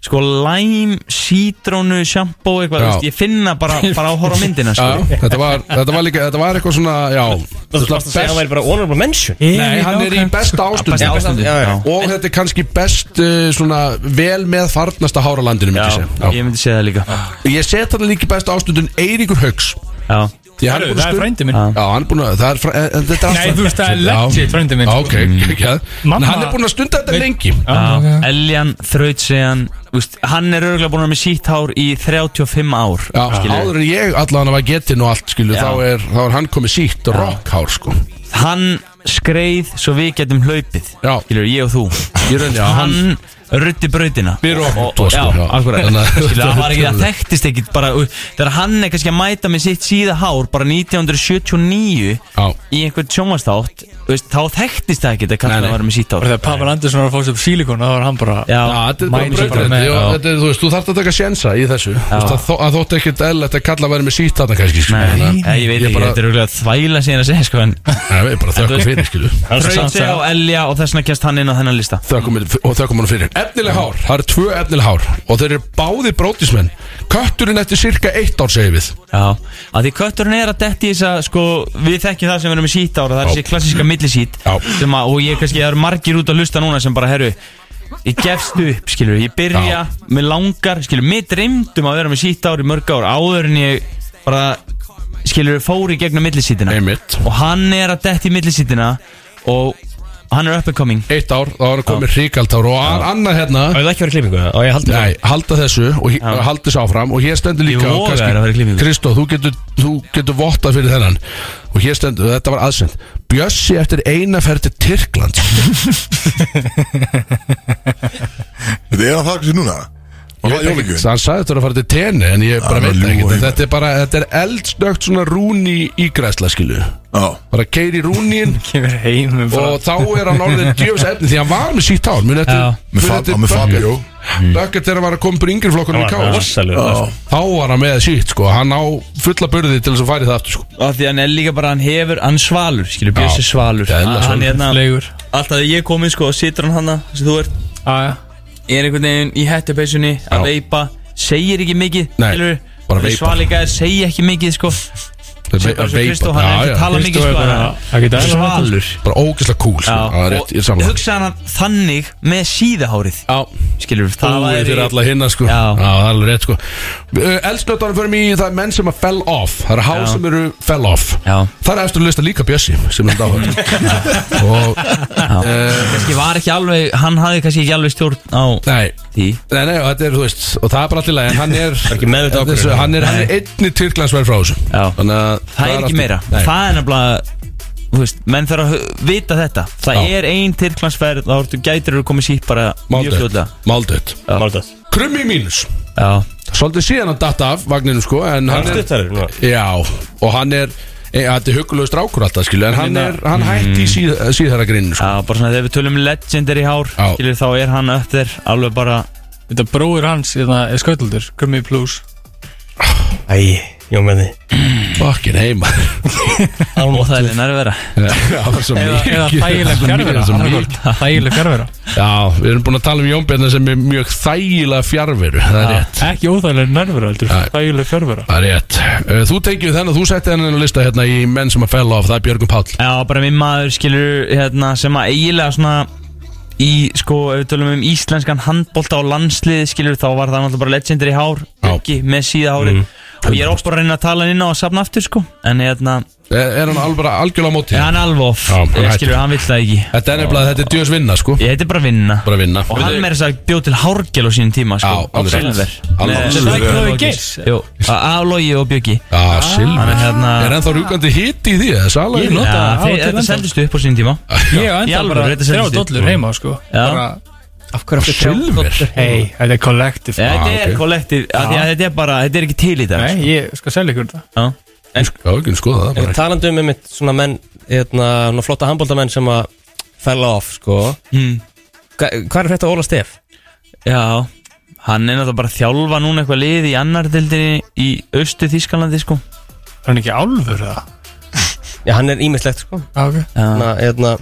sko lime, sítrónu, sjampó eitthvað,
Já.
þú veist, ég finna bara, bara á horfa á myndina sko.
Já, þetta var, þetta var líka, þetta var eitthvað svona, já
Þú varst að segja að hann væri bara honorable mention
Nei, hann er í besta
Besta
ástundin
ástandi.
já, já.
Og þetta er kannski best uh, svona vel með farnasta hára landinu myndi ég
Já,
segja.
ég myndi segja það líka
Já. Ég set þarna líka í besta ástundin Eiríkur Haugs
Já,
Því hann er búin
Það er
að stunda
frændi
Ah.
minn
Já, hann er búin að, það er, fræ- en þetta er
Nei, þú veist, það er legit frændi minn, sko. Mm.
Ok, ekki að
Mamma-
Hann er búin að stunda þetta lengi
já, Eljan, Þrautsegan úst, hann er örgulega búin að vera með sítár í 35 ár
Já,
skilurðu.
áður en ég allan var getinn og allt, skilu,
Já.
þá er, þá er hann komið sítt rockhár, sko
hann skreið svo við getum hlaupið
Já.
skilur ég og þú
Ég reyndi að hann
hann rutti brautina
Við erum okkur tvo,
já,
sko, já.
akkurat
Þannig að-
skilur það var ekki það þekktist ekkit bara uh, þegar hann er kannski að mæta með sitt síða hár bara 1979
Já.
í einhvern sjónvastátt veist, þá þekktist það ekkit að
Nei,
kallar
nei.
var með sítt
Bara
hár
þegar Pavel Andersson var að fá sér sílikon þá var hann bara
já,
Já, þetta er bara
Mæni sig bara
breytandi
með-
og
já.
þetta er, þú veist, þú þarft að taka sjensa í þessu Þú veist, að þó- að þótt ekkert eðlætt að kalla að vera með sítt þarna kannski sko.
Nei,
Þannig að-
ég, veit
ég
ekki,
bara,
þetta er auðvitað þvæla síðan að segja sko en
Nei, við bara þökkum fyrir, skilu
Þrauti á Elja og þess vegna kjast hann inn á þennan lista
Þökkum, og þökkum hann fyrir Efnileg hár, það eru tvö efnileg hár og þeir eru báði brótismenn Kötturinn eftir cirka eitt ár segir við
Já, að því kötturinn er að detti þess að sko, við þekkjum það sem verðum með sítt ára það er
Já.
þessi klassíska millisít
Já.
sem að, og ég kannski, það eru margir út að hlusta núna sem bara, herru, ég gefst upp skilur, ég byrja,
Já.
mér langar skilur, mér dreymdum um að vera með sítt ára í mörg ár áður en ég bara skilur, fóri gegnum millisítina
Einmitt
og hann er að detti í millisítina og hann er up and coming
Eitt ár, þá er hann komið ríkaldár og an- annað hérna
Það hefði ekki verið klippingu það Og ég haldi
Nei, halda þessu og hí- halda þessu áfram og hér stendur
Ég
líka
voga
og
þér að fara í klippingu.
Kristó, þú getur, þú getur vottað fyrir þennan og hér stendur, þetta var aðsend Bjössi eftir eina ferð til
*laughs*
Tyrkland
Þetta er að það ekki núna Og það er jólíkjum
Hann sagði þetta var að fara til tenni en ég bara
Það
veit
var
ekki
ljúga í
Þetta er bara, þetta er eldsnögt svona rúni ígræsla skilu
Já
Bara keiri rúnin
kemur heim um með bara-
og þá er hann orðin
*laughs*
djöfis efni Því hann var með sítt hár Muni
Já.
eftir,
Með Fab- á, með Fabio.
Bökket þegar hann var að koma upp í yngri flokkunum í káð
Já.
Þá var hann með sítt sko Hann á fulla burði til þess að færi það aftur sko
og því hann er líka bara, hann hefur, hann svalur skilur, Bjössi
Já.
svalur
Já, eðlilega
hann,
svalur.
hérna,
Legur
alltaf þegar ég kom inn sko, og situr hann hann sem þú ert
Aja
Ég er einhvern veginn í hættupeysunni að
Já.
veipa segir ekki mikið
Nei,
skilurðu.
bara veipar.
Svalika er segja ekki mikið sko
Þeir
Bara svo
veipa-
Kristó, hann er
Já,
ekki
já.
að tala mikið
Kristó er
sko
bara- hann
hann
getur
er
aðeins að tala.
svalur
Bara ógeðslega cool sko.
Já,
Það er rétt, ég er
og
saman
hugsaði hann þannig með síðahárið skilur við, það
Búið fyrir alla hinna sko
Já.
það er alveg rétt sko Eldsnötanum fyrir mig í það er menn sem að fell off Það eru há
Já.
sem eru fell off
Já.
Það er eftir að lista líka Bjössi sem er þetta
*laughs*
áhör Og eh,
kannski var ekki alveg, hann hafði kannski ekki alveg stjórn á
Nei
því
Nei, nei, og þetta er, þú veist, og það er bara allir læg En hann er,
ekki meðvitað
Þetta er svo-
ákvörðun.
hann er, hann er einni Tyrklandsverð frá þessu
Já.
Þannig að
það er ekki
aftur-
meira,
Nei.
það er nefnilega þú veist, menn þarf að hu- vita þetta það
Já.
er ein tilklansferð þá ertu gætir eru komið sítt bara mjög
Máldött
fljóðlega
Máldött
Máltað
Krummi mínus
já,
Svolítið síðan hann datt af vagninu sko En hann er
Stuttari núna.
Já Og hann er e, Þetta er hugulegu strákur alltaf skilu En hann er
Mm.
Hann hætti í síð, síðara grinu sko
já, bara svona þegar við tölum legendary hár,
Já.
skilur þá er hann upp þér alveg bara,
Þetta bróður hans hérna, er sköldur, Gummi Plus
Æ, jón með því
Fucking
*laughs*
heima
og það er nærvera vera
Það var svo
Eða,
mikið
eða þægileg
svo mikið,
fjárvera
svo mikið.
annaðhvort. Þægileg fjárvera
Já, við erum búin að tala um Jón Bjarnar sem er mjög þægilega fjárveru Það er rétt
Ekki óþægileg nærvera, heldur
Nei.
Þægileg fjárvera
Það er rétt Uh, Þú tekið þennan, þú setti hennan að lista hérna í menn sem að fell af, það er Björgum Páll
Já, bara minn maður skilur hérna, sem að eiginlega svona í, sko, ef við tölum um íslenskan handbolta á landsliði skilur þá var það náttúrulega bara legendir í hár
Já. Mm,
ekki með síða hári og ég er oft bara að reyna að tala hann inn á að safna aftur sko en hérna,
Eh, Er, er hann alveg algjörlega á móti?
ja. hann alveg off
Já, bara
ég
hættu.
skilur, hann vill það ekki
Þetta er nefnilega, þetta er djöðs vinna sko
ég heiti bara að vinna
Bara vinna
og hann meira þess að bjóð til hárgel á sínum tíma sko,
Já, alveg rétt.
Silver.
Alveg rétt.
Nei, þetta
Silver.
er ekki Logi Geirs. Jú, að- að logi og bjöggi
Já, Silvi
hann er hérna
Er ennþá rúkandi hitt í því, það er sala í
Ég
nótt
nota
Já,
það á
þeir-
til
þetta
ennþá.
sendist upp á sínum tíma
Ég hef
Í
enda
alveg,
bara
þetta er
þrjá
sendist í-
dollur heima sko
Já.
Ah,
Bara,
Af hverju aftur
Silver?
Hei, þetta er kollektiv
Ja,
Ah,
Þetta er
ok.
kollektiv, af því að þetta er bara, þetta er ekki til í dag
Nei,
sko.
ég skal selja ykkur þetta
Já.
Já, ekki að skoða það
En
bara
talandi um einmitt svona menn hérna, svona flotta handbóltamenn sem að fella off sko
Mm.
Hva, Hvað er þetta Óla Stef?
Já, hann er náttúrulega bara að þjálfa núna eitthvað lið í annar dildinni í austu Þískalandi sko
Er hann ekki álfur það?
Já, hann er ímislegt sko
Okay.
Þannig
Já,
að hérna,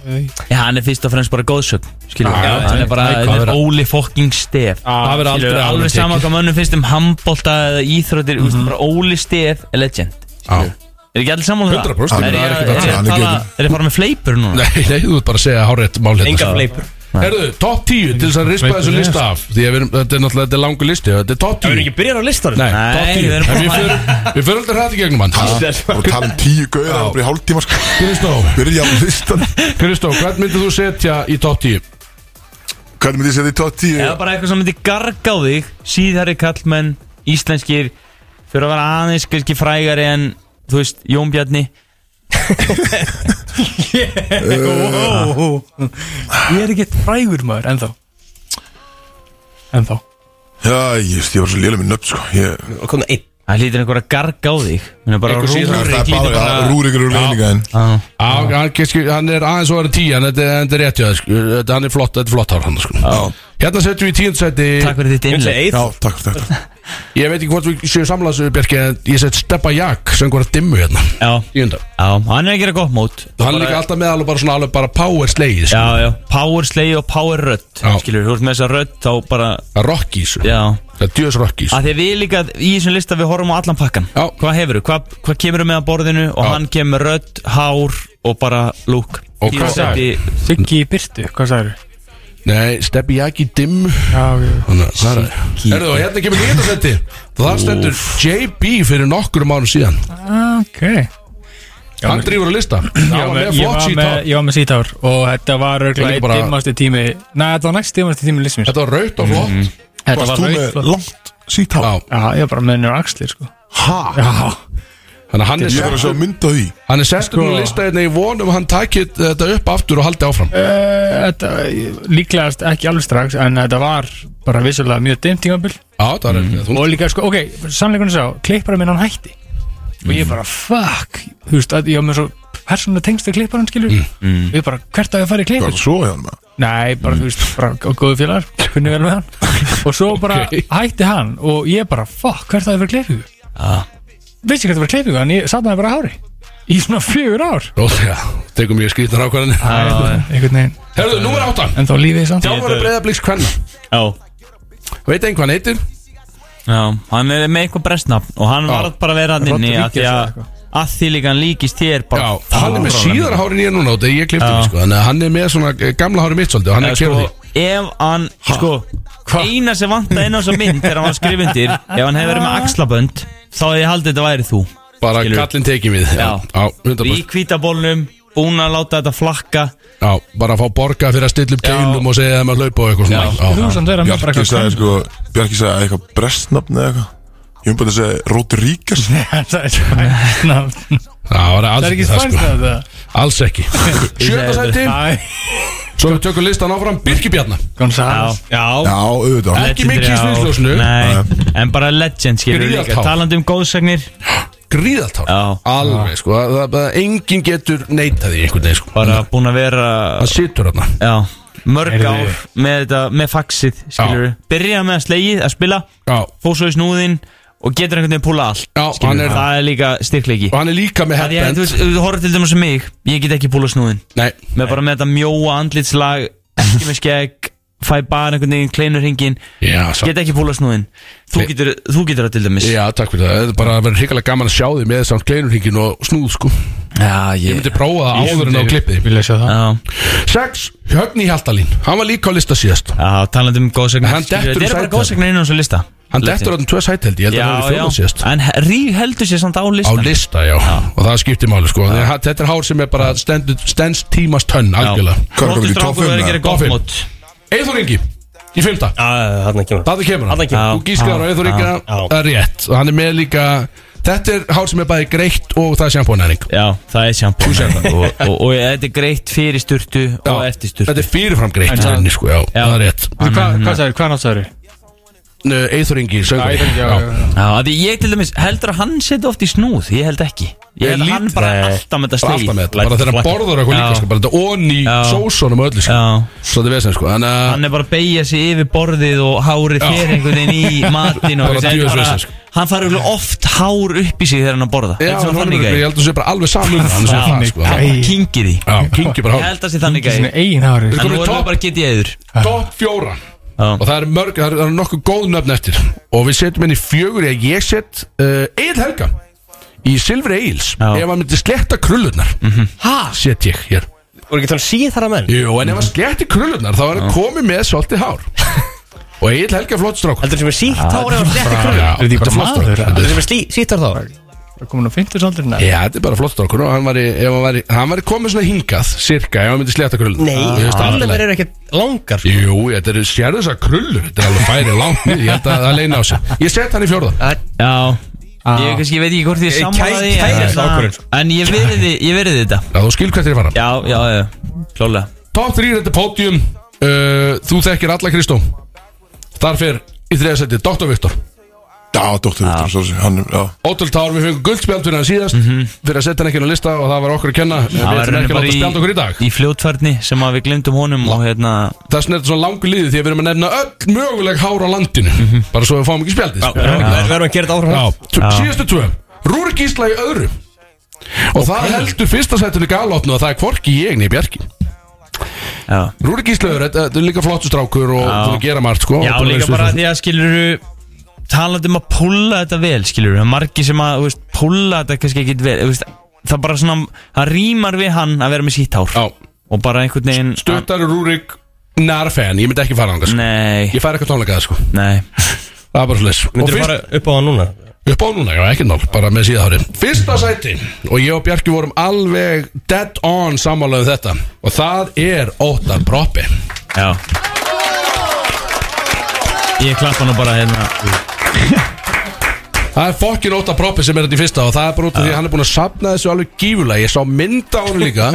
Já, hann er fyrst og fremst bara góðsögn skilur
Já,
við,
já,
hann er bara
nei, hvað
hann er
vera.
Óli fokking stef
Það verður
Skilur
aldrei
við, alveg
alveg
sama
tekið
hvað mönnum finnst um handbolta eða íþróttir, mm
Mhm.
-hmm. bara Óli stef er legend
Já.
Er ekki allir sammála um það?
100%.
Er
Það er
ég að-
ekkert að
er ég
segja,
að
hann er
tala-
getur-
er ég að fara með fleipur núna?
Nei, nei, þú ert bara að segja hárétt mál hérna
enga
sko.
fleipur
Herðu, topp 10 til þess að rispa þessu lista af Því að við erum, þetta er náttúrulega, þetta er langu listi Þetta er topp 10
byrjar á listanum
Nei,
Nei,
topp 10
við erum
En Við
bara-
förum- við förum aldrei hrætt í gegnum hann
Og tala um tíu gauðar og bara í hálftíma sko
Kristó,
Byrja á listan
Kristó, hvern myndir þú setja í topp 10?
Hvernig myndi ég setja í top 10?
Eða bara eitthvað sem myndi garga á þig Síðari kallmenn, íslenskir Fyrir að vera aðeins kannski frægari en Þú veist, Jón Bjarni
Wow. Ég er ekki frægur maður ennþá Ennþá
Já, ég, veist, ég var svo lélega með nöfn sko ég,
Og komið einn
Það hlýtir einhver að garga á þig Mér er bara
Einhver síðar-
Það er
rúrik
bara,
hlýtir
bara
bara
rúrikur úr leininga en
Já.
Já, hann, kannski, hann er aðeins og er tíu en þetta, en þetta er rétt hjá þér, sko. þetta, hann er flott, þetta er flott hár hann sko. Hérna setjum við í tíundsæti
Takk fyrir þitt
Ég
innleg
einn
Já, takk fyrir þetta
Ég veit ekki hvort við séum samlaðsöðu Bjarki en ég set Steppa Jak sem hvort dimmu hérna
Já,
tíunda
já, hann er að gera gott mót
Hann er líka alltaf með alveg bara svona alveg bara power slegið sko.
Já, já, power slay og power rödd
Já.
Skilur, þú ert með þessa rödd þá bara
Rockies,
Já,
það er djöðs Rockies
að því að við líka í þessum lista við horfum á allan pakkan
Já.
Hvað hefur þú, hvað, hvað kemur þú með að borðinu og
Já.
hann kemur með rödd, hár og bara lúk
Og hvað
sagði?
Siggi í byrtu, hvað sagður?
Nei, Steppa Jak í dimmu
Já, ok.
Þannig að það er Erðu og hérna kemur nýta seti Það stendur JB fyrir nokkrum árum síðan
ok
Hann drýfur að lista
Ég
Það var
var
með
með- Ég
flott
var
sítt
með,
hár
ég var með sítár og þetta var
Ég
örglega
líka
eitt
bara-
dimmasti tími Nei, þetta var næst dimmasti tími lísmins
Þetta var raut og flott
Þetta
Varst
var
þú
raut
með
flott.
langt sítt hár?
Já,
Já, ég var bara með nýra axlir sko
Hæ?
Já,
þannig að hann er
Ég var að sjá mynd á því
Hann er sestur sko...
Sko-
nú lista hérna í vonum að hann taki þetta upp aftur og haldi áfram
þetta, líklegast ekki alveg strax en þetta var bara vissulega mjög dimmt tímabil
Já, það er mm. þú
og líka sko, ok, sannleikunum sá klippara minn hann hætti og ég bara, fuck, þú veist, að ég var með svo persónulega tengst við klipparan, skilur mm. ég bara, hvert að ég
Hvað
farið klippar
er svo hjá hann með?
nei, bara, þú veist, bara gó- góðu félagar kunni vel með hann og svo bara hætti hann og ég bara, fuck, hvert að ég farið klippingu ah. veist ég hvert að ég farið klippingu en ég satt hann bara hári í svona fjögur ár
Róðlega, tekum ég skrítan ákvæðan
einhvern veginn,
Herðu, númer átta
en þá lífið samt
Þjálfari breyðablíks kvenna
Já,
Veit einn hvað hann heitir?
Já, hann er með eitthvað brestnafn og hann
Já.
var bara að vera hann inni að því
Rodríguez eða
að að því líka hann líkist þér bara
Já, hann er með síðara hárin ég núna og þegar ég klipti
Já.
mig sko Þannig að hann er með svona eh, gamla hárin mitt svolítið og hann er
Eða,
að kera
sko,
því
ef hann, sko eina sem vantaði inn á þessa mynd þegar hann var skrifundir, ef hann hefði verið með axlabönd þá hefði ég haldið þetta væri þú
Bara
skilur.
kallinn tekið við
Já.
já 100%.
í hvítabólnum, búin að láta þetta flakka
Já, bara að fá borga fyrir að stilla upp keilum og segja þeim að hlaupa og eitthvað
Já.
svona
Þú samt vera með bara
Bjarki sagði
eitthvað
sko Bjarki sagði eitthvað brestnafn eða eitthvað Ég hef bara að segja Rodríguez
*laughs* Það er spænst nafn
Það var
Það
alls
er
ekki
ekki
það
spænst
sko
nafn það
Alls
*laughs*
ekki Sjönda sæti,
Æ,
svo við tökum listan áfram Birkibjarnar
Gonzales
Já
Já, auðvitað
Ekki mikið í sviðsljósinu.
Nei, en bara legend skilur
Gríðartár.
líka Talandi um góðsagnir
Gríðaltár
Já.
Alveg sko, það, það, engin getur neitað í einhvern veginn sko
Bara búin að vera
Það situr þarna
já, Mörg
Heyrðu.
ár með, þetta, með faxið skilur Byrja með að slegið að spila
Já,
Fór svo í snúðinn Og getur einhvern veginn að púla allt
Já,
skilurðu.
hann er-
Það er líka styrkleiki
og hann er líka með
Það er,
headband
þú veist, ef þú horfður til dæmis sem mig Ég get ekki púla snúðinn
Nei,
Með bara með þetta mjóa andlitslag Ekki með skegg Fæ bara einhvern veginn kleinur hringin
já, samt
Get ekki púla snúðinn Þú
Nei.
getur, þú getur það til dæmis
Já, takk fyrir það, það er bara að vera hrikalega gaman að sjá þig með samt kleinurhingin og snúð sko
Já,
Ég myndi prófa það áður en á klippið
Vilja sjá það
Já,
6. Högni Hjaltalín, hann var líka á lista síðast
já talandi um góðsagnar
Hann dettur úr
Þetta er bara
sæti.
góðsagnar inn á þessu lista
Hann dettur á tvö sæti held ég, ég held að hann hefði
Já,
fjóðan
já,
síðast
en rí heldur sér samt á
Á
listan
lista, já, og það skiptir máli sko Þegar hann- Þetta er hár sem er bara stendur- stenst tímast tönn algjörlega
Hvað er komið í topp
Róttustrákur er að gera
fimm?
gott
Topp fimm.
mót
Eithor Ingi, í fymta
Þarna kemur
Það kemur hann
Þarna kemur hann.
Þú gískar á
Já,
Eithor Ingi Það er rétt, og hann er með líka Þetta er hár sem er bæði greitt og það er sjampónæring
Já, það er sjampú og, og, og þetta er greitt fyrir sturtu og eftir sturtu
Þetta er fyrirfram greitt
En
í
það-
rauninni, sko, já,
Já.
það er rétt
Hvað hvað sagðir, hvað nátt sagðir?
Eithor Ingi, sögur
Já, af því ég til dæmis heldur að hann setja oft í snúð Ég held ekki Ég held að hann bara alltaf með þetta
Bara
slegið
alltaf með þetta, bara þegar hann borður eitthvað líka sko, bara þetta onni
Já.
sósónum og öllu sko.
Já.
svo þetta er vesen sko þannig að
Hann er bara að beigja sig yfir borðið og hárið
Já.
fyrir
*laughs*
einhvern veginn í matinn og
Bara
þessi, en
djöfis vesen, sko.
Hann farið oft hár upp í sig þegar hann er að borða
Já,
Þetta er
en
svona
honum
þannig
er-
gæði
ég held að það sé bara alveg saman um hann, svona það,
Þannig
sko.
gæi.
Já,
Hann kingir því
Já, kingi bara
Ég
hálf
held að sé þannig
Sinni
gæði
eigin hári
En nú
Komið
erum
topp.
við bara að geta í eður
Top fjóra Og það eru mörg, það eru er nokkuð góð nöfn eftir Og við setjum henni fjögur Ég, ég set uh, Egil Helga Í Silfri Egils
Já.
Ef hann myndi sletta krullurnar Ha? Set ég hér
Voru ekki þannig síðara menn?
Jú, en ef hann sletti krullurnar Þá er hann komið með svolítið hár Og Egil Helga flott strákur
Heldur sem er sítt hár eða rétt
Já, já,
Er því
þetta
bara
er flott
maður?
strákur
Heldur sem er slí- sítt hár þá?
Það komin á 50 saldur Nei
Já, þetta er bara flott strákur og hann var, í, ef hann var, í, hann var komið svona hingað cirka ef hann myndi sletta krullun
Nei, alveg er ekkert langar sko.
Jú, þetta eru sér þessar krullur Þetta er alveg færi langt niður, ég held að það leina á sig Ég set hann í fjórðan
Já Ég
Ah.
kannski veit ekki hvort ég er sammála því en-
kæri strákurinn, sko.
En ég veriði, ég veriði þetta
Já, þú skil hvert er ég fara
Já, já, já, klálega
Top 3, þetta er pódium uh, Þú þekkir alla Kristó Þar fer í þriðasætti Dr. Viktor
Já, dóttur Viktor, svo sé hann Já,
Ótrúld Tár, við fengum guldspjald fyrir hann síðast Fyrir að setja hann ekki inn á lista og það var okkur að kenna Við
Mhm. Það var
ætlum
raunin
ekki að láta spjald okkur í
bara
dag
í, í fljótfærni sem að við glemdum honum og hérna
Þess vegna er þetta svona langu liði því að við erum að nefna öll möguleg hár á landinu
Mhm.
Bara svo við fáum ekki spjaldið sko.
Við verðum að gera þetta áfram
Já, t- síðustu tvö Rúrik Gísla í öðru Og það heldur fyrsta sættinu galopnu og það er hvorki ég nefn Bjarki
Já,
Rúrik Gísla er, þetta þetta er líka flottur strákur og
Já.
búin að gera margt sko
já
Og búin að
líka
vera í
bara
sviðsljósinu.
því að skilur talandi um að púlla þetta vel skilur við, margir sem að þú veist, púlla þetta kannski ekki vel þú veist, það bara svona, það rýmar við hann að vera með sítt hár
Já,
og bara einhvern veginn
stuttar Rúrik Narfen, ég myndi ekki fara hann sko.
Nei,
Ég fær eitthvað tónleikaði sko,
nei
það er bara slis Og
Myndur
fyrst,
við fara upp á hann núna?
upp á núna, já ekki nál, bara með síðahárin Fyrsta sæti, og ég og Bjarki vorum alveg dead on sammálaðu þetta Og það er Óttar Proppi
Já Ég klappa nú bara hérna
Það er fokkin óta proppi sem er þetta í fyrsta og það er bara út af því að hann er búin að safna þessu alveg gífulega Ég sá mynd á hann líka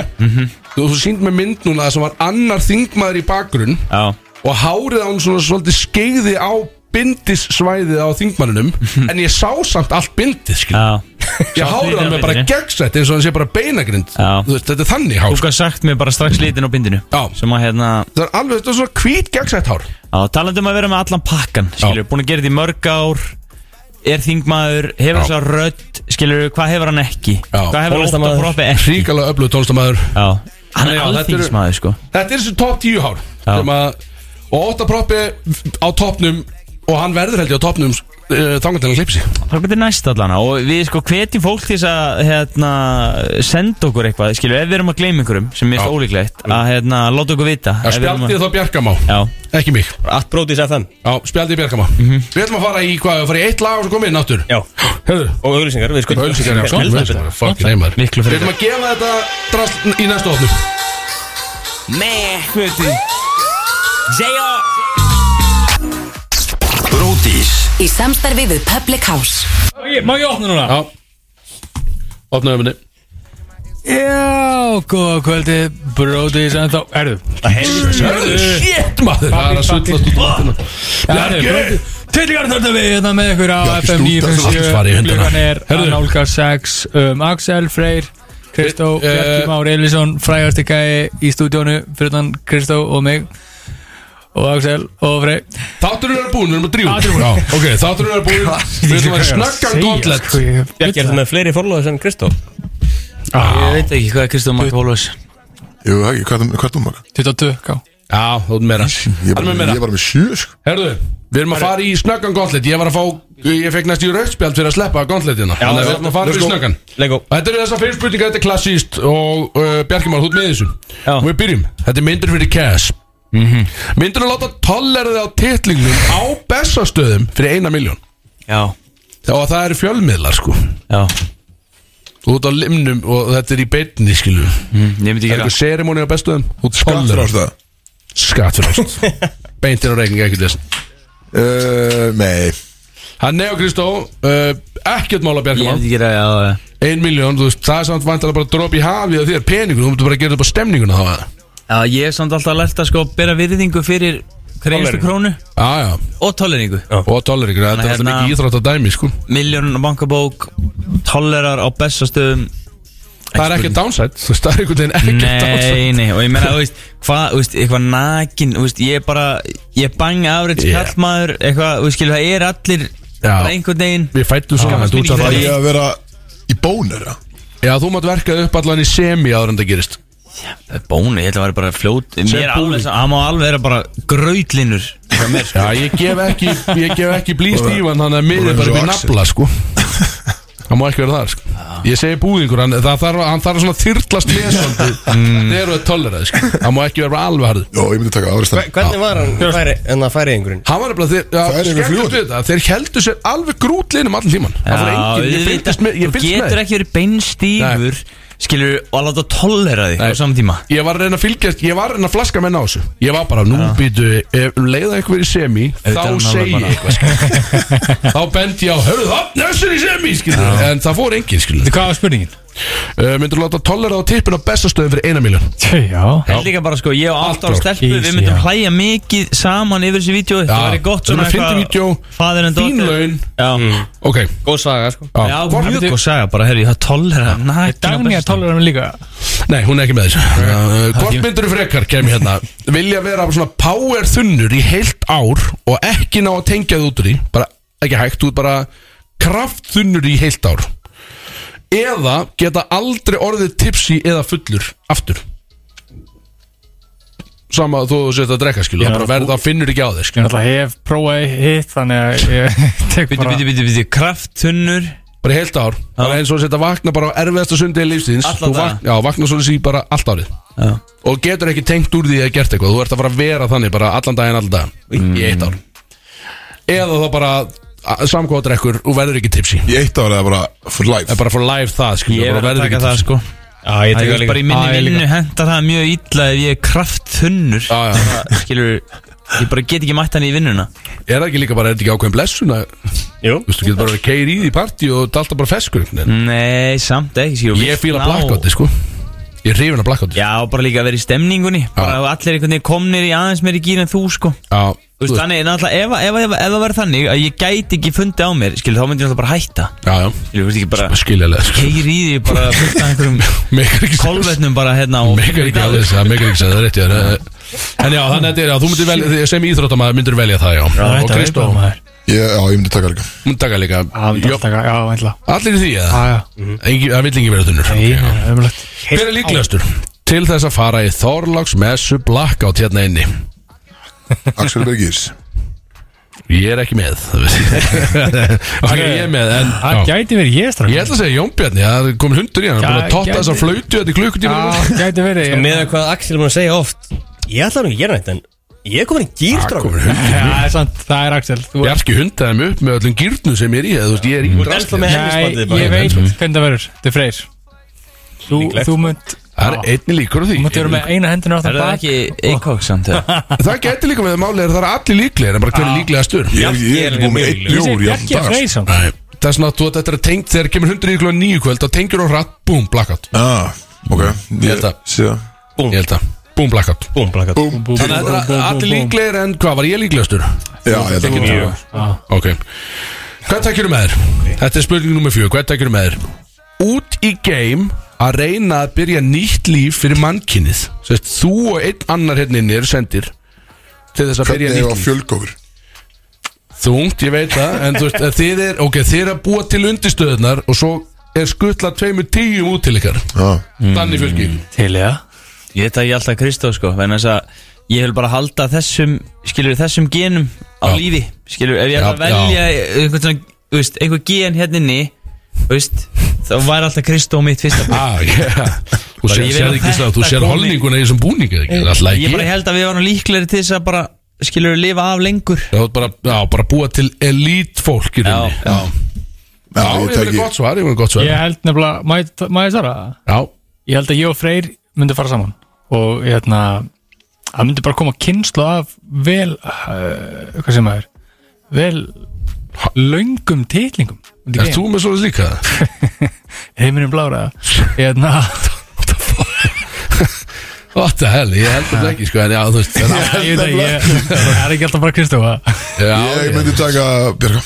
Þú þú sínd með mynd núna sem var annar þingmaður í bakgrunn
Já,
og hárið á hann svona svolítið skeiði á bindissvæðið á
*laughs*
þingmannunum en ég sá samt allt bindið skil
já
Ég hárið á hann með bara
myndinni.
gegnsætt eins og hann sé bara beinagrind
Já.
Þú veist, Þetta er þannig hár sko.
Þú gaf sagt mér bara strax litin á bindinu
Já.
Sem að hérna
Það er alveg þetta er svona hvít gegnsætt hár
Já, talandi um að vera með allan pakkan Skilur, búin að gera þetta í mörg ár Er þingmaður, hefur
Já.
þess að rödd Skilur, hvað hefur hann ekki?
Já.
Hvað hefur hann ofta
Tónlistarmaður.
proppi ekki?
Hríkala öflug tónlistamæður
Já,
Já,
hann er
þetta eru-
alþingismaður sko
Þetta er þessi top 10 hár
Já.
sem að, og óta proppi á topnum og hann verður held ég á topnum uh, þangar til að klipsi
Það er betið næst allana og við sko hvetjum fólk til þess að hérna, senda okkur eitthvað, skilju, ef við erum að gleyma einhverjum sem er
Já. Mm.
ólíklegt, að hérna, láta okkur vita
Já, spjaldið þá Bjarkamá,
Já,
ekki mig
Allt brótis FM
Já, spjaldið Bjarkamá
Mhm.
Við ætlum að fara í hvað, við fara í eitt lag og svo komum við inn áttur
Já
Hefðu,
Og auðlýsingar, við skuldum
hölsingar, já, sko
Heldur
Við ætlum að fuck þeim maður.
Miklu
Við
frekar.
ætlum að gefa þetta drast í næstu ofnu
Bródís
Í samstarfi við Public House
Má ég opna núna?
Já Opnaðu minni
Já, góða kvöldi Bróðis en þá Erðu
Shit maður Það er að sullast út vatnina Bjarki
Tilgar þarna við hérna með ykkur á
Bjarki
FM
stútar svo allt
957
svar í höndina.
Klukkan er að
Heyrðu.
nálga 6 um, Axel Freyr Kristó,
Eh,
Bjarki Már Elísson frægasti gæi í stúdjónu fyrir þann Kristó og mig og Axel og Freyr
Þátturinn er búinn, við erum að drífa Já, Ok, þátturinn er búinn Við ætlum að snakka um
sko,
gotlet
Bjarki, ertu með fleiri fórlóðis en Kristó?
ég veit ekki hvað er Kristofur Mark Hólfus
Jú, það ekki, hvað er- hvað er þú maga?
22 ká
Já, þú ert meira
Ég
Alveg meira.
er bara með sjö, sko
Herðu, við erum að fara í snöggan gauntlet Ég var að fá, ég fekk næst í rauðspjald fyrir að sleppa gauntletina Þannig að við erum að fara í snöggan
Lego
Þetta eru þessar fyrir spurninga, þetta er klassíst Og uh, Bjarkimar, þú ert með þessu
Já. Mhm.
Og við byrjum, þetta er myndur fyrir cash Myndur að láta tollerði á titlingnum Á bestastöðum fyrir eina miljón
Já,
Og það eru fjölmiðlar sko
já,
Þú ert á limnum og þetta er í beinni skilju
mm, ég myndi
Það er
gera
eitthvað serimóni á bestöðum Þú ert
Skattur á
tollerði
það
Skattfrást Beintin á reikning, ekkert lesen
Uh, Nei,
Hann er á Kristó uh, Ekkert mála
Ég
Bjarkimar
myndi gera, já, já
Ein miljón, þú veist, það er samt vantilega bara að dropa í hafið á þér peningur, þú mútu bara að gera þetta upp á stemninguna þá að
Já, ég hef samt alltaf lært að sko bera virðingu fyrir hverjastu krónu
Já, já,
og tolleringu
og tolleringur, þetta er alltaf
Hérna-
mikið íþrótt að dæmi, sko
Miljónun á bankabók, tollerar á bestastöðum
Það er ekki downside, þú veist, það er einhvern veginn ekki downside
Nei, nei, og ég meina, þú veist, hvað, þú veist, eitthvað nakin, þú veist, ég er bara, ég er bang afrits
Yeah.
yeah. kallmaður, eitthvað, þú skilur, það er allir
Já.
bara einhvern veginn
Við fættum svona,
Skammast
þú ert
mín í
það
að
er ég að vera í bónur eða?
Já, þú mátt verka upp allan í semi áður en það gerist
Bónu, ég held að vera bara fljót, mér er alveg, það má alveg vera bara gröðlinur sko.
Já, ég gef ekki, ég gef ekki blíst ívan, þannig að miður bara upp í
Axel.
nafla, sko Það má ekki vera þar, sko Ég segi búðingur, hann það þarf, hann þarf svona þyrtlast
*laughs*
lesandi
Mm.
Þegar þú er tollerað, sko Það má ekki vera alveg harður
Jó, ég myndi taka afræstan
Hvernig var hann færi, hérna, en það færi einhverjum?
Hann var nefnilega þeir,
Þær
já,
eru
skemmtilegt
fljúgandi.
við þetta Þeir heldur sér alveg grútlinum allan tíman Það fór engin, ég fylgist með, ég
þú
fylgist
getur
með
ekki verið beinstífur, skilur, og að láta tollera þig
Nei.
á saman tíma
Ég var að reyna að fylgjast, ég var að reyna að flaska menna á þessu Ég var bara, nú býtu, ef leiða einhver í semi Þá segi
Auðvitað er hann alveg
ég
bara-
eitthvað
*laughs*
skilur. Þá bendi ég á, hörðu það, nössur í semi skilur. En það fór engin, skilur
Hvað var spurningin?
uh, Myndur láta tollera á tippin á bestastöðum fyrir eina miljón
Já
Það er líka bara sko, ég og
Allt
allt ára
klár.
stelpu, við
Easy,
myndum
já.
hlæja mikið saman yfir þessu vídeo,
Já.
það væri gott
Þetta
svona
er fyndið vídeó,
faðir en
Þín
dóttir.
laun
Já,
Ok,
Góð saga, sko
já,
já
Hvort-
mjög góð saga bara, herri, það tollera nakin á
Dagný að
bestu.
tólera mig líka
Nei, hún er ekki með þessu uh, Hvort myndur frekar, kem ég hérna Vilja vera svona power þunnur í heilt ár Og ekki ná að tengja þið út úr því Bara, ekki hægt, þú ert bara Kraft þunnur í heilt ár Eða geta aldrei orðið tipsi eða fullur Aftur Sama að þú setja að drekka skilu Það bara verða að finnur ekki á þér
Ég
skilu
náttúrulega hef prófað hitt Þannig að ég *laughs* tek
Bíti,
bara
bíti, bíti, bíti, krafthunnur
Bara í heilt ár Bara eins og að setja að vakna bara á erfiðasta sundi í lífstíðins
Alla
Þú
daga.
vak- Já, vakna svo þessi bara allt árið
Já.
og getur ekki tengt úr því að gert eitthvað þú ert að fara að vera þannig bara allan daginn allan
Mm.
daginn í eitt ár eða þá bara samkvæður ekkur og verður ekki tipsi
Í eitt ára eða bara for life
en bara for life það skilur
Ég
bara
verð að
verður
taka
ekki
það
tipsi
sko
Já, ég
Það er bara í
Já, ég
minni
líka.
vinnu hendar það mjög illa ef ég er krafthunnur
Já, já.
Skilur, ég bara get ekki mætt hann í vinnuna
er það ekki líka bara, er þetta ekki ákveðin blessun að-
Jú
þú veist, þú getur bara að keira í því í partí og þetta er alltaf bara feskur einhvern veginn.
Nei, samt ekki, skilur
ég fíla
ná-
blackouti sko ég er hrifin af blackouti
Já, bara líka að vera í stemningunni Bara að allir einhvern veginn komnir í aðeins meiri gýr en þú sko
já,
Þú veist, þannig, náttúrulega, ef, ef, ef, ef það verður þannig að ég gæti ekki fundið á mér, skilur, þá myndi ég náttúrulega bara hætta
já, já
Skilur, þú veist ekki bara,
skiljaðlega sko
keir í því bara fullt af einhverjum
Megar ekki
kolvetnum bara hérna og
Megar ekki að þess, megar ekki að það er rétt já, það er- En já, þannig að þetta er, já, þú myndir velja, sem íþróttamaður myndir velja það, já Og
Þetta er
Kristó,
bara maður
Ég- Já, ég myndi taka líka
hún taka líka
Já, við
Jó,
þarfum að taka- Já, ætla
Allir í því eða?
Já, já
Engi, það vill ekki vera þunnur
Nei, það er ömulegt
Hver er líklegastur til þess að fara í Þorláks messu blackout hérna inni?
Axel Bergis
Ég er ekki með
*laughs*
Ok, ég er með en,
Það
já.
gæti verið ég strax
Ég ætla að segja Jón Bjarni Það er komin hundur í hann Hann er búin að
Já,
totta
gæti-
þessar flautu Þetta í klukkutíma
Já, gæti
Sko,
verið ég-
Með að hvað Axel er búin að segja oft Ég ætla nú ekki að gera nætt en Ég er komin í
Ah,
gýrstrákur
Komin hundur
Já,
Mhm.
það er sant, það er Axel Þú
Bjarki hundaði mig upp með öllum gýrnu sem ég er í eða, Þú veist, ég er í
Ennþá með
Nei,
hennisbandið
ég
hérna.
bara
veit
Mhm.
hvernig það verður Þetta er freyr Þú,
Líklegt.
þú munt
Það er einni líkur á því
Þú munt vera með eina hendina á
Er
það
það ekki Eikók samt eða?
Það gæti líka með að máli er það er allir líklegir En bara hver er líklegastur
Ég, ég er búin með einn
Ég
bjór
segi
í allan
ekki
dag
að
sko.
freyr samt
Nei, Þess vegna að þú- þetta er tengt Þegar kemur hundur í klukkan nýju kvöld Þá tengir hún rætt, búm, blackout
Ah, ok
Ég held að-
sé það.
Ég held að, búm, blackout
Búm, blakka
Búm, búm,
Þannig að þetta er allir líklegir en hvað var ég líklegastur?
Já, ég held að
Mjög.
Ok Hvað tekjur með þér? Þetta er spurning nummer fjör Hvað tekjur með þér? Út í game að reyna að byrja nýtt líf fyrir mannkynnið Sest, Þú og einn annar hérna inni eru sendir Til þess að byrja
Hvernig hefur
nýtt
að
líf
fjölga okkur?
Þungt, ég veit það En þú veist, að þið er, ok, þið er að búa til undirstöðunar Og svo er skutlað tveimur tíum út til ykkar
Já,
Þannig fylgi
Mm.
Til eða
Ég tek alltaf Kristó sko Þannig að þess að Ég vil bara halda þessum Skilur þessum genum Á
Já.
lífi Skilur Ef ég ætla að
Já, já.
velja Einhvern svona Þú veist Einhver gen hérna inni Þú veist Þá væri alltaf Kristó mitt fyrsta barn.
Ah, yeah. Þú
Bara,
sér,
ég vil
sér
að
ekki
þetta
slag, þú sér
komi-
holninguna í þessum búningi eða ekki, alltaf
Ég bara
ekki
held að við varum líklegri til þess að bara Skilur lifa af lengur
Já, þú ert bara, já, bara búa til elít fólk í rauninni
já.
Já, ég
Já, ég verið
tæki
gott svar, ég verið gott svar
Ég held nefnilega má ég- Má ég svara?
Já,
Ég held að ég og freyr myndi fara saman Og hérna Það myndi bara koma kynslu af Vel uh, Hvað sem maður Vel Löngum titlingum
er þú með svoleiðs líka?
*laughs*
Heiminum blára Hérna
What the hell, ég held þetta ekki sko En já,
*laughs*
þú veist en, já,
Ég veit ekki, ég- það er ekki alltaf bara Kristó
Ég
já,
myndi taka Björga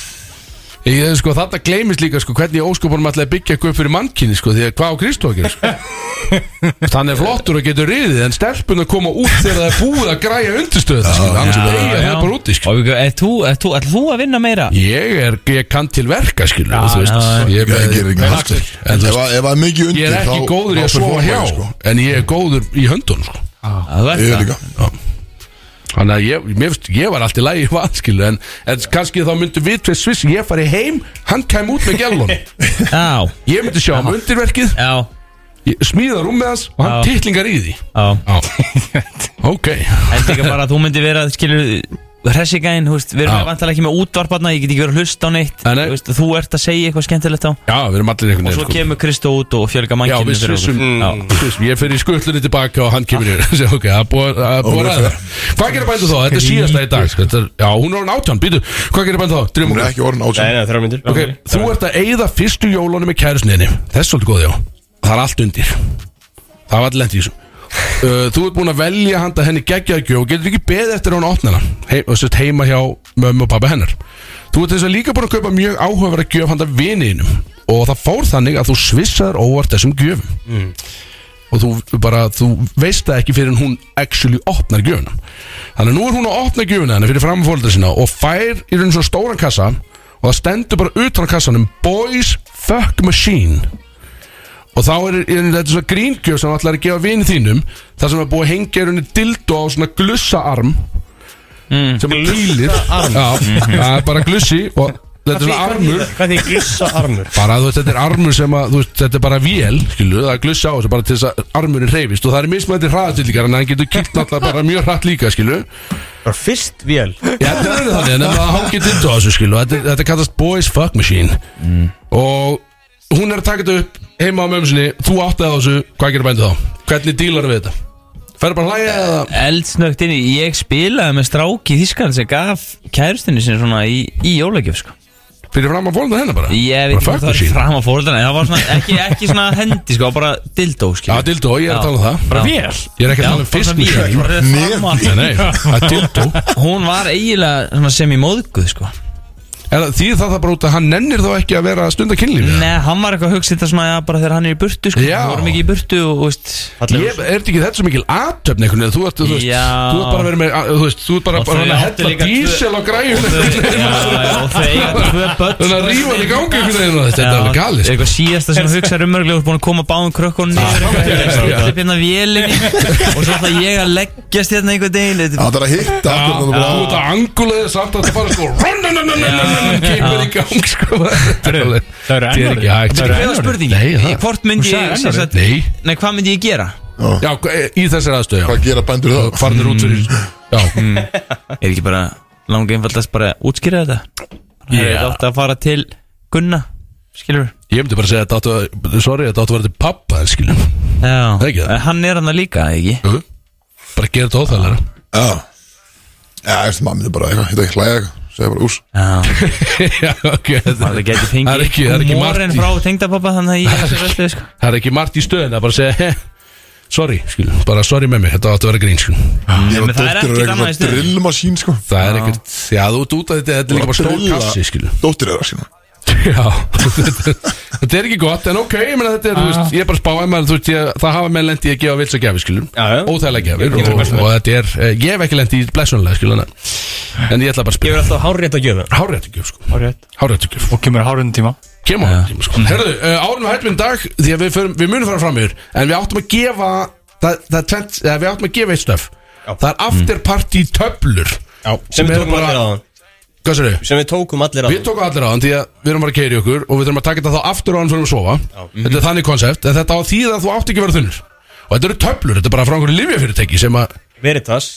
ég, ég, sko, Þetta gleymist líka sko, hvernig í ósköpunum ætlaði að byggja eitthvað upp fyrir mannkinni sko, Því að hvað á Kristó að gera sko?
*laughs*
Þannig er flottur og getur riðið En stelpun að koma út þegar það er búið að græja undirstöð sko, Annars er það bara úti sko.
Og við- ert þú ert þú- ætlar þú að vinna meira?
Ég er, ég kann til verka skilur
Já,
þú veist,
já, já.
ég,
Ég
ég,
gerir ekki
en,
hægt
þú veist, en,
Ef
þú veist,
að- ef það er mikið undir
ég er ekki
þá-
góður í
þá fer
að sofa
fólk
hjá
að, sko.
En ég er góður í höndun sko.
Að Þú ert
Ég
það
líka
Þannig að ég, mér, finnst- ég var allt í lagi í vanskilu en, en kannski þá myndi við tveið sviss Ég fari heim, hann kæm út með gælun Ég
Já
myndi sjá um undirverkið
Já
ég Smíða rúm með hans og hann
Já.
titlingar í því
Já
*laughs* Ok,
Þetta er bara að þú myndir vera, skilur, hressigæðin, þú veist, við erum
Já.
vantilega ekki með útvarparna, ég get ekki verið að hlusta á neitt,
Nei, nei.
þú veist, þú ert að segja eitthvað skemmtilegt á,
já, við erum allir einhvern sko.
og svo kemur Kristó út og fjölga
Já,
mannkinu
við svissum Mm. Svissum, Ég fer í skullunni tilbaka og hann *laughs* kemur yfir Sér, Ok, það er búið að- að búið að ræða Hvað gerir bændu þá? Þetta er síðasta í dag sko. Þetta er- Já, hún er orðin átján, býtu Hvað gerir bændu þá? Drifum
Hún er
okkur
ekki orðin
Nei,
átján
nei, þrjá myndir
Ok, þú ert að eyða fyrstu jólunum með kærusniðinni Það er svolítið góð, já Það er allt undir Það var allir lent í þessu uh, Þú ert búin að velja handa henni geggjaðgjöf og getur ekki beðið eftir að hún opna hana heim, og sérst heima hjá mömmu og pappa hennar Þú ert þess að líka búin að kaupa mjög áhugaverða gjöf handa viniðinum og það fór þannig að þú svissaður óvart þessum gjöfum og þú bara, þú veist það ekki fyrir en hún actually opnar gjöfuna þannig að nú er hún að opna gjöfuna henni fyrir framfóldra sína og fær í raun svona stóran kassa og það stendur bara utan á kassanum Boys Fuck Machine og þá er, er þetta svona gríngjöf sem ætlar að gefa vini þínum þar sem er búið að hengja í rauninni dildó á svona glussaarm mm. sem að kýlir Já, það er bara glussi og þetta er svona armur
Hvað því glissa armur?
bara þú veist, þetta er armur sem að þú veist, þetta er bara vél, skilu, það er glussa á þessu bara til þess að armurinn reyfist og það er mismætti hraðastillingar en hann getur kýrt náttúrulega bara mjög hratt líka, skilu
*laughs*
Bara fyrst vél
Já, þetta er verið þannig, en það hangir ditt á þessu skilu Þetta, þetta kallast Boys Fuck Machine
Mm.
Og hún er að taka þetta upp heima á mömmu sinni Þú áttaði á þessu, hvað gerir bændu þá? Hvernig dílar við þetta? Færðu bara að hlæja eða?
Eldsnögt inn í, ég spilaði með stráki í Þískan sem gaf kærustinu sinni svona í, í jólækjöf, sko.
Fyrir fram að fólum það hennar bara?
Ég
Bara
veit ekki hvort
fuck
það var
machine
fram að fórhaldana, en það var svona, ekki, ekki svona hendi, sko, bara dildó,
Já,
skilur.
dildó, ég er að tala um það
Bara vel
Ég er ekki að tala um
bara
fisk
svona vél,
machine
bara rétt fram að-
Nei, nei, það er dildó
Hún var eiginlega svona sem í móðguð, sko.
Er það- Því það það bara út að hann nennir þá ekki að vera að stunda kynlífi
Nei, hann var eitthvað að hugsa þetta svona ja, bara þegar hann er í burtu sko.
Já.
Við vorum ekki í burtu og, og veist
Ég, er þetta ekki þetta svo mikil aðtöfn einhvern veginn, þú ert, þú veist,
Já.
þú ert bara að vera með, að- þú veist, þú ert bara,
Og
bara
þau
að
áttu
hella
líka tvö-
dísel á græjun
Já, já, og þau eiga tvö börn
Þannig að rífa hann í gangi einhvern veginn og þetta er
Já,
alveg galið sko.
Eitthvað síðasta sem um hugsa rumörglega og búin að koma báðum krökkunum niður eitthvað,
já.
Ég klipp hérna vélinni og svo ætla ég að leggjast hérna einhvern degin
Já, Það er að hitta
Já,
akkur
Þú
þannig bara-
ert að angulaðið samt að það bara sko Rannanananananan Kipir í gang sko Þetta er alveg-
Það eru
þetta er ekki
ennorðið
hægt sko.
Það er spurning
Nei, það-
Hvort myndi
Hún
ég
sagði
sem
enn
sagt,
orðið. Nei
Nei, hvað myndi ég gera?
Já, í þessari aðstöðu já.
Hvað gera bændur þá?
Farnir út fyrir Já,
Mm. Er ekki bara langa einfaldast bara að útskýra þetta? Það
Já.
er átt að fara til Gunna Skilur
ég myndi bara að segja að þetta áttu að Sorry, þetta áttu að vera til pappa, skiljum
Já
Það er ekki það.
En Hann er hann að líka, ekki?
Jú, Bara gera þetta óþægilega
Já Já, þessi maður myndi bara eitthvað, hitta ekki hlæða eitthvað Segja bara ús
Já
*laughs* Já, ok
Það geti fengið
Það er ekki, það er ekki margt
Morinn
í- *laughs*
frá tengdapappa Þannig að ég er svo veldið sko
Það er ekki margt í stöðin að bara segja "Heh, Sorry, skiljum, bara sorry með mig Þetta áttu að vera grín, skiljum
Ég
en það er ekkert annað í
svona
stöðunni.
drillmasín, sko
Það er ekkert, já þú ert út að þetta Þetta er líka bara stór
Drilla-
kassi, skiljum
Dóttir er það, skiljum
*laughs* Já, *laughs* þetta er ekki gott En ok, ég meina þetta er, þú veist, ég er bara að spá En maður, þú veist, ég, það hafa menn lendi að gefa vils að gefa, skiljum
Já, já.
Óþægilega gefur og, og, þetta er, eh, ég hef ekki lendi í blessunlega, skiljum En ég ætla bara að
Ég verð
spila
alltaf hárrétt að gjöfa
Háréttugjöf, sko,
Hárrétt.
háréttugjöf
Og kemur á hárunum tíma
Kemur á tíma sko Herðu, uh, árum við hættum í dag Því að við, förum, við munum fara fram yfir En við áttum að gefa það, það er tvennt, eða, Við áttum að gefa eitt stöf Það er after party töflur Já,
Sem við tókum allir aðan
Hvað sér
Sem við tókum allir
Við
aðan
tókum allir á hann því að við erum bara að keiri okkur Og við þurfum að taka þetta þá aftur á hann fyrir að sofa Þetta er þannig konsept En þetta á því að þú átt ekki að vera þunnur Og þetta eru töflur, þetta er bara frá einhverju livjafyrirtæki sem að
Veritas